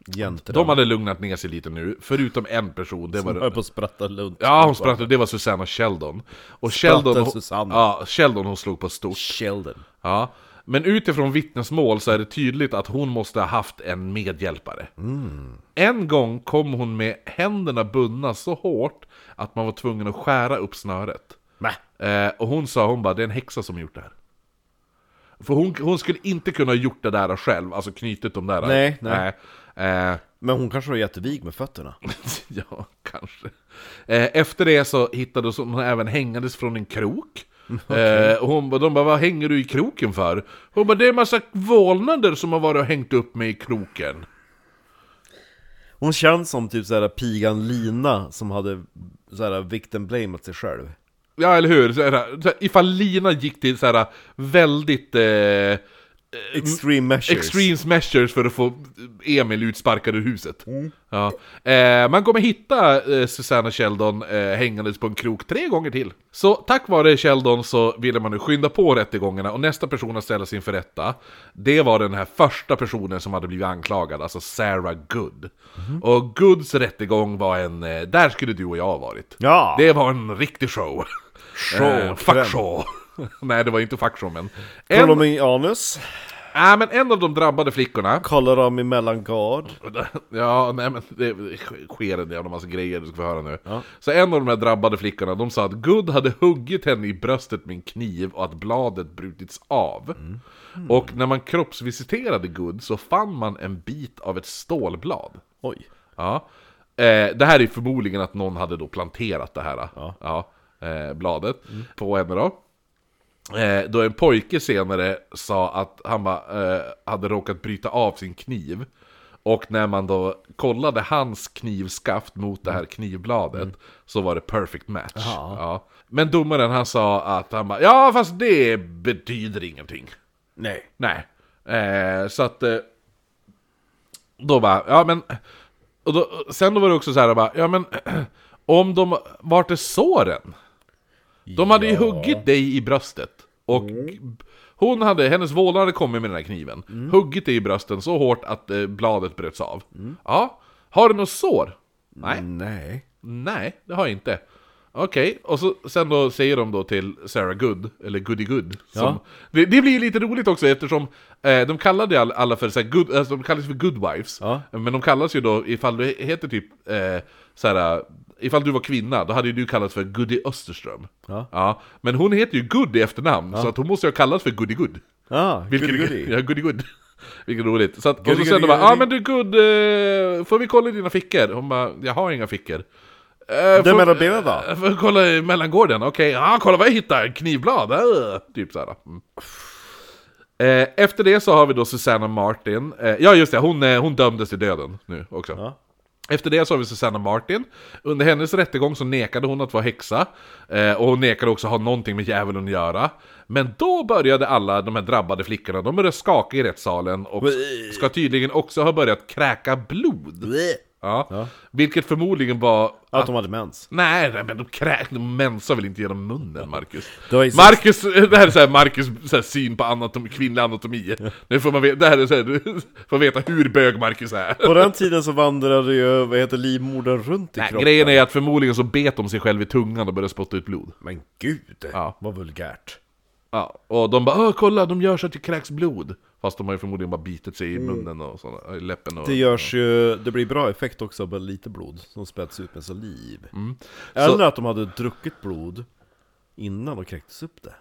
Jäntor. de hade lugnat ner sig lite nu, förutom en person. Det höll var, på att spratta lunt. ja, hon sprattade, det var Susanna Sheldon. Och Sheldon, hon- Susanna. Ja, Sheldon hon slog på stort. Sheldon. Ja. Men utifrån vittnesmål så är det tydligt att hon måste ha haft en medhjälpare. Mm. En gång kom hon med händerna bundna så hårt att man var tvungen att skära upp snöret. Mä. Eh, och hon sa, hon bara, det är en häxa som gjort det här. För hon, hon skulle inte kunna ha gjort det där själv, alltså knutit de där. Nej, nej. Nej. Eh, Men hon kanske var jättevig med fötterna. [laughs] ja, kanske. Eh, efter det så hittades hon även hängandes från en krok. Eh, och hon, ba- de bara, vad hänger du i kroken för? Hon bara, det är en massa vålnader som har varit och hängt upp mig i kroken. Hon känns som typ såhär pigan Lina som hade såhär victim blame åt sig själv. Ja, eller hur? Så här, så här, ifall Lina gick till så här väldigt... Eh, Extreme measures. Extremes measures för att få Emil utsparkad ur huset. Mm. Ja. Eh, man kommer hitta eh, Susanna Sheldon eh, hängandes på en krok tre gånger till. Så tack vare Sheldon så ville man nu skynda på rättegångarna och nästa person att ställas inför rätta, det var den här första personen som hade blivit anklagad, alltså Sarah Good. Mhm. Och Goods rättegång var en, eh, där skulle du och jag ha varit. Ja. Det var en riktig show. Eh, Show, fuck kräm. show. [laughs] Nej, det var inte fuck show, men... Kollar En, dem i anus, äh, men en av de drabbade flickorna, kollar dem i mellangard. Ja, nej men det sker en jävla massa grejer du ska få höra nu. Så en av de här drabbade flickorna, de sa att Gud hade huggit henne i bröstet med en kniv och att bladet brutits av. Och när man kroppsvisiterade Gud så fann man en bit av ett stålblad. Oj. Ja. Eh, det här är förmodligen att någon hade då planterat det här Ja. Mm. eh, bladet på henne då. Eh, då en pojke senare sa att han bara, eh, hade råkat bryta av sin kniv. Och när man då kollade hans knivskaft mot det här knivbladet så var det perfect match. Mm. Jaha. Ja. Men domaren han sa att han bara, ja fast det betyder ingenting. Nej. Nej. Eh, så att... Eh, då bara, ja men... Och då, sen då var det också så här, bara, ja men... [clears throat] Om de... Vart är såren? De hade ju Ja. huggit dig i bröstet. Och hon hade, hennes vålnad hade kommit med den här kniven. Huggit dig i brösten så hårt att eh, bladet bröts av. Ja. Har du något sår? Nej. Nej. Nej, det har jag inte. Okej, och så, sen då säger de då till Sarah Good, eller Goody Good. Som, Ja. det, det blir ju lite roligt också eftersom eh, de kallade ju all, alla för så här, good, alltså, de kallas för good wives. Ja. Men de kallas ju då, ifall du heter typ eh, så här, ifall du var kvinna, då hade ju du kallats för Goody Österström. Ja. Men hon heter ju Good i efternamn, så att hon måste ju ha kallats för Goody Good. Ah, Vilket, goody-goody. Ja, goody good. [laughs] Vilket roligt. Så att, och Goody, så sen goody, de bara, ja ah, goody. men du good, eh, får vi kolla i dina fickor? Hon bara, jag har inga fickor. Eh, Det får- menar benen då? eh, Får vi kolla i mellangården? Okej, ja kolla vad jag hittar, knivblad. eh." Typ såhär. Mm. Eh, efter det så har vi då Susanna Martin. Eh, ja just det, hon, eh, hon dömdes till döden nu också. Ja. Efter det så har vi Susanna Martin. Under hennes rättegång så nekade hon att vara häxa. eh, Och hon nekade också att ha någonting med djävulen att göra. Men då började alla de här drabbade flickorna, de började skaka i rättssalen och ska tydligen också ha börjat kräka blod. Ja. Vilket förmodligen var... Att de hade mens. Nej, nej, men de kräk, de mensar väl inte genom munnen, Marcus? Det var ju så- Marcus, det här är såhär Marcus så här, syn på anatomi, kvinnlig anatomi. Nu får man veta, det här är så här, du får veta hur bög Marcus är. På den tiden så vandrade ju, vad heter livmodern runt i Nej, kroppen. grejen är att förmodligen så bet de sig själv i tungan och började spotta ut blod. Men gud, Ja. vad vulgärt. Ja, och de bara Åh, kolla, de gör så att det kräks blod. Fast de har ju förmodligen bara bitit sig i munnen och sådana, i läppen och... Mm. Det görs ju, det blir bra effekt också av lite blod som späds ut med saliv. Mm. Så- Eller att de hade druckit blod innan de kräktes upp det.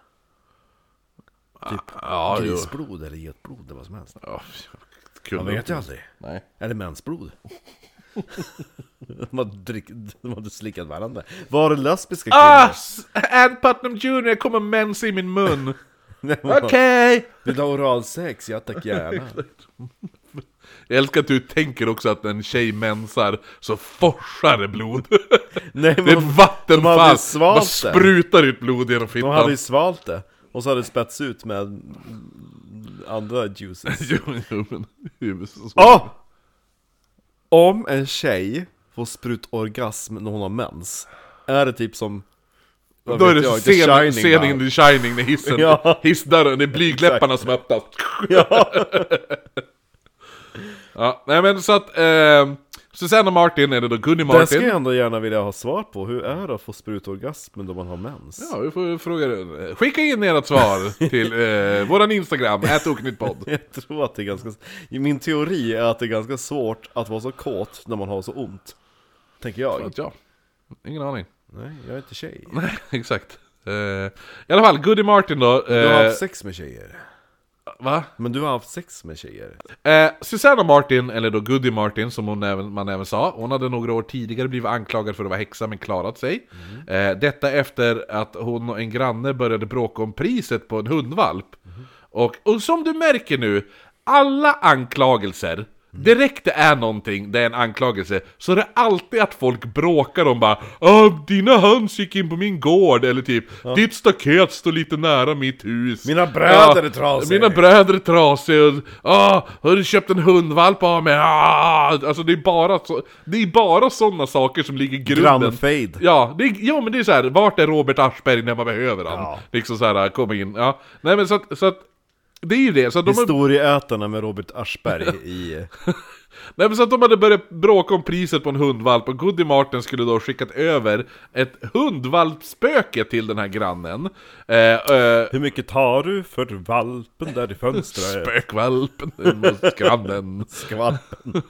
Typ ja, jo. grisblod eller getblod eller vad som helst. Ja, Man kunde... vet ju aldrig. Nej. Eller mensblod. [laughs] de, hade drick, de hade slickat varandra. Var det lesbiska Ah! kvinnor? [laughs] S- Ann Putnam Jr kommer mens i min mun! Nej, Okej! Vill du ha oralsex? [laughs] Ja tack gärna. Jag älskar att du tänker också att när en tjej mensar så forsar det [laughs] blod. Nej, Det är ett vattenfall! de hade svalt Bara det. sprutar ut blod genom De hade ju fittan. svalt det, och så hade det spätts ut med andra juices. [laughs] Jo, jo, men- jo, men så- Åh! Om en tjej får sprutorgasm när hon har mens, är det typ som... vad Då är vet det The scen- Shining, va? scenen i Shining när hissen, Ja. hissdörren, det är blygdläpparna som öppnas. [laughs] Ja. Ja, nej men så att, eh, Susanna Martin, eller då Gunny Det ska Martin. jag ändå gärna vilja ha svar på, hur är det att få sprutorgasm då man har mens? Ja, vi får fråga den. Skicka in ert svar till eh, våran [laughs] Instagram, ätoknyttpodd. [laughs] Jag tror att det är ganska... Min teori är att det är ganska svårt att vara så kåt när man har så ont. Tänker jag. Ja, ingen aning. [laughs] Nej, jag är inte tjej. Nej, exakt. Eh, I alla fall, Goody Martin då. Du har Eh, haft sex med tjejer. va? Men du har haft sex med tjejer? Eh, Susanna Martin, eller då Goody Martin som hon även, man även sa, hon hade några år tidigare blivit anklagad för att vara häxa men klarat sig. Mm. Eh, detta efter att hon och en granne började bråka om priset på en hundvalp. Mm. Och, och som du märker nu, alla anklagelser, Mm. direkt det är någonting, det är en anklagelse, så är det alltid att folk bråkar om bara "Ah, dina höns gick in på min gård” eller typ “Ditt staket står lite nära mitt hus” Mina bröder är trasiga. Mina bröder är trasiga och ah, har du köpt en hundvalp av mig? Ah, alltså det är bara så, det är bara sådana saker som ligger i grunden. Grannfejd. Ja, det är, ja, men det är så här. vart är Robert Aschberg när man behöver han? Ja. Liksom så här, kom in. Ja. Nej men så att, så att det är ju det. Så att de har Historieätarna med Robert Aschberg i... eh, Nej men så att de hade börjat bråka om priset på en hundvalp och Goody Martin skulle då ha skickat över ett hundvalpspöke till den här grannen. Eh, eh, Hur mycket tar du för valpen där i fönstret? spökvalpen [laughs] hos grannen. Skvalpen.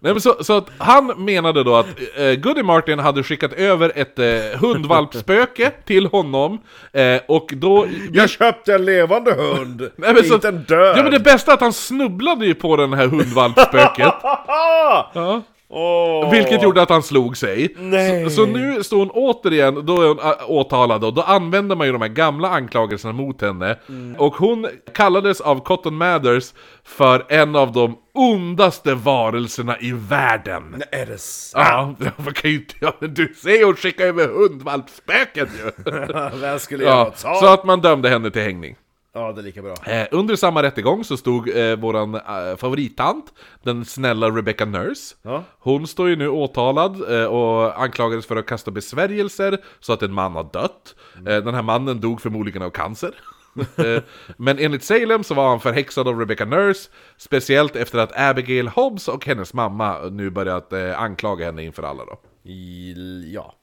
Nej men så, så att han menade då att eh, Goody Martin hade skickat över ett eh, [laughs] hundvalpspöke till honom eh, och då... Jag köpte en levande hund! Nej, men så- inte en död! Ja men [laughs] det bästa är att han snubblade ju på den här hundvalpspöket. Ja. Åh. Vilket gjorde att han slog sig. Nej. Så, så nu står hon återigen, då är hon ä, åtalad och då använder man ju de här gamla anklagelserna mot henne. Mm. Och hon kallades av Cotton Mathers för en av de ondaste varelserna i världen. Nej, Är det sant? Ja, [laughs] man kan ju inte... Ja, men du ser ju hon skickar över hundvalpspöket [laughs] ju! [laughs] Vem skulle jag ja, ha så tagit? att man dömde henne till hängning. Ja, det är lika bra. Eh, under samma rättegång så stod eh, våran eh, favorittant, den snälla Rebecca Nurse. Ja. Hon står ju nu åtalad eh, och anklagades för att kasta besvärjelser så att en man har dött. Eh, den här mannen dog förmodligen av cancer. [laughs] Eh, Men enligt Salem så var han förhäxad av Rebecca Nurse, speciellt efter att Abigail Hobbs och hennes mamma nu börjat eh, anklaga henne inför alla då. I- Ja,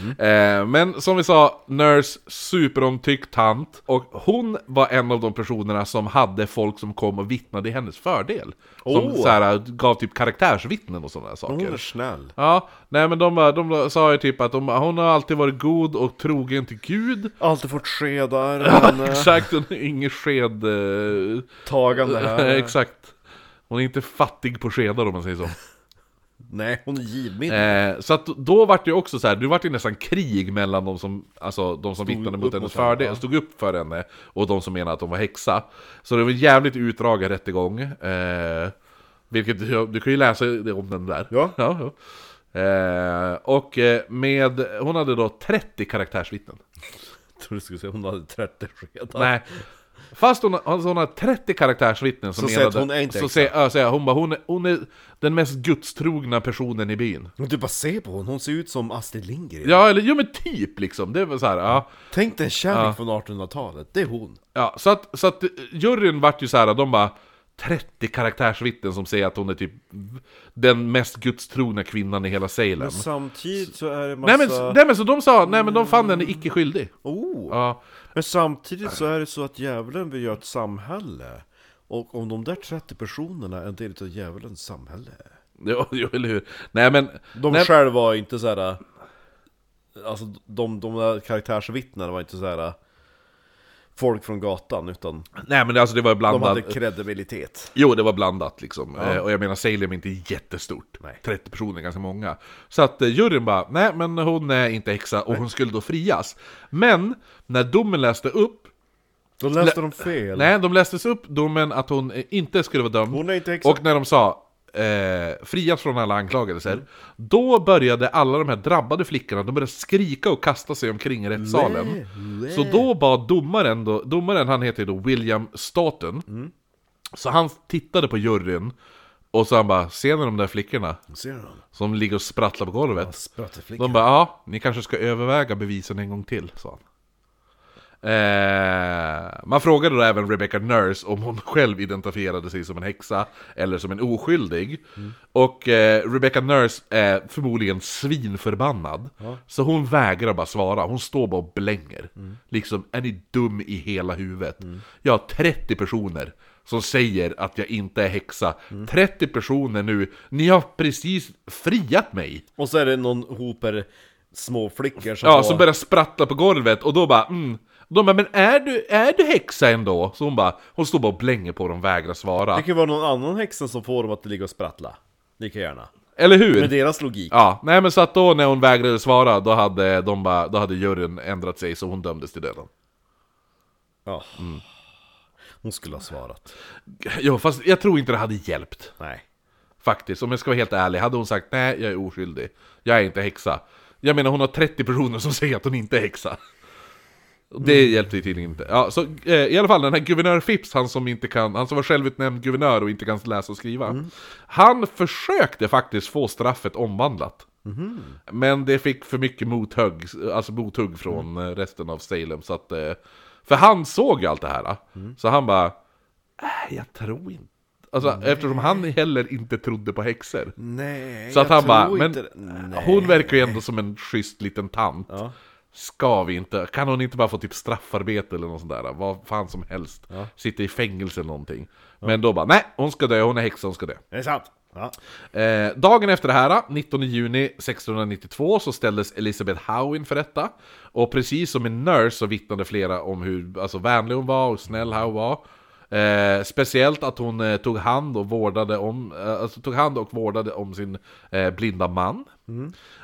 mm. Eh, men som vi sa, Nurse, superomtyckt tant. Och hon var en av de personerna som hade folk som kom och vittnade i hennes fördel. Som Åh. så här, gav typ karaktärsvittnen och sådana saker. Hon är snäll. Ja, nej men de, var- de sa ju typ att de, hon har alltid varit god och trogen till Gud. Alltid fått skedar, eh, henne, Exakt, hon är ingen sked... Eh, [laughs] tagande här. exakt. Hon är inte fattig på skedar om man säger så. Nej, hon är givmild. Eh, så att då vart det ju också så här, det vart ju nästan krig mellan de som, alltså, de som vittnade mot upp hennes mot henne, fördel, stod upp för henne, och de som menade att hon var häxa. Så det var en jävligt utdragen rättegång. Eh, Vilket du, du kan ju läsa om den där. Ja. ja. Eh, och eh, med, hon hade då 30 karaktärsvittnen. Jag trodde du skulle säga hon hade 30 redan. Nej. Fast hon, alltså hon har 30 karaktärsvittnen som Så säger att hon är inte så exakt. säger, ja, säger, hon bara, hon är, hon är den mest gudstrogna personen i byn. Men du bara se på hon, hon ser ut som Astrid Lindgren. Ja, eller jo men typ liksom. Det var så här, ja. Tänk dig en kärring från 1800-talet, det är hon. ja så, att, så att eh, juryn vart ju så här, de bara 30 karaktärsvittnen som säger att hon är typ den mest gudstrogna kvinnan i hela Salem. Samtidigt så är det Nej men, alltså- s- nej men så de sa, nej men de fann henne icke skyldig. Oh. Ja. Men samtidigt så är det så att djävulen vill göra ett samhälle. Och om de där 30 personerna är en del av djävulens samhälle. Jo, [laughs] jo, eller hur? Nej men... De nej, själva var inte så här. Alltså de, de där karaktärsvittnena var inte så här. Folk från gatan utan nej men alltså det var de blandat. hade kredibilitet. Jo, det var blandat liksom. Eh, och jag menar, Salem är inte jättestort. Nej. 30 personer är ganska många. Så att eh, juryn bara, nej men hon är inte häxa och hon skulle då frias. Men, när domen läste upp, Då läste de fel. nej de lästes upp domen att hon eh, inte skulle vara dömd. Hon är inte häxa. Och när de sa eh, frias från alla anklagelser, då började alla de här drabbade flickorna, de började skrika och kasta sig omkring i rättssalen. Så då bad domaren, då, domaren han heter ju då William Staten, Mm. så han tittade på juryn och så han bara, ser ni de där flickorna Ser du dem? som ligger och sprattlar på golvet? Spratteflickan. De bara, ja, ni kanske ska överväga bevisen en gång till, sa han. Eh, man frågade då även Rebecca Nurse om hon själv identifierade sig som en häxa eller som en oskyldig. Och eh, Rebecca Nurse är förmodligen svinförbannad. Så hon vägrar bara svara, hon står bara och blänger. Liksom, är ni dum i hela huvudet? Jag har 30 personer som säger att jag inte är häxa. 30 personer nu, ni har precis friat mig! Och så är det någon hoper små flickor som, Ja, har- som börjar sprattla på golvet och då bara mm. De bara, men är du, är du häxa ändå? Så hon bara, hon står bara och blänger på dem, vägrar svara. Det kan ju vara någon annan häxan som får dem att ligga och sprattla. Lika gärna. Eller hur? Med deras logik. Mm. Ja, nej men så att då när hon vägrade svara, då hade, de bara, då hade juryn ändrat sig så hon dömdes till döden. Ja. Mm. Hon skulle ha svarat. Jo, fast jag tror inte det hade hjälpt. Nej. Faktiskt, om jag ska vara helt ärlig. Hade hon sagt, nej jag är oskyldig, jag är inte häxa. Jag menar hon har 30 personer som säger att hon inte är häxa. Det hjälpte ju tydligen inte. Ja, så, eh, I alla fall den här guvernör Phipps, han som, inte kan, han som var självutnämnd guvernör och inte kan läsa och skriva. Han försökte faktiskt få straffet omvandlat. Men det fick för mycket mothugg, alltså mothugg från eh, resten av Salem. Så att, eh, för han såg ju allt det här. ah. Så han bara, äh, jag tror inte. Alltså, eftersom han heller inte trodde på häxor. Nej, Så att jag han bara, tror men inte det." Nej. hon verkar ju ändå som en schysst liten tant. Ja. Ska vi inte, kan hon inte bara få typ straffarbete eller något sånt där? Vad fan som helst. Sitta i fängelse eller någonting. Men då bara, nej hon ska dö, hon är häxa, hon ska dö. Det är sant. Ja. Eh, dagen efter det här, 19 juni 1692, så ställdes Elizabeth Howe inför rätta. Och precis som i Nurse så vittnade flera om hur alltså, vänlig hon var och snäll Howe var. Eh, speciellt att hon eh, tog, hand och vårdade om, eh, alltså, tog hand och vårdade om sin eh, blinda man.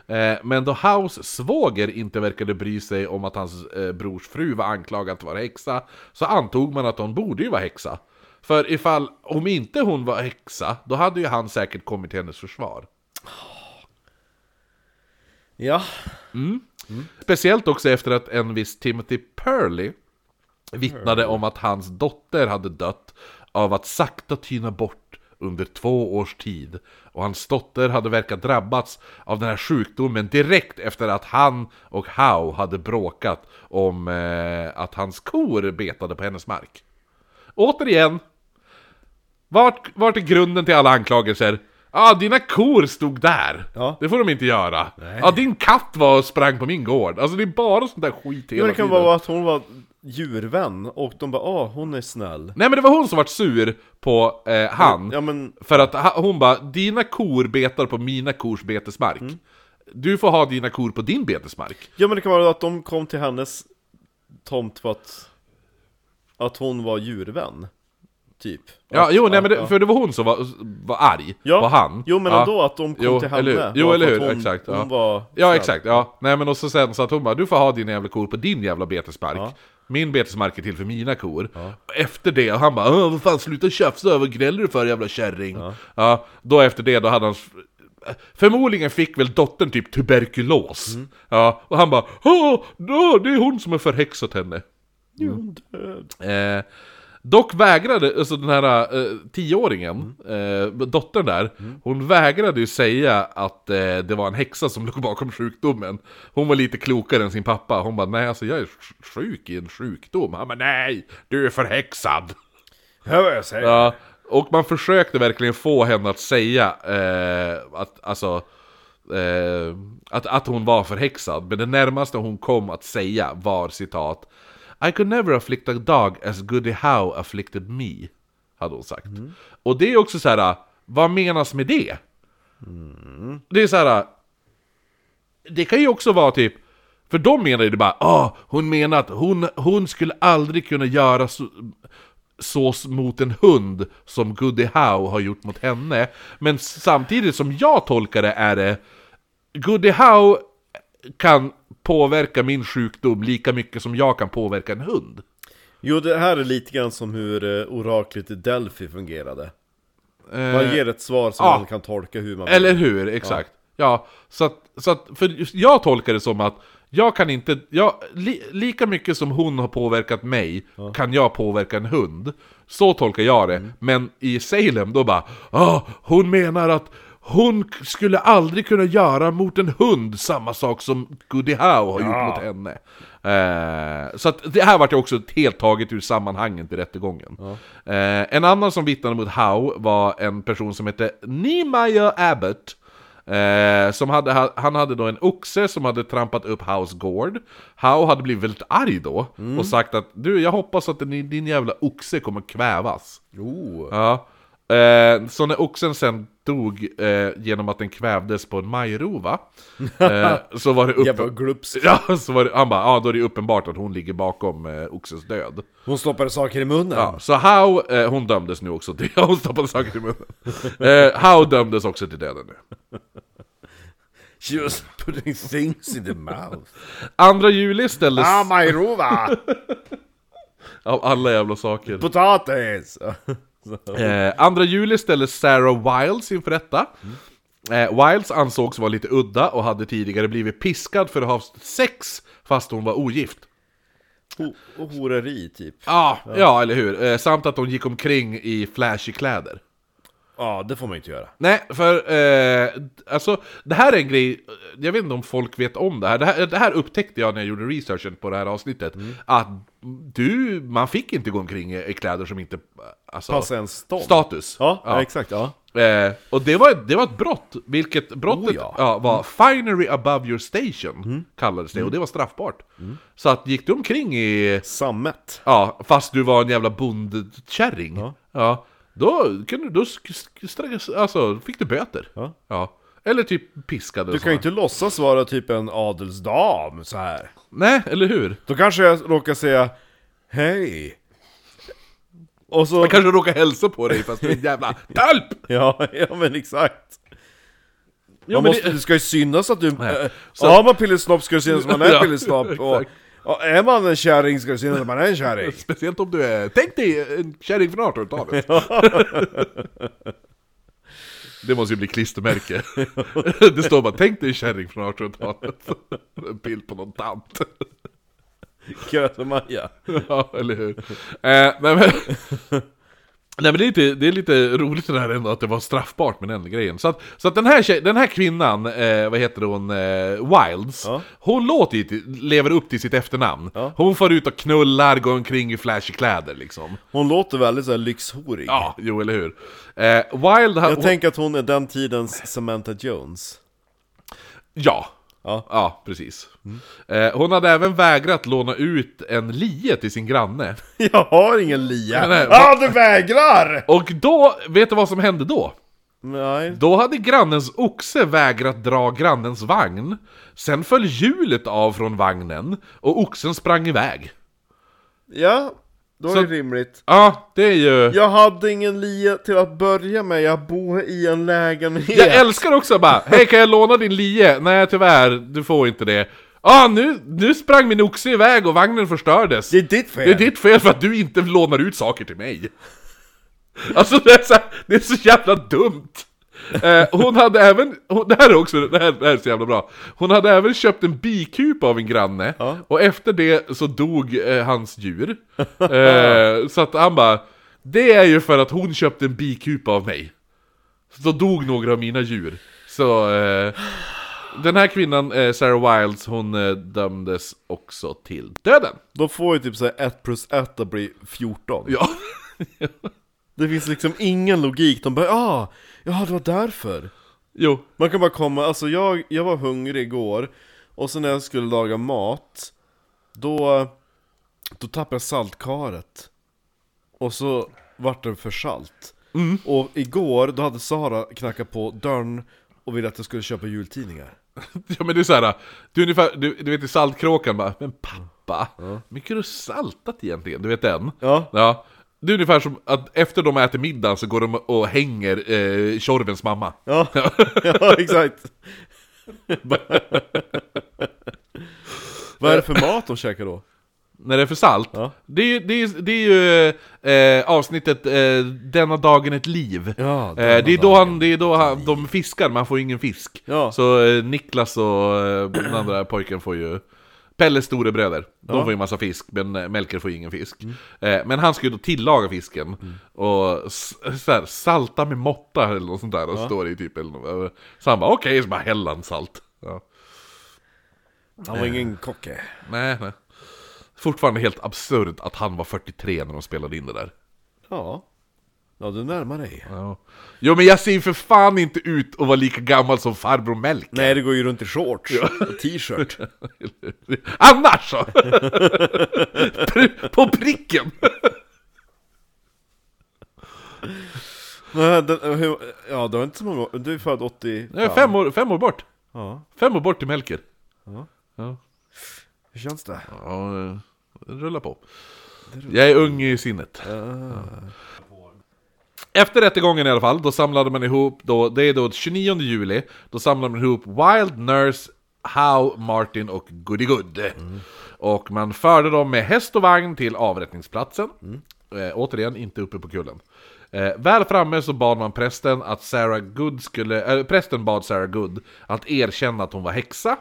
Eh, men då Howes svåger inte verkade bry sig om att hans eh, brors fru var anklagad att vara häxa, så antog man att hon borde ju vara häxa. För ifall, om inte hon var häxa, då hade ju han säkert kommit till hennes försvar. ja. Speciellt också efter att en viss Timothy Purley vittnade om att hans dotter hade dött av att sakta tyna bort under två års tid. Och hans dotter hade verkat drabbats av den här sjukdomen direkt efter att han och Howe hade bråkat om eh, att hans kor betade på hennes mark. Återigen, vart, vart är grunden till alla anklagelser? Ja, ah, dina kor stod där. Ja. Det får de inte göra. Ja, ah, din katt var och sprang på min gård. Alltså det är bara sånt där skit hela Men det kan tiden. bara vara att hon var djurvän och de bara ah, hon är snäll. Nej men det var hon som vart sur på eh, han. Ja men, För att ha- hon bara, dina kor betar på mina kors betesmark. Mm. Du får ha dina kor på din betesmark. ja men det kan vara att de kom till hennes tomt för att, att hon var djurvän. Typ. Ja, att, jo, nej, men det, ja. för det var hon som var, var arg Ja. på han. Jo men ja. ändå att de kom Jo, till eller hur? henne. Jo, var för eller att hur? Hon, Exakt, Hon ja. var Ja snäll. exakt, ja. Nej men och så sen så att hon bara, du får ha dina jävla kor på din jävla betesmark. Min betesmark är till för mina kor. Efter det, han bara "Åh, vad fan sluta tjafsa, vad gnäller du för jävla kärring? Ja. då efter det då hade han... Förmodligen fick väl dottern typ tuberkulos. Mm. Ja, och han bara Åh, då, det är hon som har förhäxat henne. Nu är hon död. Eh, dock vägrade, alltså den här eh, tioåringen, eh, dottern där, hon vägrade ju säga att eh, det var en häxa som låg bakom sjukdomen. Hon var lite klokare än sin pappa, hon bara nej alltså jag är sj- sjuk i en sjukdom. Han bara nej, du är förhäxad. Hör vad jag säger. Ja, och man försökte verkligen få henne att säga eh, att, alltså, eh, att, att hon var förhäxad. Men det närmaste hon kom att säga var citat I could never afflict a dog as Goody Howe afflicted me. Hade hon sagt. Och det är också så här, vad menas med det? Det är så här. Det kan ju också vara typ För de menar ju det bara ah, hon menar att hon, hon skulle aldrig kunna göra så, så mot en hund som Goody Howe har gjort mot henne Men samtidigt som jag tolkar det är det Goody Howe kan påverka min sjukdom lika mycket som jag kan påverka en hund Jo, det här är lite grann som hur eh, oraklet i Delphi fungerade. Man ger ett svar som ja. man kan tolka hur man vill. Eller hur, exakt. Ja, så att, så att, för just- jag tolkar det som att jag kan inte, jag, li, lika mycket som hon har påverkat mig, kan jag påverka en hund. Så tolkar jag det, Mm. men i Salem då bara, ah, hon menar att hon k- skulle aldrig kunna göra mot en hund samma sak som Goody Howe har gjort mot henne. Eh, så att det här vart ju också helt taget ur sammanhanget i rättegången. Eh, en annan som vittnade mot Howe var en person som hette Nehemiah Abbott. Eh, som hade, ha- han hade då en oxe som hade trampat upp Howes gård. Howe hade blivit väldigt arg då och sagt att du, jag hoppas att din, din jävla oxe kommer kvävas. Jo. Ja. Eh, så när oxen sen dog eh, genom att den kvävdes på en majrova, eh, så var det Jävla upp... glupsk. [laughs] Ja, så var det, han bara, ja då är det uppenbart att hon ligger bakom eh, oxens död. Hon stoppade saker i munnen. Ja, så Howe, eh, hon dömdes nu också till... [laughs] hon stoppade saker i munnen. Eh, Howe dömdes också till döden nu. She was putting things in the mouth. Andra juli ställdes... ah, majrova! Av alla jävla saker. [laughs] [laughs] Potatis! Eh, andra juli ställdes Sarah Wiles inför rätta. Eh, Wiles ansågs vara lite udda och hade tidigare blivit piskad för att ha haft sex fast hon var ogift. Ho- och horeri, typ. Ja, Ja, ja eller hur. Eh, samt att hon gick omkring i flashy kläder. det får man ju inte göra. Nej, för eh, alltså det här är en grej, jag vet inte om folk vet om det här. Det här, det här upptäckte jag när jag gjorde researchen på det här avsnittet. Mm. Att du, man fick inte gå omkring i i kläder som inte... Alltså, Passa en stånd. Status. Ja, ja. exakt. Ja. Eh, och det var, det var ett brott, vilket brottet Oh, ja. Mm. ja. var finery above your station, kallades det, och det var straffbart. Så att gick du omkring i, Sammet. ja, fast du var en jävla bondkärring, ja. då, kunde, du- då sk- sk- stra- alltså, fick du böter. Ja. Eller typ piskade. Du kan ju inte låtsas vara typ en adelsdam så här. Nej, eller hur? Då kanske jag råkar säga Hej! Och så... Jag kanske råkar hälsa på dig fast du är en jävla tölp! [laughs] Ja, ja men exakt! Ja, men man måste, det... det- ska ju synas att du... Nej. Så... Har man pillesnopp ska det synas att man är Ja, pillesnopp, och, exakt. och är man en kärring ska det synas att man är [laughs] en kärring! Speciellt om du är, tänk dig en kärring från 1800-talet! [laughs] Det måste ju bli klistermärke. [laughs] Det står bara tänk dig en kärring från 1800-talet. [laughs] En bild på någon tant. Alltså, Grötemaja! [laughs] Ja, eller hur? Eh, nej, men, [laughs] nej men det är lite, det är lite roligt det där ändå att det var straffbart med den grejen. Så att, så att den, här tjej, den här kvinnan, eh, vad heter hon, eh, Wilds, Ja. hon låter ju, till- lever upp till sitt efternamn. Ja. Hon far ut och knullar, går omkring i flashy kläder liksom. Hon låter väldigt så här lyxhorig. Ja, jo eller hur. Eh, Wild, Jag ha, tänker att hon är den tidens Samantha Jones. ja. Ja. Ja, precis. Mm. Eh, hon hade även vägrat låna ut en lie till sin granne. [laughs] Jag har ingen lia! Nej, nej. ah, du vägrar! Och då, vet du vad som hände då? Nej. Då hade grannens oxe vägrat dra grannens vagn. Sen föll hjulet av från vagnen och oxen sprang iväg. Ja, då är Så- det rimligt. Ja, det är ju... Jag hade ingen lia till att börja med, jag bor i en lägenhet. Jag älskar också bara, hej kan jag låna din lie? Nej tyvärr, du får inte det. Ja ah, nu, nu sprang min oxe iväg och vagnen förstördes. Det är ditt fel! Det är ditt fel för att du inte lånar ut saker till mig. Alltså det är så, det är så jävla dumt. Eh, hon hade även, hon, det här är också, det här, det här är så jävla bra. Hon hade även köpt en bikupa av en granne, Ja. och efter det så dog eh, hans djur. Eh, så att han bara, det är ju för att hon köpte en bikupa av mig. Så då dog några av mina djur. Så eh, den här kvinnan, eh, Sarah Wiles, hon eh, dömdes också till döden. Då får ju typ såhär 1 plus 1 att bli 14. Ja. Det finns liksom ingen logik, de bara ah, ja det var därför. Jo. Man kan bara komma, alltså jag, jag var hungrig igår, och så när jag skulle laga mat, då, då tappade jag saltkaret. Och så vart det för salt. Och igår, då hade Sara knackat på dörren och ville att jag skulle köpa jultidningar. Ja men det är såhär, du, är ungefär, du, du vet i Saltkråkan bara, men pappa, hur mycket har du saltat egentligen? Du vet den? Ja. ja. Det är ungefär som att efter de äter middag så går de och hänger eh, Tjorvens mamma. Ja, [laughs] ja exakt. Bara- Vad är det för mat de käkar då? När det är för salt. Ja. Det är ju, det är, det är ju eh, avsnittet eh, 'Denna dagen ett liv' Ja, eh, Det denna är då, han, dagen det är då han, de fiskar, man får ingen fisk. Ja. Så eh, Niklas och eh, den andra pojken får ju Pelles storebröder, de får ju massa fisk, men eh, Melker får ju ingen fisk. Mm. Eh, men han ska ju då tillaga fisken, och s- så här, salta med måtta eller något sånt där, och står det i typ eller något. Så han bara okej, så bara häller han salt. Ja. Han var ingen kocke. Nej, nej. Fortfarande helt absurd att han var 43 när de spelade in det där. Ja. Ja, du närmar dig. Ja. Jo men jag ser ju för fan inte ut att vara lika gammal som farbror Melk. Nej, det går ju runt i shorts och t-shirt. [laughs] Annars så! [laughs] Pri- På pricken! Nej, den, hur- ja, du har inte så många år. Du är född 80... Jag är fem år, fem år bort. Ja. Fem år bort till Melker. Ja. Hur känns det? Ja, eh, rulla på. Jag är ung i sinnet. Ah. Efter rättegången i alla fall, då samlade man ihop, då, det är då 29 juli, då samlade man ihop Wild Nurse, How, Martin och Goody Good. Mm. Och man förde dem med häst och vagn till avrättningsplatsen. Mm. Eh, återigen, inte uppe på kullen. Eh, väl framme så bad man prästen att Sarah Good skulle, eh, prästen bad Sarah Good att erkänna att hon var häxa.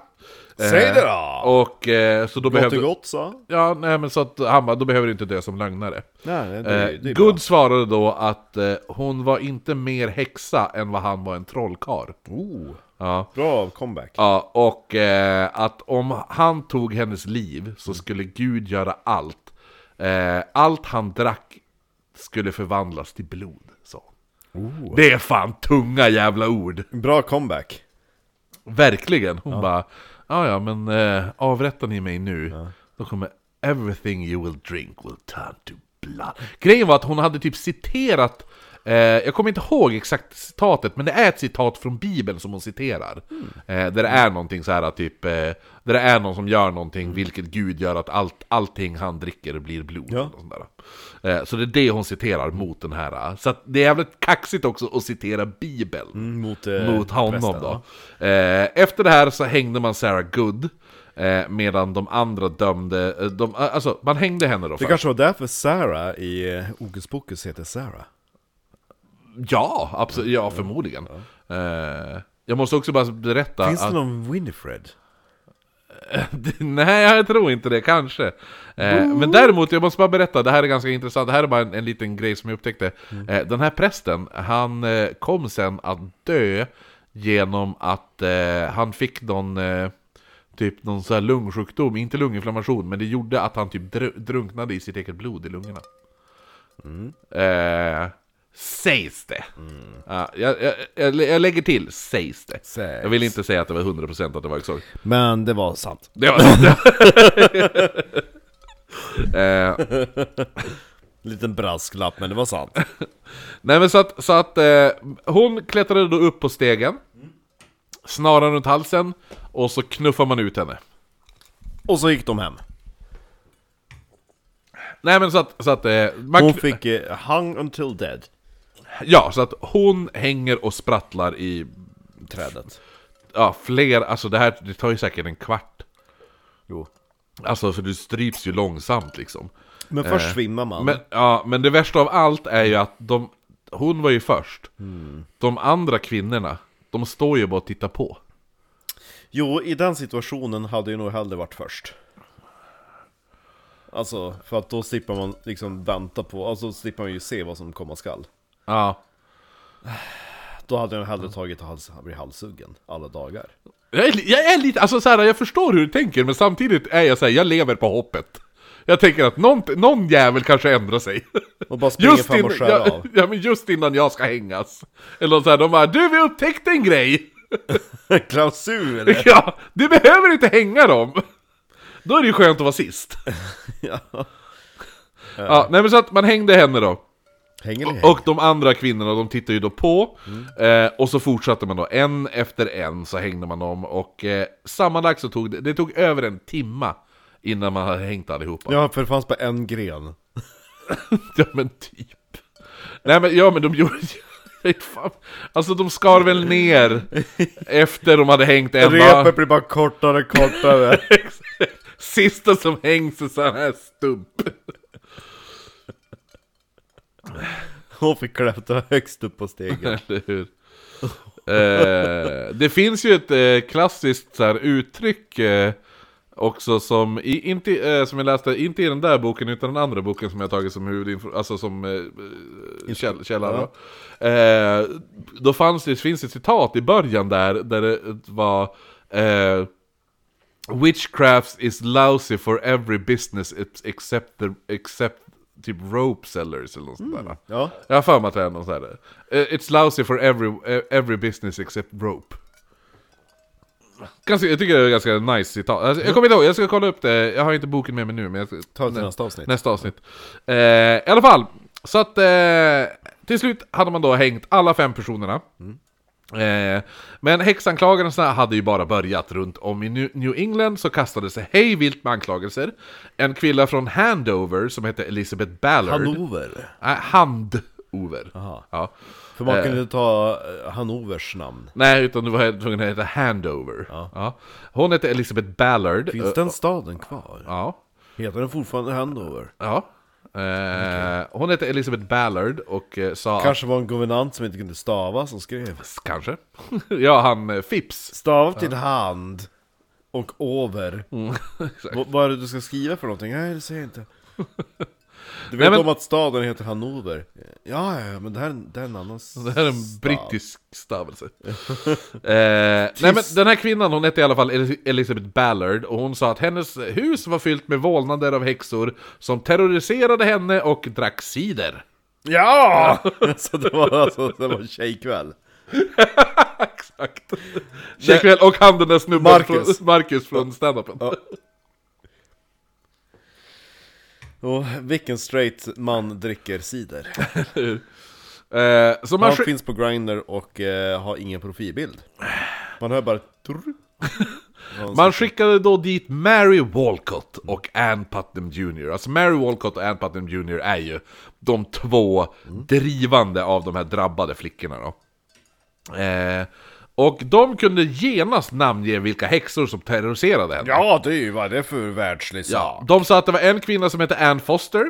Säg det Eh, då! Och eh, så då Gott behövde... och gott, sa Ja, nej men så att han bara, då behöver du inte dö som lögnare. Nej, nej, det, Eh, är- det är Good bra. svarade då att eh, hon var inte mer häxa än vad han var en trollkarl. Oh, Ja. bra comeback. ja, och eh, att om han tog hennes liv så skulle Gud göra allt. Eh, allt han drack skulle förvandlas till blod, sa hon. Det är fan tunga jävla ord! Oh, Bra comeback. Verkligen! Hon bara, ja ja men eh, avrättar ni mig nu, då kommer everything you will drink will turn to blood. Grejen var att hon hade typ citerat, eh, jag kommer inte ihåg exakt citatet, men det är ett citat från Bibeln som hon citerar. Eh, där det är någonting så här typ, eh, där det är någon som gör någonting, vilket Gud gör att allt, allting han dricker blir blod. Ja. Och sånt där. Eh, så det är det hon citerar mot den här. Så att det är jävligt kaxigt också att citera Bibeln Mot, eh, mot honom prästen, då. ja. Eh, efter det här så hängde man Sarah Good, eh, medan de andra dömde, eh, de, alltså man hängde henne då Det för. kanske var därför Sarah i eh, Hokus Pokus heter Sarah. Ja, absolut, ja förmodligen. Eh, jag måste också bara berätta Finns att, det någon Winifred? [laughs] Nej, jag tror inte det, kanske. Eh, men däremot, jag måste bara berätta, det här är ganska intressant, det här är bara en, en liten grej som jag upptäckte. Eh, den här prästen, han eh, kom sen att dö genom att eh, han fick någon, eh, typ någon så här lungsjukdom, inte lunginflammation, men det gjorde att han typ dr- drunknade i sitt eget blod i lungorna. Eh, sägs det. Ja, jag, jag, jag, jag lägger till, sägs det. Sägs. Jag vill inte säga att det var 100% att det var exakt. Men det var sant. Det var sant. [laughs] eh, Liten brasklapp, men det var sant. nej men så att, så att eh, hon klättrade då upp på stegen, snaran runt halsen, och så knuffar man ut henne. Och så gick de hem. Nej men så att, så att eh, man Hon kn- fick eh, hung until dead. ja, så att hon hänger och sprattlar i Trädet. ja, fler, alltså det här det tar ju säkert en kvart. Jo. Alltså för du stryps ju långsamt liksom. Men först svimmar man. Men, ja, men det värsta av allt är ju att de, hon var ju först. De andra kvinnorna, de står ju bara och tittar på. Jo, i den situationen hade jag nog hellre varit först. Alltså, för att då slipper man liksom vänta på, alltså slipper man ju se vad som komma skall. Ja. Då hade jag nog hellre tagit och hals, blivit halshuggen alla dagar. Jag är, li- jag är lite, alltså så här, jag förstår hur du tänker, men samtidigt är jag så här, jag lever på hoppet. Jag tänker att någon, någon jävel kanske ändrar sig. Och bara springer fram och innan, skär ja, av. [laughs] [laughs] ja, men just innan jag ska hängas. Eller så här, de bara, du vi upptäckte en grej! [laughs] Klausul! Ja, du behöver inte hänga dem! Då är det ju skönt att vara sist. ja. Ja, nej men så att man hängde henne då. Hänger ni Och de andra kvinnorna, de tittade ju då på. Eh, och så fortsatte man då, en efter en så hängde man dem. Och eh, sammanlagt så tog det, det tog över en timma innan man hade hängt allihopa. Ja, för det fanns bara en gren. Ja men typ. Nej men, ja men de gjorde [laughs] Fan. Alltså de skar väl ner efter de hade hängt Emma. Repet blir bara kortare [laughs] och kortare. Sista som hängs är så här stump. Hon fick klättra högst upp på stegen. Eller hur? eh, det finns ju ett eh, klassiskt så här, uttryck eh, också som, i, inte, eh, som jag läste, inte i den där boken utan den andra boken som jag tagit som huvudinfo, alltså som eh, käll, källa. då. Eh, då fanns det, finns ett citat i början där, där det var eh, Witchcraft is lousy for every business except, the, except typ rope sellers eller något sånt där. Ja. Jag har för mig att det är någon sån här. eh, It's lousy for every, eh, every business except rope. Ganska, jag tycker det är ganska nice citat. Alltså, jag kommer inte ihåg, jag ska kolla upp det. Jag har inte boken med mig nu, men jag ska Ta det till nästa avsnitt. Nästa avsnitt. Eh, I alla fall, så att eh, till slut hade man då hängt alla fem personerna. Mm. Eh, men häxanklagelserna hade ju bara börjat runt om i New- New England så kastades det hej vilt med anklagelser. En kvinna från Handover som hette Elizabeth Ballard. Hannover. Nej, Handover. Aha. Ja. För man Eh. kunde ta eh, Hannovers namn. Nej, utan du var tvungen att heta Handover. Ja. Hon hette Elizabeth Ballard. Finns den staden kvar? Ja. Heter den fortfarande Hannover? ja. Eh, Hon hette Elizabeth Ballard och eh, sa... Kanske var en guvernant som inte kunde stava som skrev. Kanske. [laughs] ja, han eh, Phipps. Stava till hand och over. [laughs] V- vad är det du ska skriva för någonting? Nej, det säger jag inte. Du vet men- om att staden heter Hannover? Ja, ja, ja, men det här, är en- [laughs] det här är en annan Det här är en brittisk stavelse. eh, [laughs] nej men den här kvinnan, hon hette i alla fall El- Elizabeth Ballard och hon sa att hennes hus var fyllt med vålnader av häxor som terroriserade henne och drack cider. [laughs] Ja! så det var alltså, det var en tjejkväll. Exakt. Tjejkväll och han den där snubben Marcus. från, Marcus från standupen. Ja. Och vilken straight man dricker cider? Eh, så man Han sk- finns på Grindr och eh, har ingen profilbild. Man hör bara... Trrr. Man skickade då dit Mary Walcott och Ann Putnam Jr. Alltså Mary Walcott och Ann Putnam Jr. är ju de två Mm. drivande av de här drabbade flickorna då. Eh, och de kunde genast namnge vilka häxor som terroriserade henne. Ja, det är ju vad det är för världslig Ja, de sa att det var en kvinna som hette Ann Foster.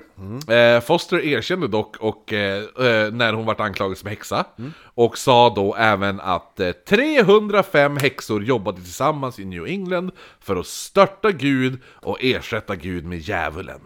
Eh, Foster erkände dock och, eh, eh, när hon vart anklagad som häxa. Och sa då även att eh, 305 häxor jobbade tillsammans i New England för att störta Gud och ersätta Gud med djävulen.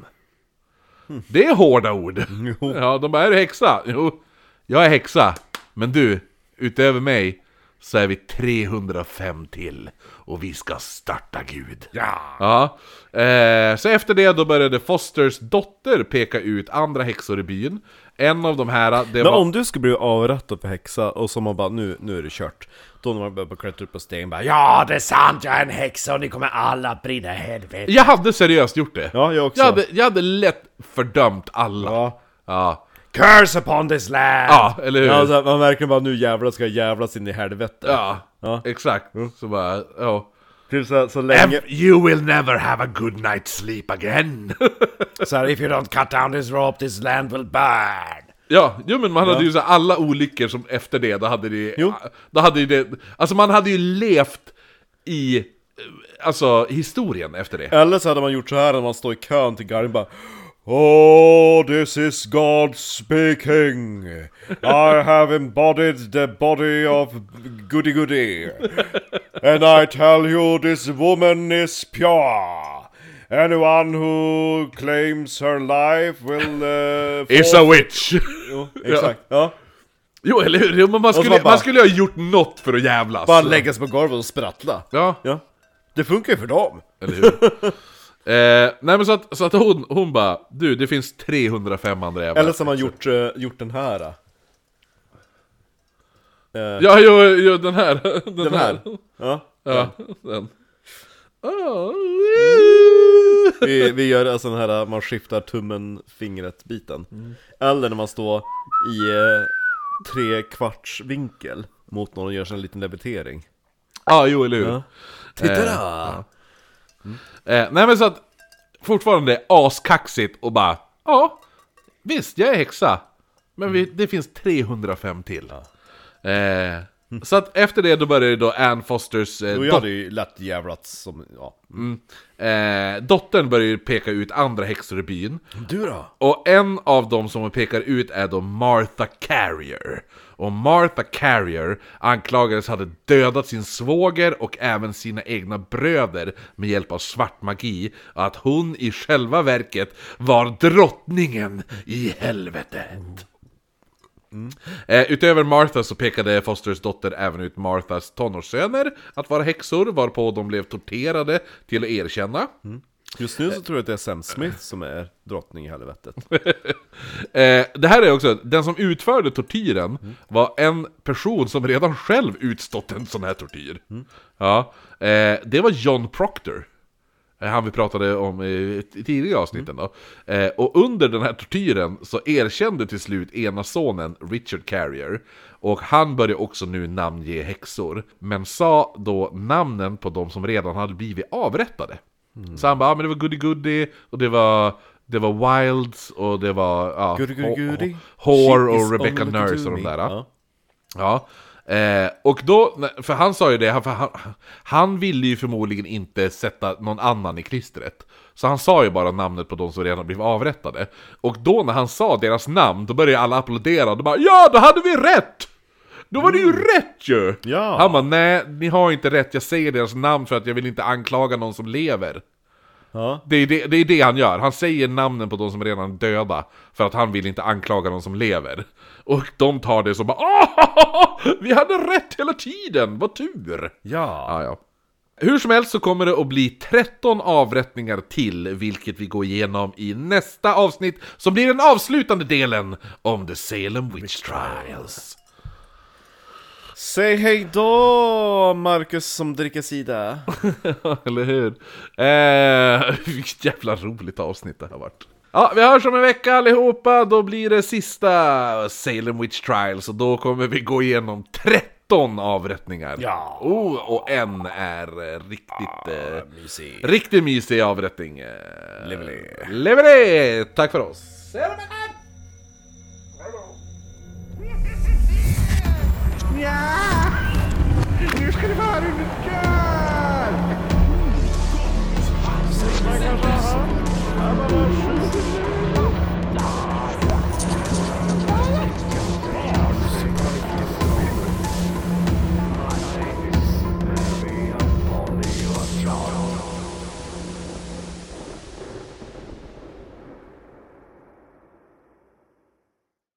Det är hårda [laughs] ord. Ja, de bara, är du häxa? Jo, jag är häxa. Men du, utöver mig så är vi 305 till och vi ska starta Gud. Ja. Ja, eh, så efter det då började Fosters dotter peka ut andra häxor i byn. En av de här, det Men var... om du skulle bli avrättad för häxa och som man bara nu, nu är det kört Då när man börjar klättra upp på stegen bara Ja det är sant, jag är en häxa och ni kommer alla brinna i helvete Jag hade seriöst gjort det. Ja, jag också. Jag hade, jag hade lätt fördömt alla. Ja. ja. Ja, Curse upon this land! eller hur? Ja, Ja, alltså, man verkligen bara nu jävlar ska jag jävlas in i helvete Ja. exakt. Så bara, ja. Typ så, så länge You will never have a good night's sleep again. [laughs] så här, If you don't cut down this rope this land will burn ja, jo men man hade ju så här alla olyckor som efter det, då hade det... Jo. Då hade ju det... Alltså man hade ju levt i alltså historien efter det. Eller så hade man gjort så här när man står i kön till garden bara Oh, this is God speaking! I have embodied the body of goody goody! And I tell you, this woman is pure! Anyone who claims her life will... Uh, It's a witch! [laughs] Jo, exakt. Ja. Jo, eller hur? Jo, men man så skulle, bara- man skulle ju ha gjort något för att jävlas. Bara lägga sig på golvet och sprattla. Ja, Ja. Det funkar ju för dem. eller [laughs] hur? eh, nej men så att, så att hon, hon bara Du, det finns 305 andra jävlar Eller som man gjort, eh, gjort den här. eh. Ja, jo, jo, den här [laughs] Den, Den här. Ja. Ja, den oh. Vi, vi gör alltså den här, man skiftar tummen, fingret, biten. Mm. Eller när man står i eh, tre kvarts vinkel mot någon och gör sig en liten levitering. Ja, jo, Ah, eller hur? Ja. Titta Eh, där! Eh, nej men så att Fortfarande askaxigt och bara Ja, visst jag är häxa Men vi, det finns 305 till eh, Så att efter det då började då Ann Fosters eh, Jo, jag hade ju lätt jävlat som, ja. dot- eh, Dottern börjar ju peka ut andra häxor i byn Du då? Och en av dem som hon pekar ut är då Martha Carrier. Och Martha Carrier anklagades hade dödat sin svåger och även sina egna bröder med hjälp av svart magi. Och att hon i själva verket var drottningen i helvetet. Eh, utöver Martha så pekade Fosters dotter även ut Marthas tonårssöner att vara häxor, varpå de blev torterade till att erkänna. Just nu så tror jag att det är Sam Smith som är drottning [laughs] i helvetet. Eh, det här är också, den som utförde tortyren var en person som redan själv utstått en sån här tortyr. Ja, eh, det var John Proctor. Eh, Han vi pratade om i t- tidigare avsnitten då. Eh, och under den här tortyren så erkände till slut ena sonen Richard Carrier. Och han började också nu namnge häxor. Men sa då namnen på de som redan hade blivit avrättade. Så han bara, ah, men det var Goody Goody och det var, det var Wilds och det var... Ja, Goody Ho- goody goody. Ho- Whore She is och Rebecca only to Nurse och de me. där. Ja. Ja. Eh, och då, för han sa ju det, han- för han, han ville ju förmodligen inte sätta någon annan i klistret. Så han sa ju bara namnet på de som redan blivit avrättade. Och då när han sa deras namn, då började alla applådera, och bara ja, då hade vi rätt! Då var det ju rätt ju! Mm. Ja. Han bara nej, ni har inte rätt, jag säger deras namn för att jag vill inte anklaga någon som lever. Ja. Det är det, det är det han gör, han säger namnen på de som redan är döda För att han vill inte anklaga någon som lever Och de tar det som bara "Åh, Vi hade rätt hela tiden, vad tur! Ja. Ja, ja. Hur som helst så kommer det att bli 13 avrättningar till Vilket vi går igenom i nästa avsnitt Som blir den avslutande delen om The Salem Witch Trials Säg hej då, Marcus som dricker sida. [laughs] Eller hur? Eh, [laughs] vilket jävla roligt avsnitt det har varit. Ja, vi hörs om en vecka allihopa. Då blir det sista Salem Witch Trials och då kommer vi gå igenom 13 avrättningar. Ja. Oh, och en är eh, riktigt, eh, Mysig. riktigt mysig avrättning. Eh, Leveré. Leveré! Tack för oss. Ja! Nu ska det vara mycket!